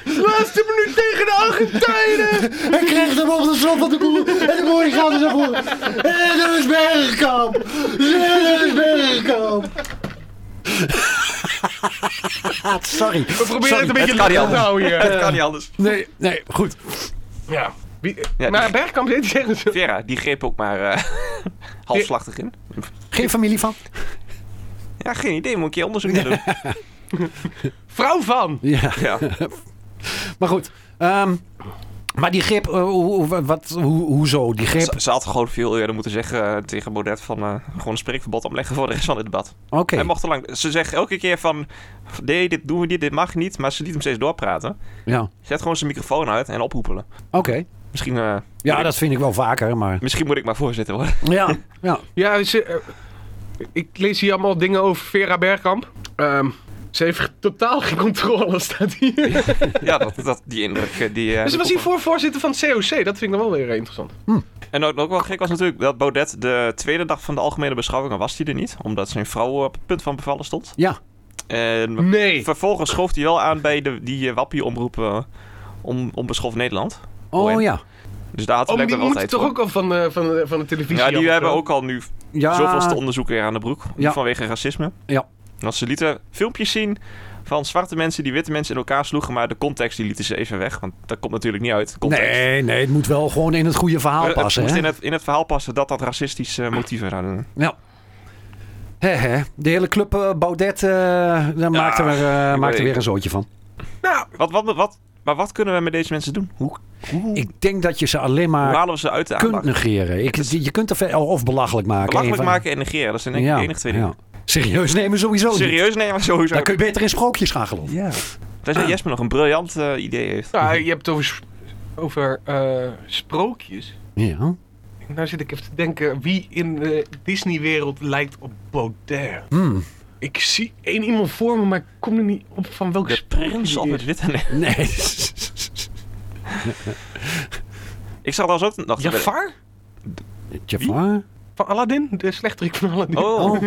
[SPEAKER 4] Laatste minuut tegen de Argentijnen!
[SPEAKER 1] Hij kreeg hem op de slot van de boer. En de boer gaat
[SPEAKER 5] dus
[SPEAKER 1] er zo voor. En dat is Bergkamp. En dat is Bergkamp.
[SPEAKER 5] Ah, [LAUGHS] sorry.
[SPEAKER 4] We proberen
[SPEAKER 5] Sorry.
[SPEAKER 4] het een beetje
[SPEAKER 3] kan niet
[SPEAKER 4] leuk te
[SPEAKER 3] anders.
[SPEAKER 4] houden hier.
[SPEAKER 3] Het kan niet anders.
[SPEAKER 5] Nee, nee, goed.
[SPEAKER 4] Ja. Wie,
[SPEAKER 3] Ja,
[SPEAKER 4] maar
[SPEAKER 3] die-
[SPEAKER 4] Bergkamp zit tegen zo.
[SPEAKER 3] Vera, die greep ook maar eh, [LAUGHS] halfslachtig in.
[SPEAKER 5] Geen familie van?
[SPEAKER 3] Ja, geen idee. Moet ik je onderzoek naar doen?
[SPEAKER 4] Vrouw van!
[SPEAKER 5] Ja.
[SPEAKER 3] Ja.
[SPEAKER 5] Maar goed. ehm, maar die grip, eh, hoe, hoe- wat, hoe, hoezo? Die grip?
[SPEAKER 3] Ze, ze had gewoon veel eerder moeten zeggen eh, tegen Baudet van eh, gewoon een spreekverbod omleggen voor de rest van het debat.
[SPEAKER 5] Oké.
[SPEAKER 3] Hij mocht te lang. Ze zegt elke keer van nee, dit doen we niet, dit mag niet, maar ze liet hem steeds doorpraten.
[SPEAKER 5] Ja, oké.
[SPEAKER 3] Zet gewoon zijn microfoon uit en ophoepelen. Misschien, eh,
[SPEAKER 5] Ja, dat vind ik wel vaker, maar...
[SPEAKER 3] misschien moet ik maar voorzitter worden. [LAUGHS]
[SPEAKER 5] Ja, ja.
[SPEAKER 4] Ja, ze, eh, ik lees hier allemaal dingen over Vera Bergkamp. Ehm, ze heeft totaal geen controle, [LAUGHS] staat hier.
[SPEAKER 3] ja, dat, dat, die indruk. eh, Die, eh,
[SPEAKER 4] Dus ze was hiervoor voorzitter van het COC. Dat vind ik dan wel weer interessant.
[SPEAKER 3] En ook, ook wel gek was natuurlijk dat Baudet de tweede dag van de algemene beschouwingen was hij er niet. Omdat zijn vrouw op het punt van bevallen stond.
[SPEAKER 5] Ja,
[SPEAKER 3] En
[SPEAKER 4] Nee.
[SPEAKER 3] vervolgens schoof hij wel aan bij de, die eh, wappie-omroep eh, om, Onbeschoft Nederland.
[SPEAKER 5] oh
[SPEAKER 3] en-
[SPEAKER 5] ja.
[SPEAKER 3] Dus daar had hij
[SPEAKER 4] Oh, maar die
[SPEAKER 3] blijkbaar wel
[SPEAKER 4] moeten
[SPEAKER 3] tijd
[SPEAKER 4] toch
[SPEAKER 3] voor.
[SPEAKER 4] ook al van, eh, van, eh, van de televisie
[SPEAKER 3] Ja, die
[SPEAKER 4] af,
[SPEAKER 3] hebben
[SPEAKER 4] zo.
[SPEAKER 3] ook al nu
[SPEAKER 5] ja.
[SPEAKER 3] zoveelste onderzoek weer aan de broek.
[SPEAKER 5] Ja.
[SPEAKER 3] Vanwege racisme.
[SPEAKER 5] Ja.
[SPEAKER 3] Want ze lieten filmpjes zien van zwarte mensen die witte mensen in elkaar sloegen. Maar de context die lieten ze even weg. Want dat komt natuurlijk niet uit. Context. Eh,
[SPEAKER 5] Nee, nee, het moet wel gewoon in het goede verhaal
[SPEAKER 3] Het-
[SPEAKER 5] passen.
[SPEAKER 3] Het
[SPEAKER 5] hè?
[SPEAKER 3] moest in het, in het verhaal passen dat dat
[SPEAKER 5] [CLEARS THROAT]
[SPEAKER 3] racistische motieven hadden.
[SPEAKER 5] Ja. Hè, hè. De hele club eh, Baudet eh, daar maakte er, eh,
[SPEAKER 3] ik
[SPEAKER 5] maakte
[SPEAKER 3] weet-
[SPEAKER 5] weer een zootje van.
[SPEAKER 4] Nou,
[SPEAKER 3] Wat, wat, wat, maar wat kunnen we met deze mensen doen? Hoe, hoe,
[SPEAKER 5] Ik denk dat je ze alleen
[SPEAKER 3] hoe
[SPEAKER 5] maar
[SPEAKER 3] halen we ze uit de
[SPEAKER 5] kunt
[SPEAKER 3] aandacht?
[SPEAKER 5] negeren. Ik, je kunt er ver- of belachelijk maken.
[SPEAKER 3] Belachelijk
[SPEAKER 5] Een van-
[SPEAKER 3] maken en negeren. Dat zijn denk ik de enige twee dingen.
[SPEAKER 5] ja. Serieus nemen sowieso niet.
[SPEAKER 3] Serieus nemen sowieso.
[SPEAKER 5] Daar kun je beter in sprookjes gaan geloven.
[SPEAKER 3] Ja. Daar zei Jesper nog een briljant eh, idee heeft.
[SPEAKER 4] nou, je hebt het over, sp- over eh, sprookjes.
[SPEAKER 5] Ja.
[SPEAKER 4] Nou zit ik even te denken, wie in de Disney-wereld lijkt op Baudet?
[SPEAKER 5] Hmm.
[SPEAKER 4] Ik zie één iemand voor me, maar ik kom er niet op van welke
[SPEAKER 3] De
[SPEAKER 4] sprookje
[SPEAKER 3] prins
[SPEAKER 4] die
[SPEAKER 3] op
[SPEAKER 4] is.
[SPEAKER 3] het witte. Nee.
[SPEAKER 5] Nee. [LAUGHS]
[SPEAKER 3] Ik zag daar zo nog te bedenken.
[SPEAKER 4] Jafar?
[SPEAKER 5] Jafar?
[SPEAKER 4] Van Aladdin? De slechterik van Aladdin.
[SPEAKER 3] Oh,
[SPEAKER 5] Oh.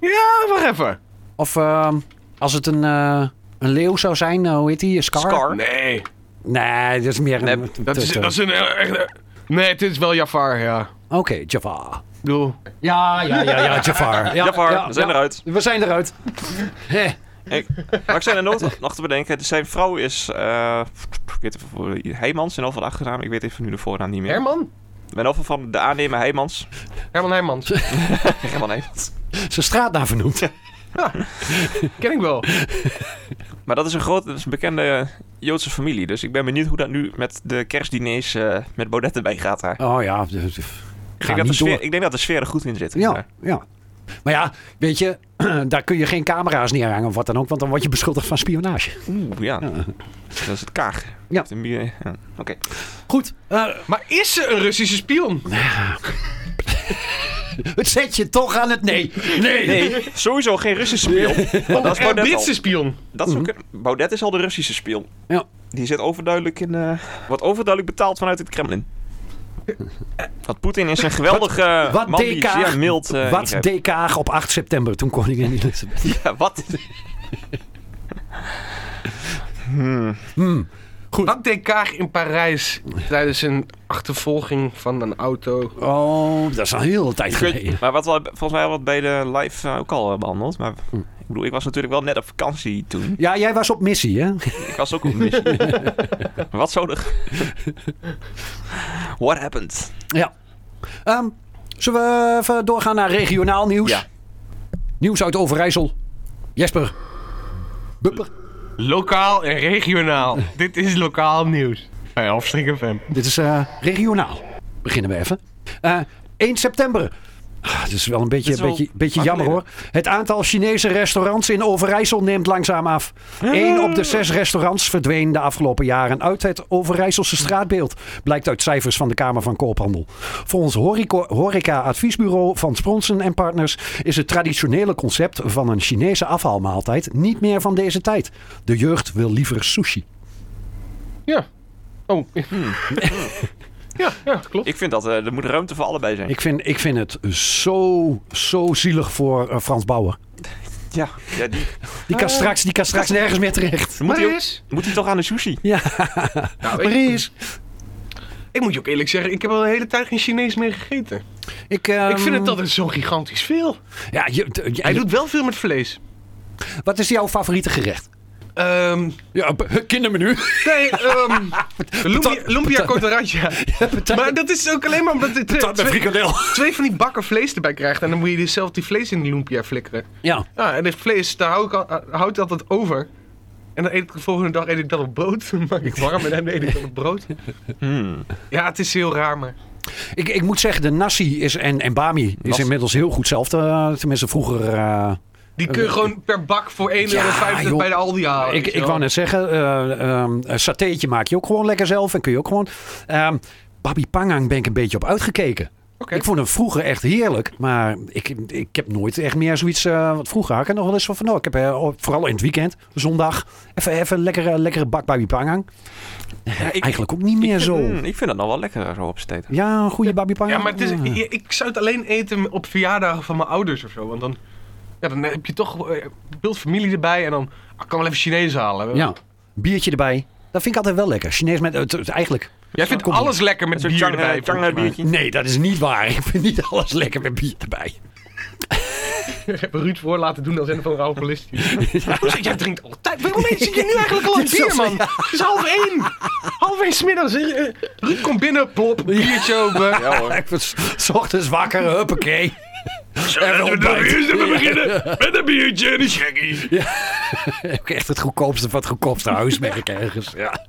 [SPEAKER 4] Ja, wacht even.
[SPEAKER 5] Of ehm, als het een, eh, een leeuw zou zijn, eh, hoe heet die? Scar?
[SPEAKER 3] Scar.
[SPEAKER 4] Nee,
[SPEAKER 5] Nee, dat is meer een...
[SPEAKER 3] Nee,
[SPEAKER 4] dat is,
[SPEAKER 5] te- te-
[SPEAKER 4] dat is een... eh, echt, eh, Nee, het is wel Jafar, ja.
[SPEAKER 5] Oké, Jafar.
[SPEAKER 4] Ik bedoel...
[SPEAKER 5] Ja, ja, ja, ja, [LAUGHS] Jafar. Ja,
[SPEAKER 3] Jafar,
[SPEAKER 5] ja,
[SPEAKER 3] we zijn
[SPEAKER 5] ja.
[SPEAKER 3] eruit.
[SPEAKER 5] We zijn eruit. Hé.
[SPEAKER 3] Ik, maar ik
[SPEAKER 5] [LAUGHS]
[SPEAKER 3] zijn er nog, nog te bedenken. Dus Zijn vrouw is. eh, ik weet even voor Heijmans en al van de achternaam. Ik weet even nu de voornaam niet meer.
[SPEAKER 4] Herman?
[SPEAKER 3] En over van de aannemer
[SPEAKER 5] [LAUGHS]
[SPEAKER 3] Heijmans.
[SPEAKER 4] Herman Heijmans.
[SPEAKER 3] Herman Heijmans.
[SPEAKER 5] Zijn straat naar vernoemd.
[SPEAKER 4] Ken ik [LAUGHS] wel.
[SPEAKER 3] Maar dat is een grote, dat is een bekende eh, Joodse familie. Dus ik ben benieuwd hoe dat nu met de kerstdiners eh, met Baudet erbij gaat daar.
[SPEAKER 5] Oh ja, dus-
[SPEAKER 3] Ik
[SPEAKER 5] ga
[SPEAKER 3] denk, dat de
[SPEAKER 5] niet
[SPEAKER 3] sfeer,
[SPEAKER 5] door.
[SPEAKER 3] ik denk dat de sfeer er goed in zit.
[SPEAKER 5] Ja, ja. Maar ja, weet je, [CLEARS THROAT] daar kun je geen camera's neerhangen of wat dan ook, want dan word je beschuldigd van spionage.
[SPEAKER 3] Oeh, ja. Dat is het kaag.
[SPEAKER 5] Ja.
[SPEAKER 3] Heeft een bier- ja. Oké.
[SPEAKER 5] Goed, eh,
[SPEAKER 4] Maar is ze een Russische spion?
[SPEAKER 5] het zet je toch aan het nee. Nee.
[SPEAKER 3] Nee, sowieso geen Russische
[SPEAKER 5] [LAUGHS]
[SPEAKER 3] spion. Maar dat is Baudet
[SPEAKER 4] Een
[SPEAKER 3] al.
[SPEAKER 4] Britse spion.
[SPEAKER 3] Dat zou kunnen. Baudet is al de Russische spion.
[SPEAKER 5] Mhm. Ja.
[SPEAKER 3] Die zit overduidelijk in. eh, wordt overduidelijk betaald vanuit het Kremlin. Wat Poetin is een geweldige eh,
[SPEAKER 5] Wat
[SPEAKER 3] man die
[SPEAKER 5] DK?
[SPEAKER 3] zeer mild. eh,
[SPEAKER 5] Wat
[SPEAKER 3] ingrijpt.
[SPEAKER 5] DK op 8 september toen koningin Elizabeth.
[SPEAKER 3] [LAUGHS] Ja,
[SPEAKER 5] [LAUGHS]
[SPEAKER 3] wat?
[SPEAKER 4] Wat deed Kaag in Parijs tijdens een achtervolging van een auto?
[SPEAKER 5] Oh, dat is al heel de tijd
[SPEAKER 3] Ik weet-
[SPEAKER 5] geleden.
[SPEAKER 3] maar wat we volgens mij wat bij de live eh, ook al eh, behandeld. Maar
[SPEAKER 5] Hm.
[SPEAKER 3] ik bedoel, ik was natuurlijk wel net op vakantie toen.
[SPEAKER 5] Ja, jij was op missie, hè?
[SPEAKER 3] Ik was ook op
[SPEAKER 5] [LAUGHS]
[SPEAKER 3] missie. wat zo de. What happened?
[SPEAKER 5] Ja. Ehm, zullen we even doorgaan naar regionaal nieuws?
[SPEAKER 3] Ja.
[SPEAKER 5] Nieuws uit Overijssel. Jesper. Bupper.
[SPEAKER 4] Lokaal en regionaal. Dit is lokaal nieuws. Bij Afstrik FM.
[SPEAKER 5] Dit is eh, regionaal. Beginnen we even. Eh, 1 september. Ah, dit is wel een beetje,
[SPEAKER 3] Dit is wel
[SPEAKER 5] beetje, beetje
[SPEAKER 3] lang
[SPEAKER 5] jammer hoor. Het aantal Chinese restaurants in Overijssel neemt langzaam af. Eén op de
[SPEAKER 3] Ah.
[SPEAKER 5] zes restaurants verdween de afgelopen jaren uit het Overijsselse straatbeeld. Blijkt uit cijfers van de Kamer van Koophandel. Volgens Horico- Horeca-adviesbureau van Spronsen en Partners is het traditionele concept van een Chinese afhaalmaaltijd niet meer van deze tijd. De jeugd wil liever sushi.
[SPEAKER 4] Ja. Oh, Ja, ja klopt.
[SPEAKER 3] Ik vind dat eh, er moet ruimte voor allebei zijn.
[SPEAKER 5] Ik vind, ik vind het zo, zo zielig voor eh, Frans Bauer.
[SPEAKER 3] Ja, ja die,
[SPEAKER 5] Die kan, straks, die kan straks nergens meer terecht.
[SPEAKER 3] moet, hij ook-
[SPEAKER 4] Marius?
[SPEAKER 3] moet hij toch aan de sushi?
[SPEAKER 5] Ja,
[SPEAKER 4] Nou, ik,
[SPEAKER 5] Maries.
[SPEAKER 4] ik moet je ook eerlijk zeggen, ik heb al de hele tijd geen Chinees meer gegeten.
[SPEAKER 5] Ik, ehm,
[SPEAKER 4] ik vind het dat zo gigantisch veel.
[SPEAKER 5] Ja, je, t- je-
[SPEAKER 4] Hij doet wel veel met vlees.
[SPEAKER 5] Wat is jouw favoriete gerecht?
[SPEAKER 4] Ehm
[SPEAKER 5] Ja, eh, kindermenu.
[SPEAKER 4] nee, [LAUGHS] ehm lumpia,
[SPEAKER 5] Patat-
[SPEAKER 4] lumpia [LAUGHS] cortaranja.
[SPEAKER 5] patat-
[SPEAKER 4] Maar dat is ook alleen maar omdat je twee,
[SPEAKER 5] [LAUGHS] Dat met frikandel.
[SPEAKER 4] twee van die bakken vlees erbij krijgt. En dan moet je dus zelf die vlees in die lumpia flikkeren.
[SPEAKER 5] Ja.
[SPEAKER 4] Ja, en dit vlees, daar hou ik, al- eh, hou ik altijd over. En dan eet ik de volgende dag eet ik dat op brood. [LAUGHS] Dan maak ik warm en dan eet ik dat op
[SPEAKER 5] [LAUGHS]
[SPEAKER 4] brood.
[SPEAKER 3] Hmm.
[SPEAKER 4] Ja, het is heel raar, maar...
[SPEAKER 5] Ik, ik moet zeggen, de nasi is, en, en bami is
[SPEAKER 3] Nasi.
[SPEAKER 5] inmiddels heel goed zelf. te- tenminste, vroeger... eh,
[SPEAKER 4] Die kun je gewoon per bak voor 1,50
[SPEAKER 5] Ja, joh.
[SPEAKER 4] euro bij de Aldi halen. weet
[SPEAKER 5] ik,
[SPEAKER 4] je
[SPEAKER 5] ik
[SPEAKER 4] wel.
[SPEAKER 5] wou net zeggen, eh ehm, een satéetje maak je ook gewoon lekker zelf. En kun je ook gewoon... ehm Babi Pangang ben ik een beetje op uitgekeken.
[SPEAKER 4] Oké.
[SPEAKER 5] Ik vond hem vroeger echt heerlijk. Maar ik, ik heb nooit echt meer zoiets... eh, wat vroeger had ik er nog wel eens van van... nou, ik heb eh, vooral in het weekend, zondag... even, even een lekkere, lekkere bak Babi Pangang.
[SPEAKER 3] ik-
[SPEAKER 5] Eigenlijk ook niet meer zo.
[SPEAKER 3] Hmm, ik vind dat nog wel lekker zo op z'n tijd.
[SPEAKER 5] Ja, een goede Babi Pangang.
[SPEAKER 4] Ja, maar het is, ik- ik zou het alleen eten op verjaardagen van mijn ouders of zo. Want dan, ja, dan heb je toch eh, beeld familie erbij en dan ah, ik kan wel even Chinees halen.
[SPEAKER 5] Ja, biertje erbij. Dat vind ik altijd wel lekker. Chinees met... het- het- eigenlijk...
[SPEAKER 4] Jij vindt
[SPEAKER 5] Kom op.
[SPEAKER 4] alles lekker met
[SPEAKER 3] Zo'n
[SPEAKER 4] bier
[SPEAKER 3] Chang-
[SPEAKER 4] erbij.
[SPEAKER 3] eh, Chang'e
[SPEAKER 4] volgens mij.
[SPEAKER 3] biertje.
[SPEAKER 5] Nee, dat is niet waar. Ik vind niet alles lekker met bier erbij.
[SPEAKER 4] Ik heb Ruud voor laten doen als een van de alcoholist. [LAUGHS] Jij drinkt altijd. Waarom eet je nu eigenlijk al een
[SPEAKER 5] Ja,
[SPEAKER 4] bier,
[SPEAKER 5] zo-
[SPEAKER 4] man? Het is half één. Half één 's middags. Eh, eh, Ruud komt binnen, plop, biertje open.
[SPEAKER 3] Ja hoor.
[SPEAKER 5] Ik was 's ochtends wakker, huppakee. En ontbijt.
[SPEAKER 4] we beginnen met een biertje en een shaggy.
[SPEAKER 5] Ook Echt het goedkoopste van het goedkoopste huismerk ergens. Ja.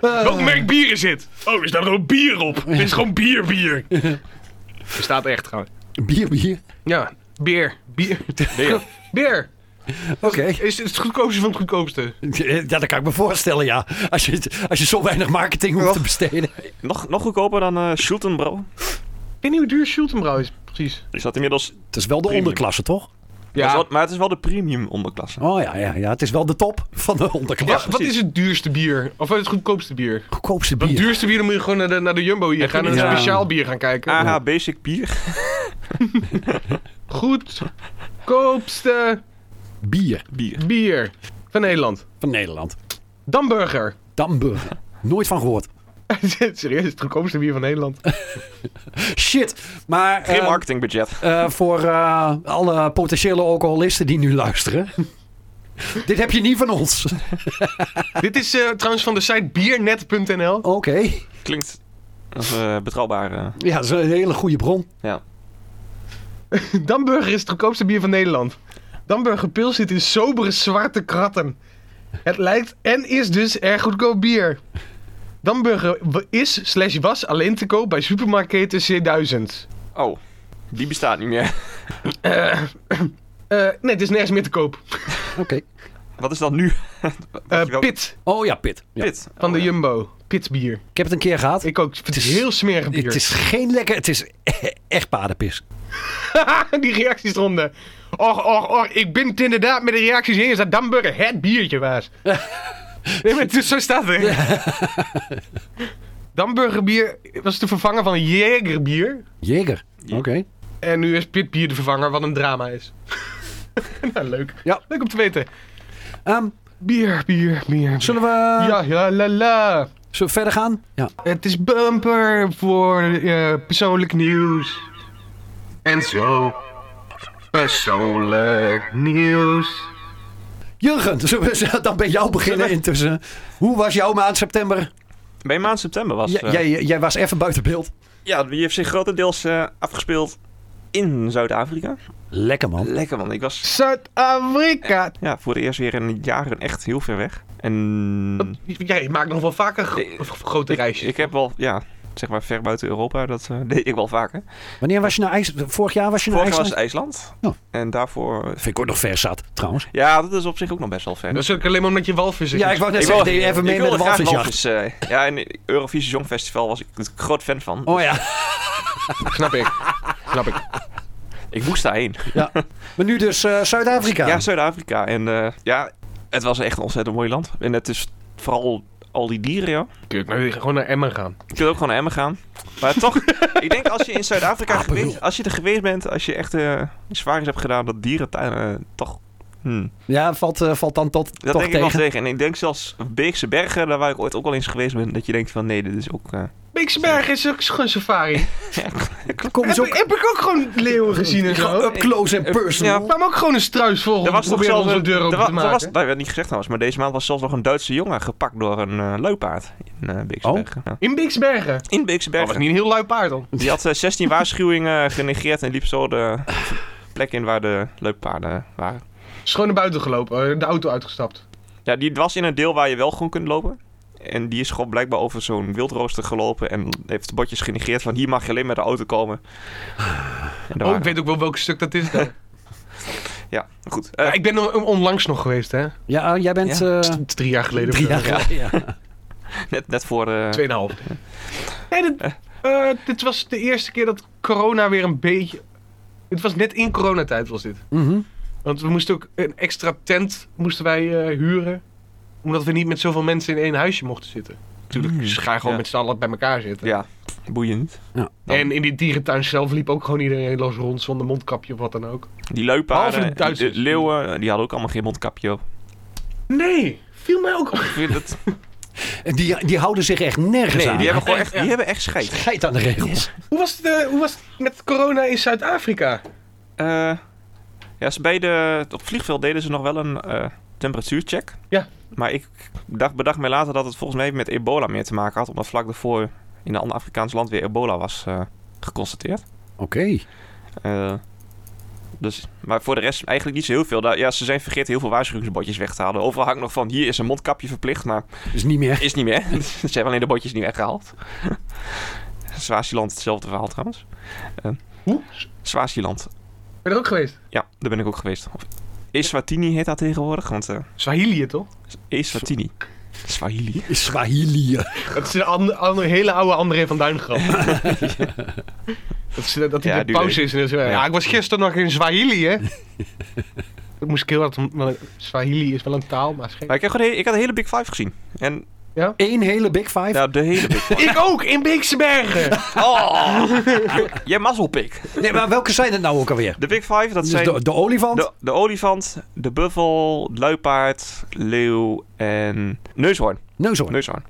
[SPEAKER 4] Welk merk bier is dit? Oh, er staat gewoon bier op. Het is gewoon bier, bier. Er staat echt gewoon.
[SPEAKER 5] Bier, bier.
[SPEAKER 4] Ja, bier. Bier.
[SPEAKER 3] Beer.
[SPEAKER 4] [LAUGHS] Bier.
[SPEAKER 5] Oké.
[SPEAKER 4] Is het goedkoopste van het goedkoopste?
[SPEAKER 5] [LAUGHS] Ja, dat kan ik me voorstellen, ja. Als je, het- als je zo weinig marketing hoeft te besteden.
[SPEAKER 3] Nog, nog goedkoper dan eh Schultenbro.
[SPEAKER 4] Ik weet niet hoe duur Schultenbrouw is, precies.
[SPEAKER 3] Is dat inmiddels...
[SPEAKER 5] Het is wel de
[SPEAKER 3] Premium.
[SPEAKER 5] onderklasse, toch?
[SPEAKER 3] Ja. Maar, het is wel, maar het is wel de premium onderklasse.
[SPEAKER 5] Oh ja, ja, ja, het is wel de top van de onderklasse.
[SPEAKER 4] wat is het duurste bier? Of het goedkoopste bier?
[SPEAKER 5] Goedkoopste
[SPEAKER 4] Het
[SPEAKER 5] bier.
[SPEAKER 4] duurste bier dan moet je gewoon naar de, naar de Jumbo hier gaan en een
[SPEAKER 5] Ja.
[SPEAKER 4] speciaal bier gaan kijken.
[SPEAKER 3] AH Basic Bier.
[SPEAKER 4] Goedkoopste
[SPEAKER 5] Bier
[SPEAKER 3] Bier.
[SPEAKER 4] bier van Nederland.
[SPEAKER 5] van Nederland.
[SPEAKER 4] Damburger. [LAUGHS]
[SPEAKER 5] Damburger. Nooit van gehoord.
[SPEAKER 4] Serieus, het goedkoopste bier van Nederland.
[SPEAKER 5] Shit. Maar
[SPEAKER 3] Geen
[SPEAKER 5] eh,
[SPEAKER 3] marketingbudget.
[SPEAKER 5] eh, voor eh, alle potentiële alcoholisten die nu luisteren. [LAUGHS] Dit heb je niet van ons.
[SPEAKER 4] Dit is eh, trouwens van de site biernet.nl.
[SPEAKER 5] [LAUGHS] Oké.
[SPEAKER 3] Klinkt als eh betrouwbaar. eh.
[SPEAKER 5] Ja, dat is een hele goede bron.
[SPEAKER 3] ja.
[SPEAKER 4] Damburger is het goedkoopste bier van Nederland. Damburger Pils zit in sobere zwarte kratten. Het lijkt en is dus erg goedkoop bier. Damburger w- is slash was alleen te koop bij supermarkten C1000.
[SPEAKER 3] Oh, die bestaat niet meer. [LAUGHS]
[SPEAKER 4] Eh, nee, het is nergens meer te koop.
[SPEAKER 5] Oké.
[SPEAKER 3] Wat is dat nu? [LAUGHS]
[SPEAKER 4] Eh,
[SPEAKER 3] Weet je wel-
[SPEAKER 4] Pit
[SPEAKER 5] Oh ja, Pit. Ja.
[SPEAKER 3] Pit.
[SPEAKER 4] van
[SPEAKER 3] Oh,
[SPEAKER 4] de
[SPEAKER 3] ja.
[SPEAKER 4] Jumbo. Pit bier.
[SPEAKER 5] Ik heb het een keer gehad.
[SPEAKER 4] Ik ook. Het is
[SPEAKER 5] Het is-
[SPEAKER 4] heel smerig bier.
[SPEAKER 5] het is geen lekker... Het is e- echt paardenpis.
[SPEAKER 4] [LAUGHS] die reacties eronder. Och, och, och, ik ben het inderdaad met de reacties eens dat Damburger het biertje was. [LAUGHS] nee, maar het is- zo staat het. hè. [LAUGHS] Damburgerbier was de vervanger van Jägerbier.
[SPEAKER 5] Jeger. Oké.
[SPEAKER 3] Ja.
[SPEAKER 4] En nu is Pitbier de vervanger, wat een drama is. [LAUGHS] nou, leuk.
[SPEAKER 5] Ja.
[SPEAKER 4] Leuk om te weten.
[SPEAKER 5] Ehm,
[SPEAKER 4] Bier, bier, bier.
[SPEAKER 5] zullen, we,
[SPEAKER 4] Ja, ja, la, la.
[SPEAKER 5] zullen we verder gaan? Ja.
[SPEAKER 4] Het is bumper voor eh, persoonlijk nieuws. En zo. Persoonlijk nieuws.
[SPEAKER 5] Jurgen, [LAUGHS] zullen we dan bij jou beginnen intussen? Hoe was jouw maand september?
[SPEAKER 3] Bij maand september was.
[SPEAKER 5] J-
[SPEAKER 3] eh,
[SPEAKER 5] jij, jij was even buiten beeld.
[SPEAKER 3] Ja, die heeft zich grotendeels eh, afgespeeld in Zuid-Afrika.
[SPEAKER 5] Lekker man.
[SPEAKER 3] Lekker man, ik was
[SPEAKER 4] Zuid-Afrika.
[SPEAKER 3] ja, voor de eerst weer in jaren echt heel ver weg. En
[SPEAKER 4] Jij maakt nog wel vaker gro-
[SPEAKER 3] Ik-
[SPEAKER 4] of grote
[SPEAKER 3] ik,
[SPEAKER 4] reisjes.
[SPEAKER 3] ik heb wel, ja, zeg maar ver buiten Europa, dat eh, [LAUGHS] deed ik wel vaker.
[SPEAKER 5] Wanneer was je naar IJsland? Vorig jaar was je naar
[SPEAKER 3] Eh, Vorig jaar was
[SPEAKER 5] IJsland?
[SPEAKER 3] het IJsland.
[SPEAKER 5] Ja.
[SPEAKER 3] En daarvoor...
[SPEAKER 5] Vind ik ook nog ver zat, trouwens.
[SPEAKER 3] Ja, dat is op zich ook nog best wel ver.
[SPEAKER 4] Dat is ook alleen maar omdat je walvis
[SPEAKER 5] Ja, Dus ik wou net zeggen,
[SPEAKER 3] wil-
[SPEAKER 5] deed je even mee
[SPEAKER 3] ik
[SPEAKER 5] met de
[SPEAKER 3] wilde graag
[SPEAKER 5] walvisjacht.
[SPEAKER 3] walvis, eh, ja, en Eurovisie Songfestival was ik een groot fan van.
[SPEAKER 5] Oh ja.
[SPEAKER 4] Snap
[SPEAKER 3] [LAUGHS]
[SPEAKER 4] ik. Snap ik.
[SPEAKER 3] Ik moest daarheen.
[SPEAKER 5] ja. Maar nu dus eh, Zuid-Afrika.
[SPEAKER 3] Ja, Zuid-Afrika. En eh, ja, het was echt een ontzettend mooi land. En het is vooral al die dieren, joh.
[SPEAKER 4] Kun je ook nou weer gewoon naar Emmen gaan?
[SPEAKER 3] Je kunt ook gewoon naar Emmen gaan. Maar
[SPEAKER 5] [LAUGHS]
[SPEAKER 3] toch, ik denk als je in Zuid-Afrika geweest, als je er geweest bent, als je echt eh zwaar hebt gedaan, dat dierentuin eh, toch... hmm.
[SPEAKER 5] Ja, valt, eh, valt dan tot,
[SPEAKER 3] Dat
[SPEAKER 5] toch
[SPEAKER 3] denk
[SPEAKER 5] tegen.
[SPEAKER 3] ik wel tegen. En ik denk zelfs Beekse Bergen, daar waar ik ooit ook al eens geweest ben, dat je denkt van nee, dit is ook... eh, [LAUGHS]
[SPEAKER 4] Beeksberg [LAUGHS] is ook gewoon safari.
[SPEAKER 5] Kom
[SPEAKER 4] heb, ik,
[SPEAKER 5] eens ook
[SPEAKER 4] heb ik ook gewoon leeuwen gezien en zo.
[SPEAKER 5] up close and personal.
[SPEAKER 4] Maar ook gewoon een struisvogel.
[SPEAKER 3] Er was toch
[SPEAKER 4] proberen
[SPEAKER 3] zelfs
[SPEAKER 4] onze
[SPEAKER 3] een
[SPEAKER 4] deur open
[SPEAKER 3] er wa-
[SPEAKER 4] te
[SPEAKER 3] er
[SPEAKER 4] maken.
[SPEAKER 3] was, dat werd niet gezegd trouwens, maar deze maand was zelfs nog een Duitse jongen gepakt door een eh, luipaard in eh
[SPEAKER 4] Oh.
[SPEAKER 3] Beeksbergen. Ja.
[SPEAKER 4] In Beeksbergen.
[SPEAKER 3] In
[SPEAKER 4] Dat
[SPEAKER 3] Beeksbergen.
[SPEAKER 4] was Oh, niet een heel lui paard dan.
[SPEAKER 3] Die had eh, 16
[SPEAKER 4] [LAUGHS]
[SPEAKER 3] waarschuwingen genegeerd en liep zo de plek in waar de luipaarden waren.
[SPEAKER 4] Is gewoon naar buiten gelopen, eh, de auto uitgestapt.
[SPEAKER 3] Ja, die was in een deel waar je wel gewoon kunt lopen. En die is gewoon blijkbaar over zo'n wildrooster gelopen en heeft botjes genegeerd van hier mag je alleen met de auto komen. En daar
[SPEAKER 4] Oh, ik
[SPEAKER 3] waren-
[SPEAKER 4] weet ook wel welk stuk
[SPEAKER 3] [LAUGHS]
[SPEAKER 4] dat is dan.
[SPEAKER 3] Ja, goed. Eh,
[SPEAKER 4] Ja, ik ben on- onlangs nog geweest, hè.
[SPEAKER 5] Ja, jij bent
[SPEAKER 3] Ja.
[SPEAKER 5] eh,
[SPEAKER 4] Het is Drie jaar geleden.
[SPEAKER 5] drie
[SPEAKER 4] of zo.
[SPEAKER 5] jaar geleden. Ja.
[SPEAKER 3] Net, net voor eh, de...
[SPEAKER 4] Tweeënhalf. Nee, dit, eh, dit was de eerste keer dat corona weer een beetje... Het was net in coronatijd was dit.
[SPEAKER 5] Mhm.
[SPEAKER 4] Want we moesten ook een extra tent moesten wij eh, huren. Omdat we niet met zoveel mensen in één huisje mochten zitten. Natuurlijk,
[SPEAKER 3] Mm.
[SPEAKER 4] ze gaan gewoon
[SPEAKER 3] Ja.
[SPEAKER 4] met z'n allen bij elkaar zitten.
[SPEAKER 3] Ja, pff, boeiend. dan.
[SPEAKER 4] En in die dierentuin zelf liep ook gewoon iedereen los rond zonder mondkapje of wat dan ook.
[SPEAKER 3] Die
[SPEAKER 4] Behalve
[SPEAKER 3] luipaarden,
[SPEAKER 4] de
[SPEAKER 3] die,
[SPEAKER 4] Duitsers.
[SPEAKER 3] de leeuwen, die hadden ook allemaal geen mondkapje op.
[SPEAKER 4] Nee, viel mij ook op. [LAUGHS]
[SPEAKER 3] Ik vind dat...
[SPEAKER 5] En Die, die houden zich echt nergens
[SPEAKER 3] Nee,
[SPEAKER 5] aan.
[SPEAKER 3] die hebben gewoon echt,
[SPEAKER 4] Ja.
[SPEAKER 3] die hebben echt scheid.
[SPEAKER 5] Scheid aan de regels.
[SPEAKER 4] Hoe was, het, eh, hoe was het met corona in Zuid-Afrika?
[SPEAKER 3] Eh, ja, ze bij de, op het vliegveld deden ze nog wel een eh, temperatuurcheck.
[SPEAKER 4] Ja.
[SPEAKER 3] Maar ik dacht, bedacht mij later dat het volgens mij met ebola meer te maken had. Omdat vlak daarvoor in een ander Afrikaans land weer ebola was eh, geconstateerd.
[SPEAKER 5] Oké.
[SPEAKER 3] Eh, dus, maar voor de rest eigenlijk niet zo heel veel. Daar- ja, ze zijn vergeten heel veel waarschuwingsbordjes weg te halen. Overal hangt nog van, hier is een mondkapje verplicht. Maar
[SPEAKER 5] Dus niet meer.
[SPEAKER 3] Is niet meer. [LAUGHS] Ze hebben alleen de botjes niet weggehaald. [LAUGHS] Swaziland, hetzelfde verhaal trouwens. Eh,
[SPEAKER 4] Hoe?
[SPEAKER 3] Swaziland.
[SPEAKER 4] Ben je er ook geweest?
[SPEAKER 3] Ja, daar ben ik ook geweest. Of Eswatini heet dat tegenwoordig, want eh
[SPEAKER 4] Swahili toch?
[SPEAKER 3] Eswatini. Swahili.
[SPEAKER 5] Swahili.
[SPEAKER 4] Dat is een ander- ander- hele oude André van Duin [LAUGHS] grap. Dat, is, eh, dat hij
[SPEAKER 3] Ja,
[SPEAKER 4] de
[SPEAKER 3] die
[SPEAKER 4] pauze
[SPEAKER 3] weet
[SPEAKER 4] is. En zo. Ja.
[SPEAKER 3] Ja.
[SPEAKER 4] ik was gisteren nog in Swahili,
[SPEAKER 3] [LAUGHS]
[SPEAKER 4] hè. dat moest ik heel hard... om- want eh, Swahili is wel een taal, maar schijn.
[SPEAKER 3] Maar ik, heb gewoon de, ik had de hele Big Five gezien. En
[SPEAKER 5] Eén hele Big Five.
[SPEAKER 3] nou, de hele
[SPEAKER 5] [LAUGHS]
[SPEAKER 3] Big Five.
[SPEAKER 4] Ik ook, in Beekse Bergen.
[SPEAKER 3] Oh! Jij mazzelpik.
[SPEAKER 5] Nee, maar welke zijn het nou ook alweer?
[SPEAKER 3] De Big Five, dat
[SPEAKER 5] Dus
[SPEAKER 3] zijn
[SPEAKER 5] de, de olifant.
[SPEAKER 3] de, de olifant, de buffel, luipaard, leeuw en neushoorn.
[SPEAKER 5] Neushoorn.
[SPEAKER 3] Neushoorn.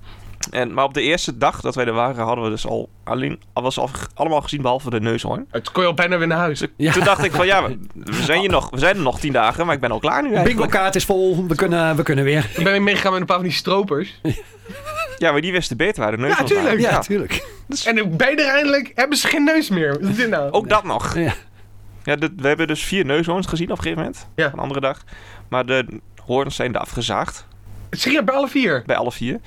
[SPEAKER 3] En, maar op de eerste dag dat wij er waren, hadden we dus al alleen, al was al, allemaal gezien behalve de neushoorn.
[SPEAKER 4] Het kon je al bijna weer naar huis.
[SPEAKER 3] Dus ik-
[SPEAKER 5] Ja.
[SPEAKER 3] toen dacht ik van ja, we, we zijn hier nog, we zijn er nog tien dagen, maar ik ben al klaar nu
[SPEAKER 5] [LAUGHS] Bingo
[SPEAKER 3] eigenlijk.
[SPEAKER 5] kaart is vol. We kunnen, we kunnen weer.
[SPEAKER 4] Ik ben weer meegegaan met een paar van die stropers.
[SPEAKER 3] Ja, maar die wisten beter waar de neushoorn
[SPEAKER 4] Ja, tuurlijk.
[SPEAKER 3] waren.
[SPEAKER 5] Ja, natuurlijk.
[SPEAKER 4] En bijna eindelijk hebben ze geen neus meer. Wat is dit nou?
[SPEAKER 3] Ook dat nog.
[SPEAKER 5] Ja.
[SPEAKER 3] Ja. dit- we hebben dus vier neushoorns gezien op een gegeven moment,
[SPEAKER 4] Ja.
[SPEAKER 3] een andere dag. Maar de hoorns zijn er afgezaagd,
[SPEAKER 4] Schier bij alle vier.
[SPEAKER 3] bij alle vier.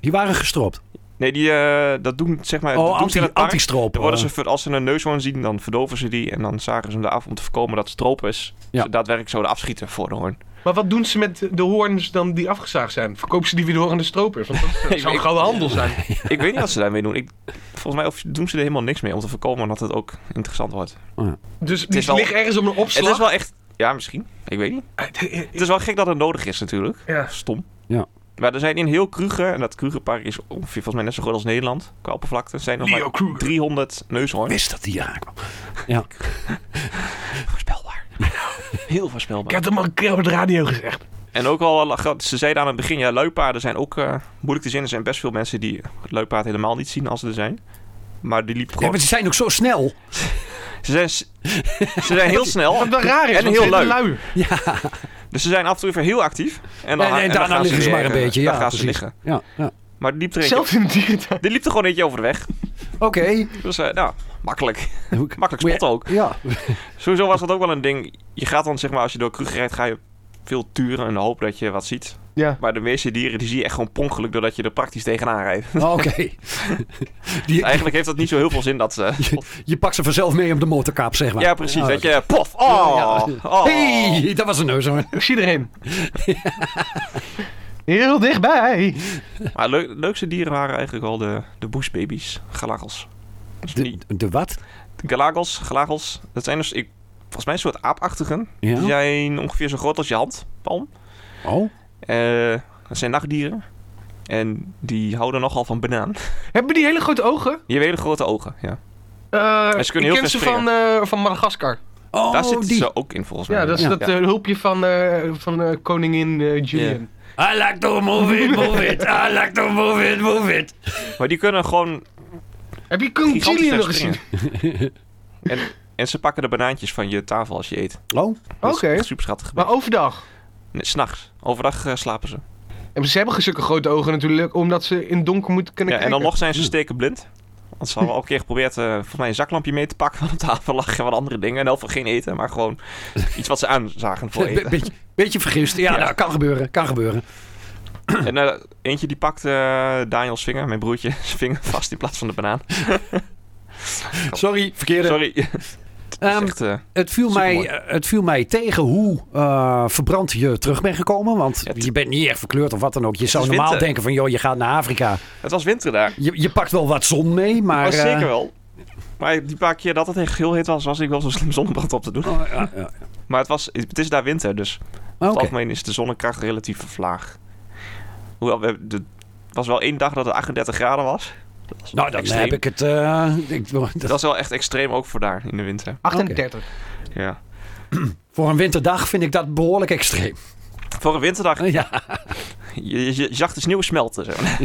[SPEAKER 5] Die waren gestropt.
[SPEAKER 3] Nee, die, eh, dat doen zeg maar... dat doen
[SPEAKER 5] Oh,
[SPEAKER 3] ze
[SPEAKER 5] anti,
[SPEAKER 3] in het park.
[SPEAKER 5] anti-stroop. Oh.
[SPEAKER 3] Dan worden ze, ver- als ze een neushoorn zien, dan verdoven ze die en dan zagen ze hem eraf om te voorkomen dat het stroop is.
[SPEAKER 5] Ja.
[SPEAKER 3] Ze daadwerkelijk zouden afschieten voor de hoorn.
[SPEAKER 4] Maar wat doen ze met de hoorns dan die afgezaagd zijn? Verkopen ze die weer door aan de
[SPEAKER 3] [LAUGHS]
[SPEAKER 4] stropers? Want dat zou een gouden handel zijn.
[SPEAKER 3] Ik weet niet wat ze daarmee doen. Ik, volgens mij of- doen ze er helemaal niks mee om te voorkomen dat het ook interessant wordt.
[SPEAKER 4] Dus
[SPEAKER 3] is
[SPEAKER 4] die
[SPEAKER 3] wel-
[SPEAKER 4] ligt ergens op een
[SPEAKER 3] Het is
[SPEAKER 4] opslag. Ah,
[SPEAKER 3] wel echt... Ja, misschien. Ik weet niet. Het is wel gek dat het nodig is natuurlijk.
[SPEAKER 4] Ja.
[SPEAKER 3] Stom.
[SPEAKER 5] Ja.
[SPEAKER 3] Maar er zijn in heel Kruger, en dat Krugerpark is ongeveer volgens mij net zo groot als Nederland, qua oppervlakte, zijn er nog
[SPEAKER 4] Leo
[SPEAKER 3] maar
[SPEAKER 4] Kruger.
[SPEAKER 3] 300 neushoorns.
[SPEAKER 5] Wist dat die aankwam.
[SPEAKER 3] Voorspelbaar. Heel voorspelbaar.
[SPEAKER 4] Ik heb hem al een keer op de radio gezegd.
[SPEAKER 3] En ook al, ze zeiden aan het begin, ja, luipaarden zijn ook eh, moeilijk te zien. Er zijn best veel mensen die het luipaard helemaal niet zien als ze er zijn. Maar die liepen
[SPEAKER 5] Ja,
[SPEAKER 3] gewoon...
[SPEAKER 5] maar ze zijn ook zo snel.
[SPEAKER 3] ze, zijn, s- ze zijn
[SPEAKER 4] [LAUGHS]
[SPEAKER 3] heel snel.
[SPEAKER 4] Wat wel raar is,
[SPEAKER 3] En
[SPEAKER 4] want
[SPEAKER 3] heel
[SPEAKER 4] ze zijn
[SPEAKER 3] leuk.
[SPEAKER 4] lui.
[SPEAKER 3] Dus ze zijn af en toe even heel actief. En,
[SPEAKER 5] En,
[SPEAKER 3] dan,
[SPEAKER 5] en
[SPEAKER 3] dan
[SPEAKER 5] daarna
[SPEAKER 3] gaan
[SPEAKER 5] liggen ze
[SPEAKER 3] weer,
[SPEAKER 5] maar een
[SPEAKER 3] eh,
[SPEAKER 5] beetje.
[SPEAKER 3] Dan
[SPEAKER 5] Ja,
[SPEAKER 3] gaan ze
[SPEAKER 5] precies.
[SPEAKER 3] liggen.
[SPEAKER 5] Ja, ja.
[SPEAKER 3] Maar die liep er, eentje,
[SPEAKER 4] Zelfs in de
[SPEAKER 3] [LAUGHS]
[SPEAKER 4] dierentuin.
[SPEAKER 3] die liep er gewoon eentje over de weg.
[SPEAKER 5] Oké.
[SPEAKER 3] Dus eh, nou, makkelijk.
[SPEAKER 5] Hoe-
[SPEAKER 3] [LAUGHS] Makkelijk
[SPEAKER 5] hoe-
[SPEAKER 3] spotten ook.
[SPEAKER 5] Ja.
[SPEAKER 3] Sowieso was dat ook wel een ding. Je gaat dan, zeg maar, als je door Kruger rijdt, ga je veel turen en hoop dat je wat ziet.
[SPEAKER 4] Ja.
[SPEAKER 3] Maar de meeste dieren, die zie je echt gewoon pongelijk doordat je er praktisch tegenaan
[SPEAKER 5] [LAUGHS]
[SPEAKER 3] rijdt.
[SPEAKER 5] Oh, Oké. Die,
[SPEAKER 3] Eigenlijk heeft dat niet zo heel veel zin dat ze...
[SPEAKER 5] [LAUGHS] je pakt ze vanzelf mee op de motorkap, zeg maar.
[SPEAKER 3] [LAUGHS] Ja, precies.
[SPEAKER 5] Oh,
[SPEAKER 3] dat je pof. Oh,
[SPEAKER 5] Ja.
[SPEAKER 3] oh.
[SPEAKER 5] Hey, dat was een neushoorn.
[SPEAKER 4] Ik zie erheen. [LAUGHS] Heel dichtbij.
[SPEAKER 3] Maar leuk, leukste dieren waren eigenlijk wel de, de bushbabies. Galagels. Dus
[SPEAKER 5] De,
[SPEAKER 3] die-
[SPEAKER 5] de wat?
[SPEAKER 3] de galagels, galagels. Dat zijn dus, ik, volgens mij een soort aapachtigen.
[SPEAKER 5] Ja.
[SPEAKER 3] Die zijn ongeveer zo groot als je hand, palm.
[SPEAKER 5] Oh.
[SPEAKER 3] Eh, dat zijn nachtdieren. En die houden nogal van banaan.
[SPEAKER 4] Hebben die hele grote ogen?
[SPEAKER 3] Je hebt hele grote ogen, ja.
[SPEAKER 4] Eh,
[SPEAKER 3] En ze kunnen
[SPEAKER 4] ik
[SPEAKER 3] heel
[SPEAKER 4] ken
[SPEAKER 3] ver
[SPEAKER 4] ze van, eh, van Madagaskar.
[SPEAKER 5] Oh,
[SPEAKER 3] Daar zitten
[SPEAKER 5] die.
[SPEAKER 3] ze ook in volgens mij.
[SPEAKER 4] Ja, dat is
[SPEAKER 5] Ja.
[SPEAKER 4] dat eh, hulpje van, eh, van eh, koningin eh, Julian.
[SPEAKER 5] I like to move it, move Ah, it. I like to move it, move it.
[SPEAKER 4] eh,
[SPEAKER 3] Maar die kunnen gewoon
[SPEAKER 4] Heb je koning
[SPEAKER 3] gigantisch
[SPEAKER 4] Julian
[SPEAKER 3] ver
[SPEAKER 4] nog gezien?
[SPEAKER 3] springen. en, en ze pakken de banaantjes van je tafel als je eet.
[SPEAKER 5] Oh,
[SPEAKER 4] Oké,
[SPEAKER 3] Dat is super schattig.
[SPEAKER 4] maar overdag.
[SPEAKER 3] S'nachts. Overdag eh, slapen ze.
[SPEAKER 4] En ze hebben zulke grote ogen natuurlijk, omdat ze in het donker moeten kunnen
[SPEAKER 3] Ja, en
[SPEAKER 4] kijken.
[SPEAKER 3] dan nog zijn ze
[SPEAKER 5] Hm.
[SPEAKER 3] stekenblind. Want ze hadden al een keer geprobeerd eh volgens mij een zaklampje mee te pakken [LAUGHS] van op tafel lag en wat andere dingen. En heel veel geen eten, maar
[SPEAKER 5] [LAUGHS]
[SPEAKER 3] gewoon iets wat ze aanzagen voor
[SPEAKER 5] Be- [CLEARS THROAT]
[SPEAKER 3] eten.
[SPEAKER 5] beetje, beetje vergist. Ja,
[SPEAKER 3] Ja.
[SPEAKER 5] nou, kan gebeuren, kan gebeuren.
[SPEAKER 3] En eh, eentje die pakte eh, Daniels vinger, mijn broertje, [LAUGHS] zijn vinger vast in plaats van de banaan.
[SPEAKER 5] Sorry, verkeerde.
[SPEAKER 3] Sorry. [LAUGHS] Dat is
[SPEAKER 5] Ehm,
[SPEAKER 3] echt, eh,
[SPEAKER 5] Het viel, mij,
[SPEAKER 3] Supermooi.
[SPEAKER 5] het viel mij tegen hoe eh, verbrand je terug bent gekomen. Want
[SPEAKER 3] Ja, het-
[SPEAKER 5] je bent niet echt verkleurd of wat dan ook. Je zou
[SPEAKER 3] is
[SPEAKER 5] normaal
[SPEAKER 3] winter.
[SPEAKER 5] denken van, joh, je gaat naar Afrika.
[SPEAKER 3] het was winter daar.
[SPEAKER 5] Je, je pakt wel wat zon mee, maar...
[SPEAKER 3] Maar,
[SPEAKER 5] eh,
[SPEAKER 3] Oh, zeker wel. Maar die paar keer dat het echt heel heet was, was ik wel zo slim zonnebrand op te doen.
[SPEAKER 5] oh, ja, ja.
[SPEAKER 3] Maar het, was, het is daar winter, dus over
[SPEAKER 5] Oké.
[SPEAKER 3] het algemeen is de zonnekracht relatief verlaag. Hoewel, we hebben- de- er was wel één dag dat het 38 graden was. Dat was
[SPEAKER 5] Nou, dan
[SPEAKER 3] extreem.
[SPEAKER 5] heb ik het... eh, ik,
[SPEAKER 3] Dat was wel echt extreem ook voor daar in de winter.
[SPEAKER 4] 38.
[SPEAKER 3] Ja.
[SPEAKER 5] Voor een winterdag vind ik dat behoorlijk extreem. [LAUGHS]
[SPEAKER 3] Voor een winterdag, je,
[SPEAKER 5] Ja,
[SPEAKER 3] je, je zag de sneeuw smelten. Zo. [LAUGHS]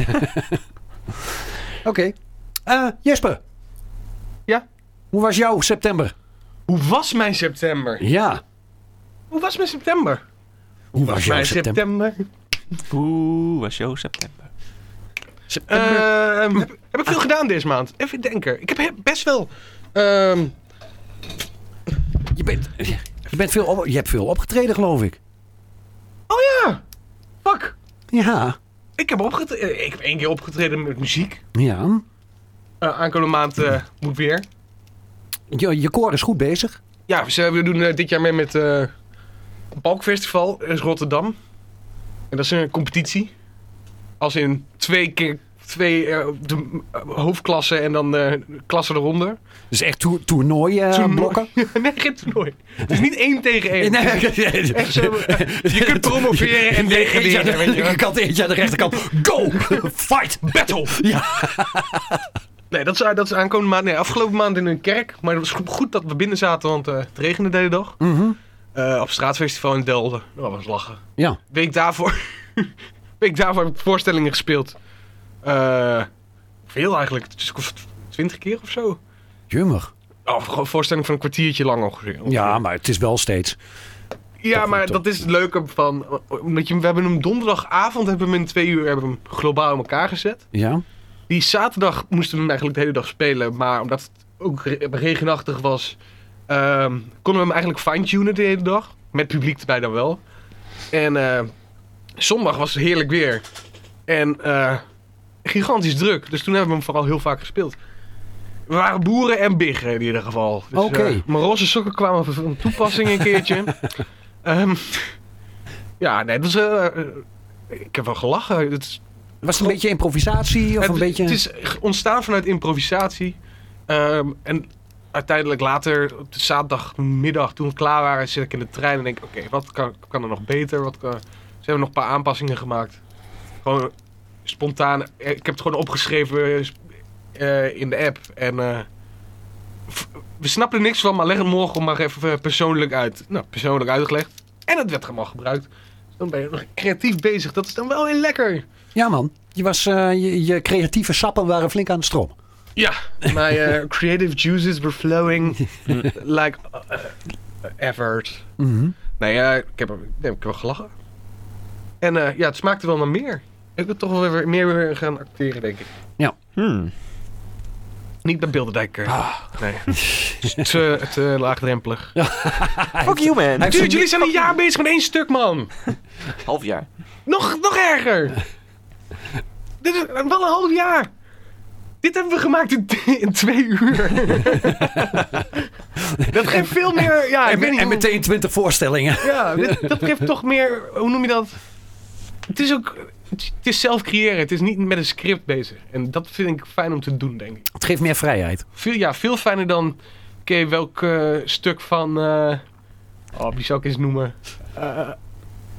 [SPEAKER 5] oké. Eh, Jesper.
[SPEAKER 4] Ja?
[SPEAKER 5] Hoe was jouw september?
[SPEAKER 4] Hoe was mijn september?
[SPEAKER 5] Ja.
[SPEAKER 4] Hoe was mijn september?
[SPEAKER 5] Hoe was jouw
[SPEAKER 4] Mijn
[SPEAKER 5] september?
[SPEAKER 4] september.
[SPEAKER 3] Oeh, was jouw september.
[SPEAKER 5] September.
[SPEAKER 4] [LAUGHS] Ehm, heb, heb ik veel gedaan deze maand? Even denken. Ik heb he- best wel. ehm,
[SPEAKER 5] je, bent, je, bent veel op- je hebt veel opgetreden, geloof ik.
[SPEAKER 4] oh ja! Fuck!
[SPEAKER 5] Ja.
[SPEAKER 4] Ik heb, opgetreden, ik heb één keer opgetreden met muziek.
[SPEAKER 5] Ja.
[SPEAKER 4] Eh, aankomende maand eh, moet ik weer.
[SPEAKER 5] Je, je koor is goed bezig.
[SPEAKER 4] Ja, we zijn- we doen eh, dit jaar mee met eh een Balkfestival in Rotterdam. En dat is een competitie. Als in twee keer twee eh, de, eh, hoofdklassen en dan eh klassen eronder.
[SPEAKER 5] Dus echt toer- toernooi eh,
[SPEAKER 4] Toernooi.
[SPEAKER 5] blokken.
[SPEAKER 4] [LAUGHS] nee, geen toernooi. Het is niet één tegen één.
[SPEAKER 5] Nee,
[SPEAKER 4] Echt
[SPEAKER 5] [LAUGHS]
[SPEAKER 4] zo, je kunt promoveren en
[SPEAKER 5] Eentje aan
[SPEAKER 4] degraderen,
[SPEAKER 5] de
[SPEAKER 4] weet je wel.
[SPEAKER 5] linkerkant, eentje aan de rechterkant. Go! Fight!
[SPEAKER 4] Battle!
[SPEAKER 5] Ja.
[SPEAKER 4] Nee, dat is, eh, dat is aankomende maand. Nee, afgelopen maand in een kerk. Maar het was goed, goed dat we binnen zaten, want eh, het regende de hele dag. Eh, op het straatfestival in Delden. Nou, dat was lachen.
[SPEAKER 5] Ja.
[SPEAKER 4] Week daarvoor, [LAUGHS] week daarvoor heb ik voorstellingen gespeeld. Eh, veel eigenlijk. Het is twintig keer of zo.
[SPEAKER 5] Jummer.
[SPEAKER 4] Oh, gewoon voorstelling van een kwartiertje lang ongeveer.
[SPEAKER 5] Ja, maar het is wel steeds.
[SPEAKER 4] ja maar
[SPEAKER 5] toch.
[SPEAKER 4] dat is het leuke van. Omdat je, we hebben hem donderdagavond hebben we hem in twee uur hebben we hem globaal in elkaar gezet.
[SPEAKER 5] Ja.
[SPEAKER 4] Die zaterdag moesten we hem eigenlijk de hele dag spelen. Maar omdat het ook re- regenachtig was, ehm, konden we hem eigenlijk fine-tunen de hele dag. Met publiek erbij dan wel. En eh, zondag was het heerlijk weer. En eh, gigantisch druk. Dus toen hebben we hem vooral heel vaak gespeeld. We waren boeren en biggen in ieder geval. Dus,
[SPEAKER 5] Oké.
[SPEAKER 4] eh, mijn roze sokken kwamen van- van toepassing een keertje. Ehm, ja, nee, dat is... eh, eh, ik heb wel gelachen. Het is
[SPEAKER 5] Was het een beetje improvisatie of
[SPEAKER 4] het,
[SPEAKER 5] een beetje...
[SPEAKER 4] het is g- ontstaan vanuit improvisatie. Ehm, en uiteindelijk later, op de zaterdagmiddag, toen we klaar waren, zit ik in de trein en denk ik, oké, wat kan, kan er nog beter? Wat kan... Ze hebben nog een paar aanpassingen gemaakt. Gewoon spontaan. eh, Ik heb het gewoon opgeschreven eh, sp- eh, in de app. En eh, v- we snappen er niks van, maar leg het morgen maar even eh, persoonlijk uit. Nou, persoonlijk uitgelegd. En het werd gewoon gebruikt. Dus Dan ben je nog creatief bezig. Dat is dan wel heel lekker.
[SPEAKER 5] Ja, man. Je, was, eh, je, je creatieve sappen waren flink aan het stroom.
[SPEAKER 4] Ja, my eh, creative juices were flowing like uh, uh, effort. Nee, eh, ik, heb, er- nee, ik heb wel gelachen. En eh, ja, het smaakte wel naar meer. Ik wil toch wel weer meer weer gaan acteren, denk ik.
[SPEAKER 3] Hmm.
[SPEAKER 4] Niet bij Bilderdijk. eh. Nee. Het is te, te laagdrempelig.
[SPEAKER 3] Fuck you, man.
[SPEAKER 5] Ah, Hij-
[SPEAKER 4] Dude, jullie zijn een jaar bezig met één stuk, man.
[SPEAKER 3] Half jaar.
[SPEAKER 4] Nog, nog
[SPEAKER 5] [LAUGHS]
[SPEAKER 4] erger. Dit is wel een half jaar. Dit hebben we gemaakt in, in twee
[SPEAKER 5] [LAUGHS]
[SPEAKER 4] uur. Dat geeft veel meer... Ja, ik
[SPEAKER 5] en,
[SPEAKER 4] weet niet
[SPEAKER 5] en
[SPEAKER 4] hoe-
[SPEAKER 5] meteen 20 voorstellingen.
[SPEAKER 4] Ja, dit- dat geeft toch meer. Hoe noem je dat? Het is ook. Het is zelf creëren. Het is niet met een script bezig. En dat vind ik fijn om te doen, denk ik.
[SPEAKER 5] Het geeft meer
[SPEAKER 4] [LAUGHS]
[SPEAKER 5] vrijheid.
[SPEAKER 4] Veel, ja, veel fijner dan. Oké, welk eh, stuk van. eh, oh, wie zou ik eens noemen?
[SPEAKER 5] Nou,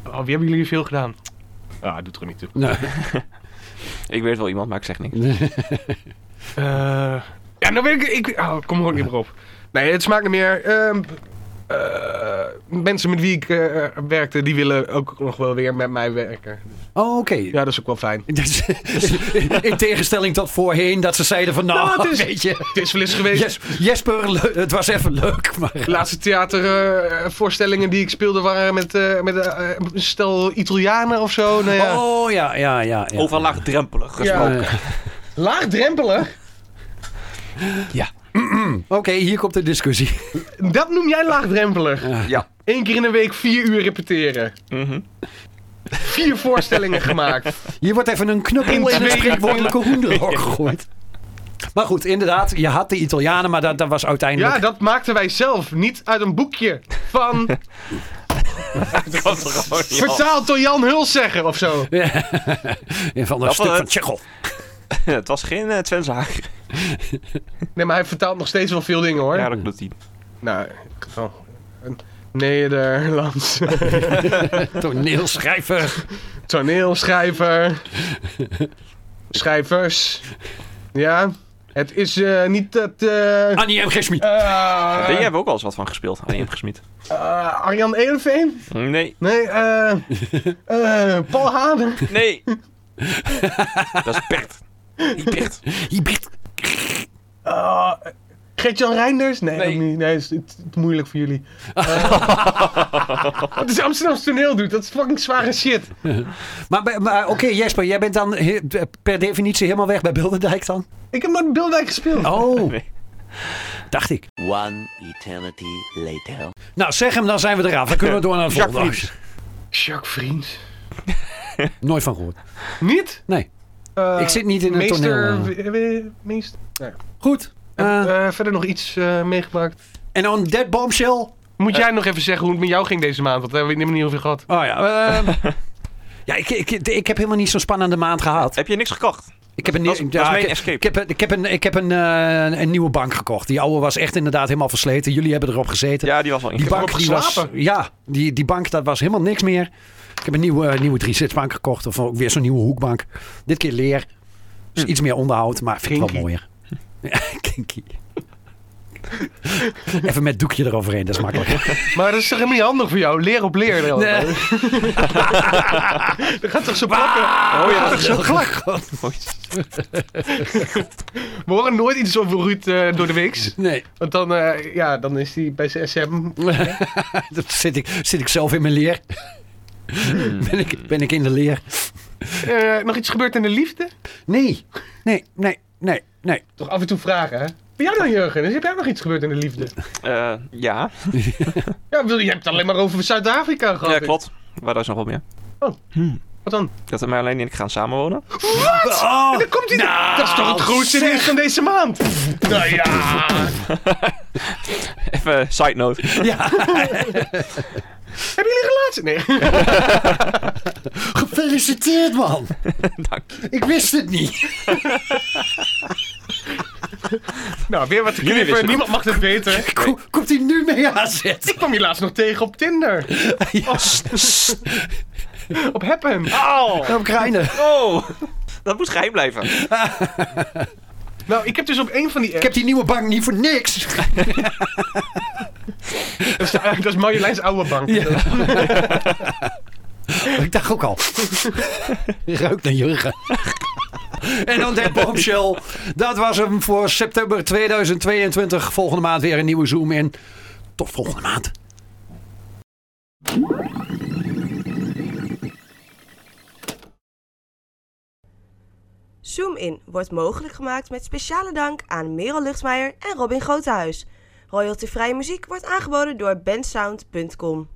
[SPEAKER 4] Eh, oh, wie hebben jullie veel gedaan? Ah, doet er niet toe.
[SPEAKER 5] Nee.
[SPEAKER 3] Ik weet wel iemand, maar ik zeg niks.
[SPEAKER 4] Eh, ja, nou weet ik... ik oh, ik kom er ook niet meer op. Nee, het smaakt niet meer. Ehm, eh, mensen met wie ik eh, werkte, die willen ook nog wel weer met mij werken.
[SPEAKER 5] Oh, oké.
[SPEAKER 4] Ja, dat is ook wel fijn.
[SPEAKER 5] [LAUGHS] Dat is- In tegenstelling tot voorheen dat ze zeiden van nou,
[SPEAKER 4] Nou, het is-
[SPEAKER 5] weet je.
[SPEAKER 4] Het is wel eens geweest.
[SPEAKER 5] Jes- Jesper, le- het was even leuk, maar...
[SPEAKER 4] De laatste theatervoorstellingen die ik speelde waren met, eh, met eh, een stel Italianen of zo. Nou ja.
[SPEAKER 5] Oh ja, ja, ja. ja.
[SPEAKER 3] Overal laagdrempelig
[SPEAKER 4] Ja.
[SPEAKER 3] gesproken.
[SPEAKER 5] Eh,
[SPEAKER 4] Laagdrempelig?
[SPEAKER 5] Oké, hier komt de discussie.
[SPEAKER 4] Dat noem jij laagdrempelig.
[SPEAKER 3] Ja.
[SPEAKER 4] Eén keer in de week vier uur repeteren.
[SPEAKER 3] Mhm.
[SPEAKER 4] Vier voorstellingen gemaakt.
[SPEAKER 5] Hier wordt even een knuppel in een spreekwoordelijke
[SPEAKER 4] [LAUGHS]
[SPEAKER 5] hoenderhok gegooid. Maar goed, inderdaad, je had de Italianen, maar dat, dat was uiteindelijk...
[SPEAKER 4] Ja, dat maakten wij zelf. Niet uit een boekje
[SPEAKER 3] [LAUGHS]
[SPEAKER 4] van
[SPEAKER 3] Dat was er gewoon niet af.
[SPEAKER 4] vertaald door Jan Huls zeggen of zo.
[SPEAKER 5] [LAUGHS] Ja, van een
[SPEAKER 3] Dat
[SPEAKER 5] stuk
[SPEAKER 3] was
[SPEAKER 5] van
[SPEAKER 3] het.
[SPEAKER 5] Tsjechov.
[SPEAKER 3] [LAUGHS] Het was geen uh, Sven
[SPEAKER 5] Oh,
[SPEAKER 3] Zager.
[SPEAKER 4] Nee, maar hij vertaalt nog steeds wel veel dingen hoor.
[SPEAKER 3] Ja, dat doet hij.
[SPEAKER 4] Nou, oh. Nederlands. [LAUGHS]
[SPEAKER 5] Toneelschrijver.
[SPEAKER 4] Toneelschrijver. Schrijvers. Ja. Het is eh, niet dat. eh eh
[SPEAKER 5] Annie M. Gesmie.
[SPEAKER 3] Daar hebben we Eh, ook al eens wat van gespeeld. Alleen gesmied.
[SPEAKER 4] eh, Arjan Eelveen?
[SPEAKER 3] Nee,
[SPEAKER 4] Nee, eh. eh, Paul Haden.
[SPEAKER 3] nee. [LAUGHS] dat is Bert. Niet Bert.
[SPEAKER 5] Hier, Bert.
[SPEAKER 4] Eh, Gert-Jan Reinders? Nee,
[SPEAKER 3] Nee.
[SPEAKER 4] ook niet. nee, het is te- te moeilijk voor
[SPEAKER 5] [LAUGHS]
[SPEAKER 4] jullie. Eh, [LAUGHS] het is Amsterdamse toneel, dude. Dat is fucking zware shit.
[SPEAKER 5] Maar, bij- maar oké, Jesper, jij bent dan he- per definitie helemaal weg bij Bilderdijk dan?
[SPEAKER 4] Ik heb nooit in Bildwijk gespeeld.
[SPEAKER 3] [LAUGHS]
[SPEAKER 5] Oh,
[SPEAKER 3] Nee.
[SPEAKER 5] dacht ik.
[SPEAKER 6] One eternity later.
[SPEAKER 5] Nou, zeg hem, dan zijn we eraf. Dan kunnen we
[SPEAKER 3] [LAUGHS]
[SPEAKER 5] door naar de
[SPEAKER 3] Jacques
[SPEAKER 5] volgende.
[SPEAKER 3] Vries.
[SPEAKER 4] Jacques Vriend.
[SPEAKER 5] Nooit van gehoord.
[SPEAKER 4] Niet?
[SPEAKER 5] Nee.
[SPEAKER 4] Eh,
[SPEAKER 5] Ik zit niet in het
[SPEAKER 4] meester,
[SPEAKER 5] toneel,
[SPEAKER 4] we- we- Meester. Nee.
[SPEAKER 5] Goed.
[SPEAKER 4] En,
[SPEAKER 5] Eh,
[SPEAKER 4] eh, verder nog iets eh, meegemaakt.
[SPEAKER 5] en on that bombshell...
[SPEAKER 4] Moet
[SPEAKER 5] Eh.
[SPEAKER 4] jij nog even zeggen hoe het met jou ging deze maand? Want daar hebben we het niet meer over gehad.
[SPEAKER 5] Oh ja.
[SPEAKER 3] [LAUGHS]
[SPEAKER 5] ehm. ja, ik, ik, ik heb helemaal niet zo'n spannende maand gehad.
[SPEAKER 3] Heb je niks gekocht?
[SPEAKER 5] Ik heb een,
[SPEAKER 3] Dat is-
[SPEAKER 5] nieuw-
[SPEAKER 3] dat is mijn
[SPEAKER 5] ik, heb-
[SPEAKER 3] escape.
[SPEAKER 5] Ik heb, een- ik heb, een, ik heb een, eh, een nieuwe bank gekocht. Die oude was echt inderdaad helemaal versleten. Jullie hebben erop gezeten.
[SPEAKER 3] Ja, die was wel
[SPEAKER 5] die
[SPEAKER 3] ingekocht.
[SPEAKER 5] bank,
[SPEAKER 4] erop
[SPEAKER 5] die was,
[SPEAKER 4] geslapen.
[SPEAKER 5] ja, die, die bank, dat was helemaal niks meer. Ik heb een nieuwe, eh, nieuwe driezitsbank gekocht. Of ook weer zo'n nieuwe hoekbank. Dit keer leer. Dus iets meer onderhoud, maar vind ik wel
[SPEAKER 4] Hm. Kinky.
[SPEAKER 5] mooier. [LAUGHS] Ja, kinky. Even met doekje eroverheen, dat is makkelijk.
[SPEAKER 4] Maar dat is toch helemaal niet handig voor jou? Leer op leer. [LAUGHS] Nee.
[SPEAKER 5] Nee.
[SPEAKER 4] Dat gaat toch zo plakken?
[SPEAKER 5] Ah!
[SPEAKER 3] Oh ja,
[SPEAKER 5] Zo klak.
[SPEAKER 4] [LAUGHS] We horen nooit iets over Ruud eh, door de weeks.
[SPEAKER 5] Nee. [LAUGHS]
[SPEAKER 4] Want dan, eh, ja, dan is hij bij zijn SM.
[SPEAKER 5] Dat zit ik, zit ik zelf in mijn leer.
[SPEAKER 4] Hmm.
[SPEAKER 5] Ben ik, ben ik in de leer?
[SPEAKER 4] Eh, nog iets gebeurd in de liefde?
[SPEAKER 5] Nee, nee, nee, nee, nee.
[SPEAKER 4] Toch af en toe vragen, hè? Bij jou dan, Jurgen? Is heb jij nog iets gebeurd in de liefde?
[SPEAKER 3] Eh, ja.
[SPEAKER 5] Oh,
[SPEAKER 4] Ja, wil- je hebt het alleen maar over Zuid-Afrika gehad.
[SPEAKER 3] ja, klopt. Maar daar is nog wat meer.
[SPEAKER 4] Wat dan?
[SPEAKER 3] Dat we alleen en ik gaan samenwonen.
[SPEAKER 5] Oh,
[SPEAKER 4] Dan komt hij
[SPEAKER 3] Nou,
[SPEAKER 4] er- Dat is toch het grootste nieuws van deze maand? nou ja.
[SPEAKER 3] Even eh, side note. [LAUGHS]
[SPEAKER 5] ja. [LAUGHS]
[SPEAKER 4] Hebben jullie een relatie? Nee. [LAUGHS]
[SPEAKER 5] Gefeliciteerd, man.
[SPEAKER 3] Dank.
[SPEAKER 5] Ik wist het niet.
[SPEAKER 4] nou, weer wat te
[SPEAKER 3] Jullie
[SPEAKER 4] knippen.
[SPEAKER 3] wisten-
[SPEAKER 4] Niemand mag het weten.
[SPEAKER 5] Ko- Komt hij nu mee aanzetten?
[SPEAKER 4] Ik kwam je laatst nog tegen op Tinder.
[SPEAKER 5] Ja.
[SPEAKER 4] Op Happen.
[SPEAKER 3] Au!
[SPEAKER 5] Op Kruinen.
[SPEAKER 3] Oh! [LAUGHS] Dat moet geheim blijven.
[SPEAKER 4] Nou, ik heb dus op een van die
[SPEAKER 5] Ik heb die nieuwe bank niet voor niks.
[SPEAKER 4] Dat is, [LAUGHS] dat is Marjoleins oude bank.
[SPEAKER 5] [LAUGHS] Ik dacht ook al. Ruikt naar Jurgen. En dan dat bombshell. Dat was hem voor september 2022. Volgende maand weer een nieuwe Zoom in. Tot volgende maand.
[SPEAKER 2] Zoom In wordt mogelijk gemaakt met speciale dank aan Merel Luchtmeijer en Robin Grotehuis. Royaltyvrije muziek wordt aangeboden door bensound.com.